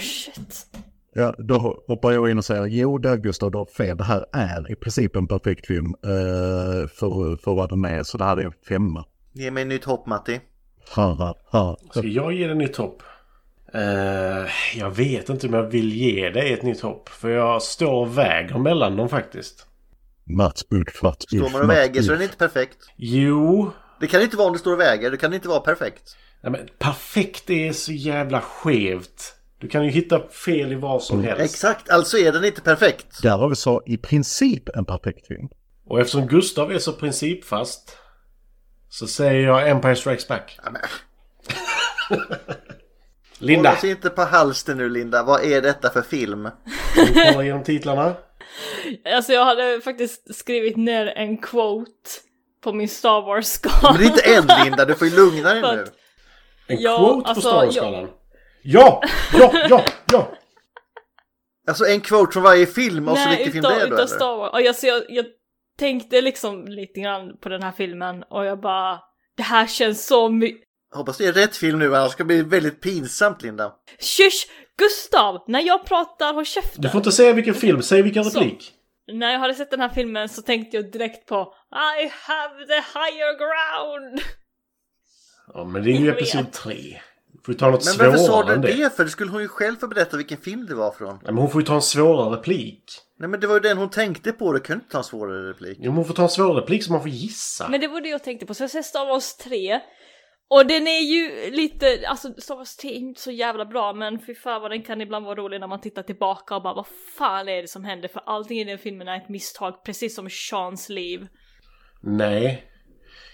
Speaker 1: Shit.
Speaker 5: Ja, då hoppar jag in och säger jo, där Gustav, du har fel. Det här är i princip en perfekt film eh, för, för vad den är. Så det här är en femma.
Speaker 4: Ge mig nytt hopp Matti.
Speaker 5: Ha, ha, ha.
Speaker 6: Ska jag ge den nytt hopp? Eh, jag vet inte om jag vill ge dig ett nytt hopp. För jag står och väger mellan dem faktiskt.
Speaker 5: Mats, ut, Mats,
Speaker 4: Står
Speaker 5: ut,
Speaker 4: man och
Speaker 5: Mats,
Speaker 4: väger så
Speaker 5: ut.
Speaker 4: är den inte perfekt.
Speaker 6: Jo.
Speaker 4: Det kan inte vara om det står och väger, det kan inte vara perfekt.
Speaker 6: Nej, men perfekt är så jävla skevt. Du kan ju hitta fel i vad som helst.
Speaker 4: Exakt, alltså är den inte perfekt.
Speaker 5: Där har vi så i princip en perfekt film.
Speaker 6: Och eftersom Gustav är så principfast. Så säger jag Empire Strikes Back. [laughs]
Speaker 4: Ja, men,
Speaker 6: Linda.
Speaker 4: Håll oss inte på halster nu Linda, vad är detta för film?
Speaker 6: Kan du kolla igenom titlarna?
Speaker 1: Alltså jag hade faktiskt skrivit ner en quote på min Star
Speaker 4: Men det är
Speaker 1: Wars-skala.
Speaker 4: inte en Linda, du får ju lugna dig
Speaker 1: För
Speaker 4: nu.
Speaker 1: att-
Speaker 6: En
Speaker 1: Ja,
Speaker 6: quote
Speaker 1: alltså,
Speaker 6: på Star Wars-skalan? Ja! Ja! Ja! Ja!
Speaker 4: Alltså en quote från varje film och så vilken film det är då
Speaker 1: utav
Speaker 4: eller?
Speaker 1: Star Wars. Och jag, så jag, jag tänkte liksom lite grann på den här filmen och jag bara... Det här känns så mycket...
Speaker 4: Hoppas det är rätt film nu annars ska det bli väldigt pinsamt Linda.
Speaker 1: Shush! Gustav! När jag pratar, håll käften!
Speaker 6: Du får inte säga vilken film, säg vilken
Speaker 1: Så.
Speaker 6: replik.
Speaker 1: När jag hade sett den här filmen så tänkte jag direkt på I have the higher ground!
Speaker 6: Ja, men det är ju
Speaker 1: Jag vet.
Speaker 6: episod 3. får ju ta något
Speaker 4: Men
Speaker 6: svårare
Speaker 4: varför sa du
Speaker 6: än det.
Speaker 4: det? För det skulle hon ju själv få berätta vilken film det var från.
Speaker 6: Nej, men hon får ju ta en svårare replik.
Speaker 4: Nej men det var ju den hon tänkte på. Det kunde inte ta en svårare replik.
Speaker 6: Jo, men hon får ta en svårare replik som man får gissa.
Speaker 1: Men det var det jag tänkte på, så jag ser Star Wars 3. Och den är ju lite, alltså Star Wars 3 är inte så jävla bra men fy fan vad den kan ibland vara rolig när man tittar tillbaka och bara vad fan är det som händer? För allting i den filmen är ett misstag, precis som Seans liv.
Speaker 6: Nej.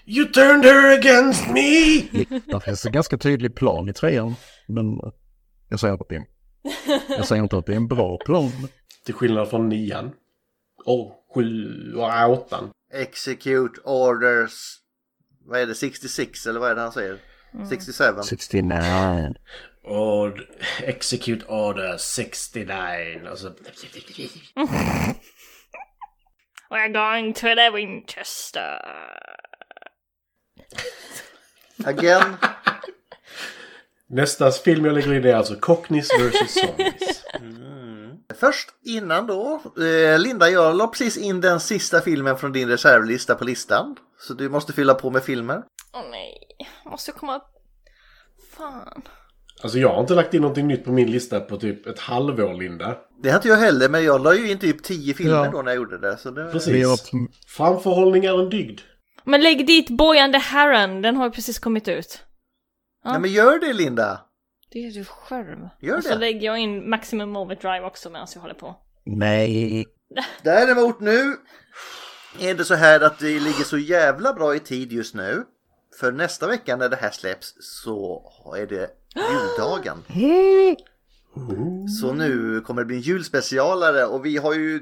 Speaker 6: You turned her against me!
Speaker 5: Där finns en ganska tydlig plan i trean. Men jag säger inte att det är en, jag säger inte att det är en bra plan.
Speaker 6: Till skillnad från nian. Och sju och äh, åttan.
Speaker 4: Execute orders. Vad är det? 66 eller vad är det han säger? 67.
Speaker 5: 69.
Speaker 6: Ord, execute order 69. Alltså...
Speaker 1: Mm. We're going to the Winchester.
Speaker 4: Again.
Speaker 6: Nästa film jag lägger in är alltså Cockneys
Speaker 1: [laughs]
Speaker 6: vs. Zombies.
Speaker 4: Först innan då. eh, Linda, jag la precis in den sista filmen från din reservlista på listan. Så du måste fylla på med filmer.
Speaker 1: Åh nej, måste jag komma upp? Fan.
Speaker 6: Alltså jag har inte lagt in någonting nytt på min lista på typ ett halvår, Linda.
Speaker 4: Det har inte jag heller, men jag la ju in typ 10 filmer
Speaker 5: Ja.
Speaker 4: då när jag gjorde det. Så det
Speaker 5: Vi har,
Speaker 6: Precis. Framförhållning är en dygd. [laughs]
Speaker 1: Men lägg dit Bojan the Heron, den har ju precis kommit ut. Ja.
Speaker 4: Nej men gör det Linda!
Speaker 1: Det är du Alltså, själv.
Speaker 4: Gör
Speaker 1: och så
Speaker 4: det.
Speaker 1: lägger jag in Maximum Overdrive också medan jag håller på.
Speaker 5: nej.
Speaker 4: Däremot nu är det så här att vi ligger så jävla bra i tid just nu. För nästa vecka när det här släpps så är det juldagen. Så nu kommer det bli en julspecialare och vi har ju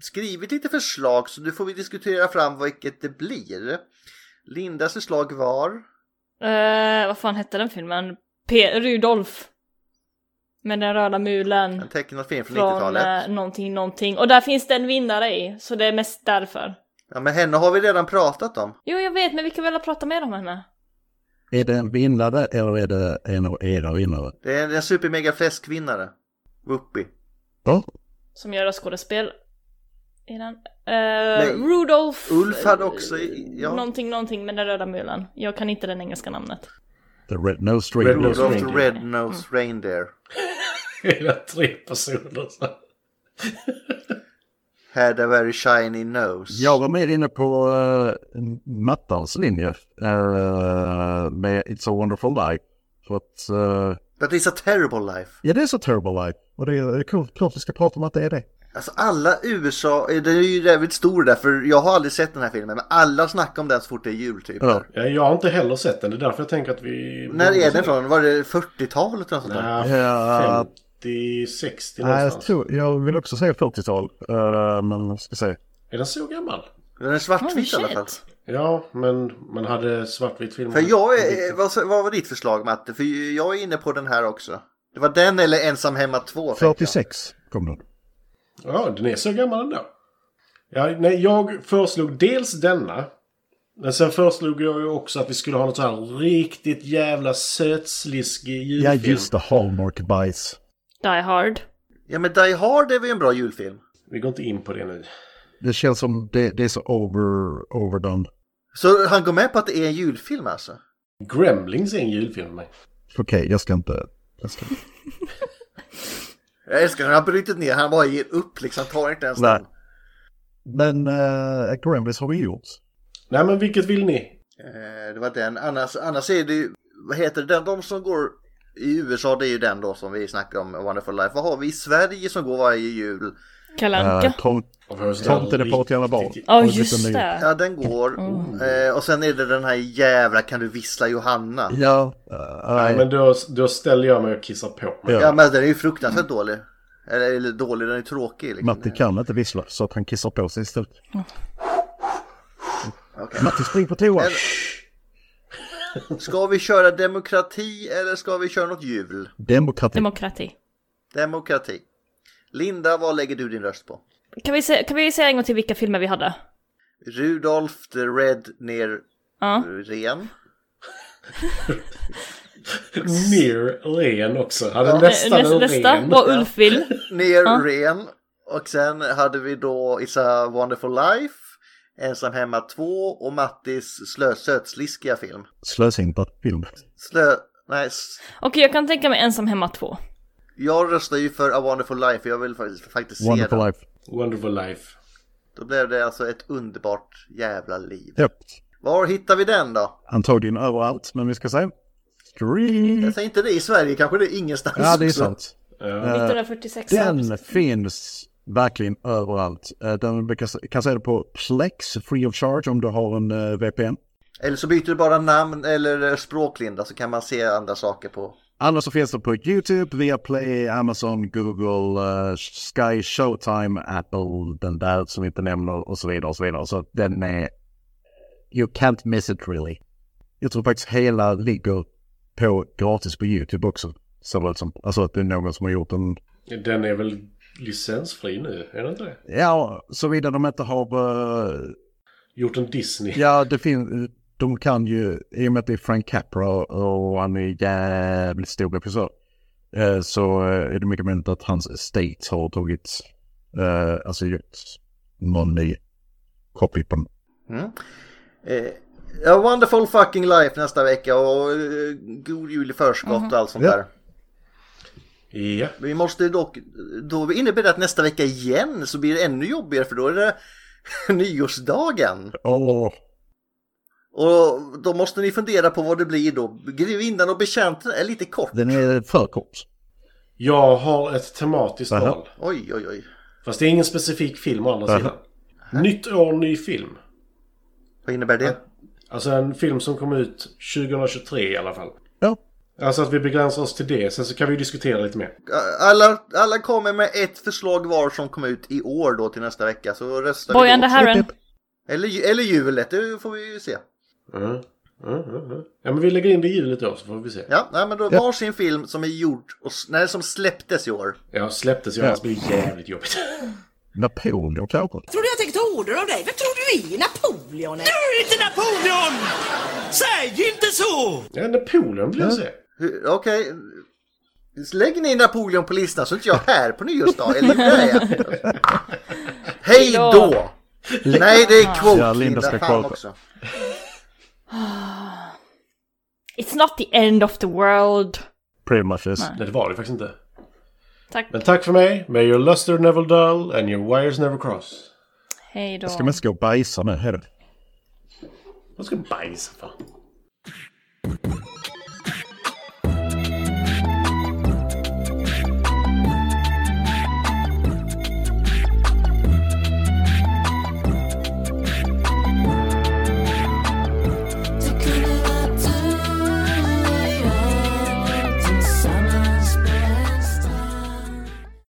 Speaker 4: skrivit lite förslag så nu får vi diskutera fram vilket det blir. Lindas förslag var...
Speaker 1: Eh, vad fan hette den filmen? P- Rudolf. Med den röda mulen.
Speaker 4: En tecknad film från,
Speaker 1: Från
Speaker 4: 90-talet.
Speaker 1: eh, någonting, någonting. Och där finns det en vinnare i. Så det är mest därför.
Speaker 4: Ja men henne har vi redan pratat om.
Speaker 1: Jo, jag vet, men vi kan väl prata mer om henne?
Speaker 5: Är det en vinnare eller är det en av era vinnare?
Speaker 4: Det är en supermega fläskvinnare. Whoopi.
Speaker 5: Ja.
Speaker 1: Som gör röstskådespel. I den. Eh, Rudolf.
Speaker 4: Ulf hade också... i- Ja.
Speaker 1: Någonting, någonting med den röda mulen. Jag kan inte den engelska namnet.
Speaker 5: The Red Nose
Speaker 6: Red
Speaker 5: Ring.
Speaker 6: Nose
Speaker 4: Rudolph the
Speaker 6: Reindeer.
Speaker 4: Red Nose Reindeer.
Speaker 6: Hela tre personer. så.
Speaker 4: Had a very shiny nose.
Speaker 5: Jag var mer inne på eh, mattans linje eh, med It's a wonderful life. För att eh,
Speaker 4: That is a terrible life.
Speaker 5: Ja, det är så Turbo Life. Och det är coolt, klart vi ska prata om att det är det.
Speaker 4: Alltså alla USA, eh, den är ju jävligt stor där för jag har aldrig sett den här filmen men alla snackar om den så fort det är jul typ.
Speaker 5: Ja.
Speaker 6: Ja, Jag har inte heller sett den. Det är därför jag tänker att vi...
Speaker 4: När är den från? Var det 40-talet eller något sånt där?
Speaker 5: Ja.
Speaker 6: Ja, 50, 60
Speaker 5: Nej, jag,
Speaker 6: någonstans.
Speaker 5: tror, jag vill också säga 40-tal, eh, men ska se.
Speaker 6: Är den så gammal?
Speaker 4: Den är
Speaker 1: Holy
Speaker 4: svartvit i
Speaker 1: shit.
Speaker 4: alla fall.
Speaker 6: Ja, men man hade svartvit film.
Speaker 4: För jag är, eh, vad, vad var ditt förslag Matte? För jag är inne på den här också. Det var den eller Ensam hemma 2 tänkte jag.
Speaker 5: 46 kom den.
Speaker 6: Ja, den är så gammal ändå. Ja, nej, jag föreslog dels denna. Men sen föreslog jag ju också att vi skulle ha något så här riktigt jävla sötsliskig
Speaker 5: Ja,
Speaker 6: julfilm.
Speaker 5: just det. Hallmark Bice.
Speaker 1: Die Hard.
Speaker 4: Ja men Die Hard är väl en bra julfilm?
Speaker 6: Vi går inte in på det nu.
Speaker 5: Det känns som det, det är så over, overdone.
Speaker 4: Så han går med på att det är en julfilm alltså?
Speaker 6: Gremlings är en julfilm för mig.
Speaker 5: Okej, jag ska inte... Jag ska...
Speaker 4: Jag älskar när han har brutit ner, han bara ger upp liksom, tar inte ens
Speaker 5: Nej.
Speaker 4: den.
Speaker 5: Men uh, Gremlins har vi gjort.
Speaker 6: Nej, men vilket vill ni?
Speaker 4: Eh, Det var den. Annars, annars är det ju, vad heter den, de som går i USA det är ju den då som vi snackar om, A Wonderful Life. Vad har vi i Sverige som går varje jul?
Speaker 1: Kalle Anka.
Speaker 5: Eh, tom, Tomten är på åt jävla barn.
Speaker 1: Ja,
Speaker 5: Har vi bytt
Speaker 1: just
Speaker 5: en ny?
Speaker 1: det.
Speaker 4: Ja den går. Eh, och sen är det den här jävla Kan du vissla Johanna?
Speaker 5: Ja,
Speaker 6: Nej,
Speaker 5: eh,
Speaker 6: men då, då ställer jag mig och kissar på mig.
Speaker 5: Ja.
Speaker 4: Ja men den är ju fruktansvärt dålig. Eller, eller dålig, den är tråkig liksom.
Speaker 5: Matti kan inte vissla så att han kissar på sig istället. Matti spring på toa!
Speaker 4: Ska vi köra demokrati eller ska vi köra något jul?
Speaker 5: Demokrati.
Speaker 1: Demokrati.
Speaker 4: Demokrati. Linda, vad lägger du din röst på?
Speaker 1: Kan vi, se, kan vi säga en gång till vilka filmer vi hade?
Speaker 4: Rudolf the Red ner
Speaker 1: Ja.
Speaker 4: ren.
Speaker 6: Mer ren också. Hade
Speaker 1: Eh,
Speaker 6: nästan en
Speaker 1: näs- nästa
Speaker 6: ren.
Speaker 1: var Ulf vill.
Speaker 4: [laughs] Ner
Speaker 1: Ja.
Speaker 4: ren. Och sen hade vi då It's a wonderful life. Ensam hemma 2 och Mattis slö, sötsliskiga film.
Speaker 5: Slösintad film.
Speaker 4: Slö... Nej,
Speaker 1: Okej, jag kan tänka mig Ensam hemma 2.
Speaker 4: jag röstar ju för A Wonderful Life. för Jag vill faktiskt, faktiskt se
Speaker 5: Wonderful
Speaker 4: den.
Speaker 5: life.
Speaker 6: Wonderful life.
Speaker 4: Då blev det alltså ett underbart jävla liv.
Speaker 5: Japp.
Speaker 4: Var hittar vi den då?
Speaker 5: Antagligen överallt, men vi ska se. Scream.
Speaker 4: Jag säger inte det i Sverige, kanske det är ingenstans
Speaker 5: Ja, det är
Speaker 4: också.
Speaker 5: sant.
Speaker 6: Ja.
Speaker 5: Eh,
Speaker 1: 1946.
Speaker 5: Den finns verkligen överallt. Eh, Den vi kan se- kan se det på Plex, free of charge, om du har en eh, VPN.
Speaker 4: Eller så byter du bara namn eller eh, språk Linda så kan man se andra saker på.
Speaker 5: Annars så finns det på YouTube, Viaplay, Amazon, Google, eh, Sky, Showtime, Apple, den där som vi inte nämner och så vidare och så vidare. Så den är... You can't miss it really. Jag tror faktiskt hela ligger på gratis på YouTube också. Ser det ut som. Alltså att det är någon som har gjort en
Speaker 6: Den är väl licensfri nu? Är den inte det?
Speaker 5: Ja, såvida de inte har... eh,
Speaker 6: Gjort en Disney.
Speaker 5: ja, det finns... De kan ju, i och med att det är Frank Capra och han är jävligt stor regissör, eh, så eh, är det mycket möjligt att hans estate har tagit, eh, alltså gjort någon ny copy på den.
Speaker 4: Eh, A wonderful fucking life nästa vecka och eh, god jul i förskott och allt sånt
Speaker 5: Ja.
Speaker 4: där.
Speaker 6: Ja.
Speaker 4: Vi måste dock, då innebär det att nästa vecka igen så blir det ännu jobbigare för då är det [laughs] nyårsdagen.
Speaker 5: Åh,
Speaker 4: Och då måste ni fundera på vad det blir då. Grevinnan och betjänten är lite kort.
Speaker 5: den är för kort.
Speaker 6: Jag har ett tematiskt
Speaker 5: Jaha.
Speaker 6: val.
Speaker 4: Oj, oj, oj.
Speaker 6: Fast det är ingen specifik film å andra
Speaker 5: Jaha.
Speaker 6: sidan. Nytt år, ny film.
Speaker 4: Vad innebär det?
Speaker 6: Alltså en film som kom ut 2023 i alla fall.
Speaker 5: Ja,
Speaker 6: Alltså att vi begränsar oss till det. Sen så kan vi diskutera lite mer.
Speaker 4: Alla, alla kommer med ett förslag var som kom ut i år då till nästa vecka så röstar
Speaker 1: Boy
Speaker 4: vi
Speaker 1: and
Speaker 4: då.
Speaker 1: the Heron.
Speaker 4: Eller, ju- eller julet, det får vi ju se.
Speaker 6: Mm. Mm, mm, mm. Ja men vi lägger in det i hjulet då så får vi se.
Speaker 4: Ja, nej, men då
Speaker 5: Ja.
Speaker 4: varsin film som är gjord och s- nej, som släpptes i år.
Speaker 6: Ja, släpptes ju.
Speaker 5: Ja.
Speaker 6: Annars blir det jävligt jobbigt. [laughs]
Speaker 5: Napoleon kanske?
Speaker 7: Tror du jag tänkt order av dig? Vem tror du är Napoleon? är?
Speaker 3: Du är inte Napoleon! Säg inte så!
Speaker 6: Ja, Napoleon vill jag se.
Speaker 4: Hur- Okej. Lägg ner Napoleon på listan så är inte jag här på nyårsdag. Eller gjorde jag det? Hej då! Nej, det är quote.
Speaker 5: Ja, Linda ska
Speaker 4: Fan
Speaker 5: quota.
Speaker 4: också.
Speaker 1: It's not the end of the world.
Speaker 5: Pretty much is.
Speaker 1: Nej.
Speaker 6: Nej, det var det faktiskt inte.
Speaker 1: Tack.
Speaker 6: Men tack för mig. May your luster never dull and your wires never cross.
Speaker 1: Hej då.
Speaker 5: Jag ska mest gå och bajsa nu, hejdå.
Speaker 6: Jag ska bajsa fan.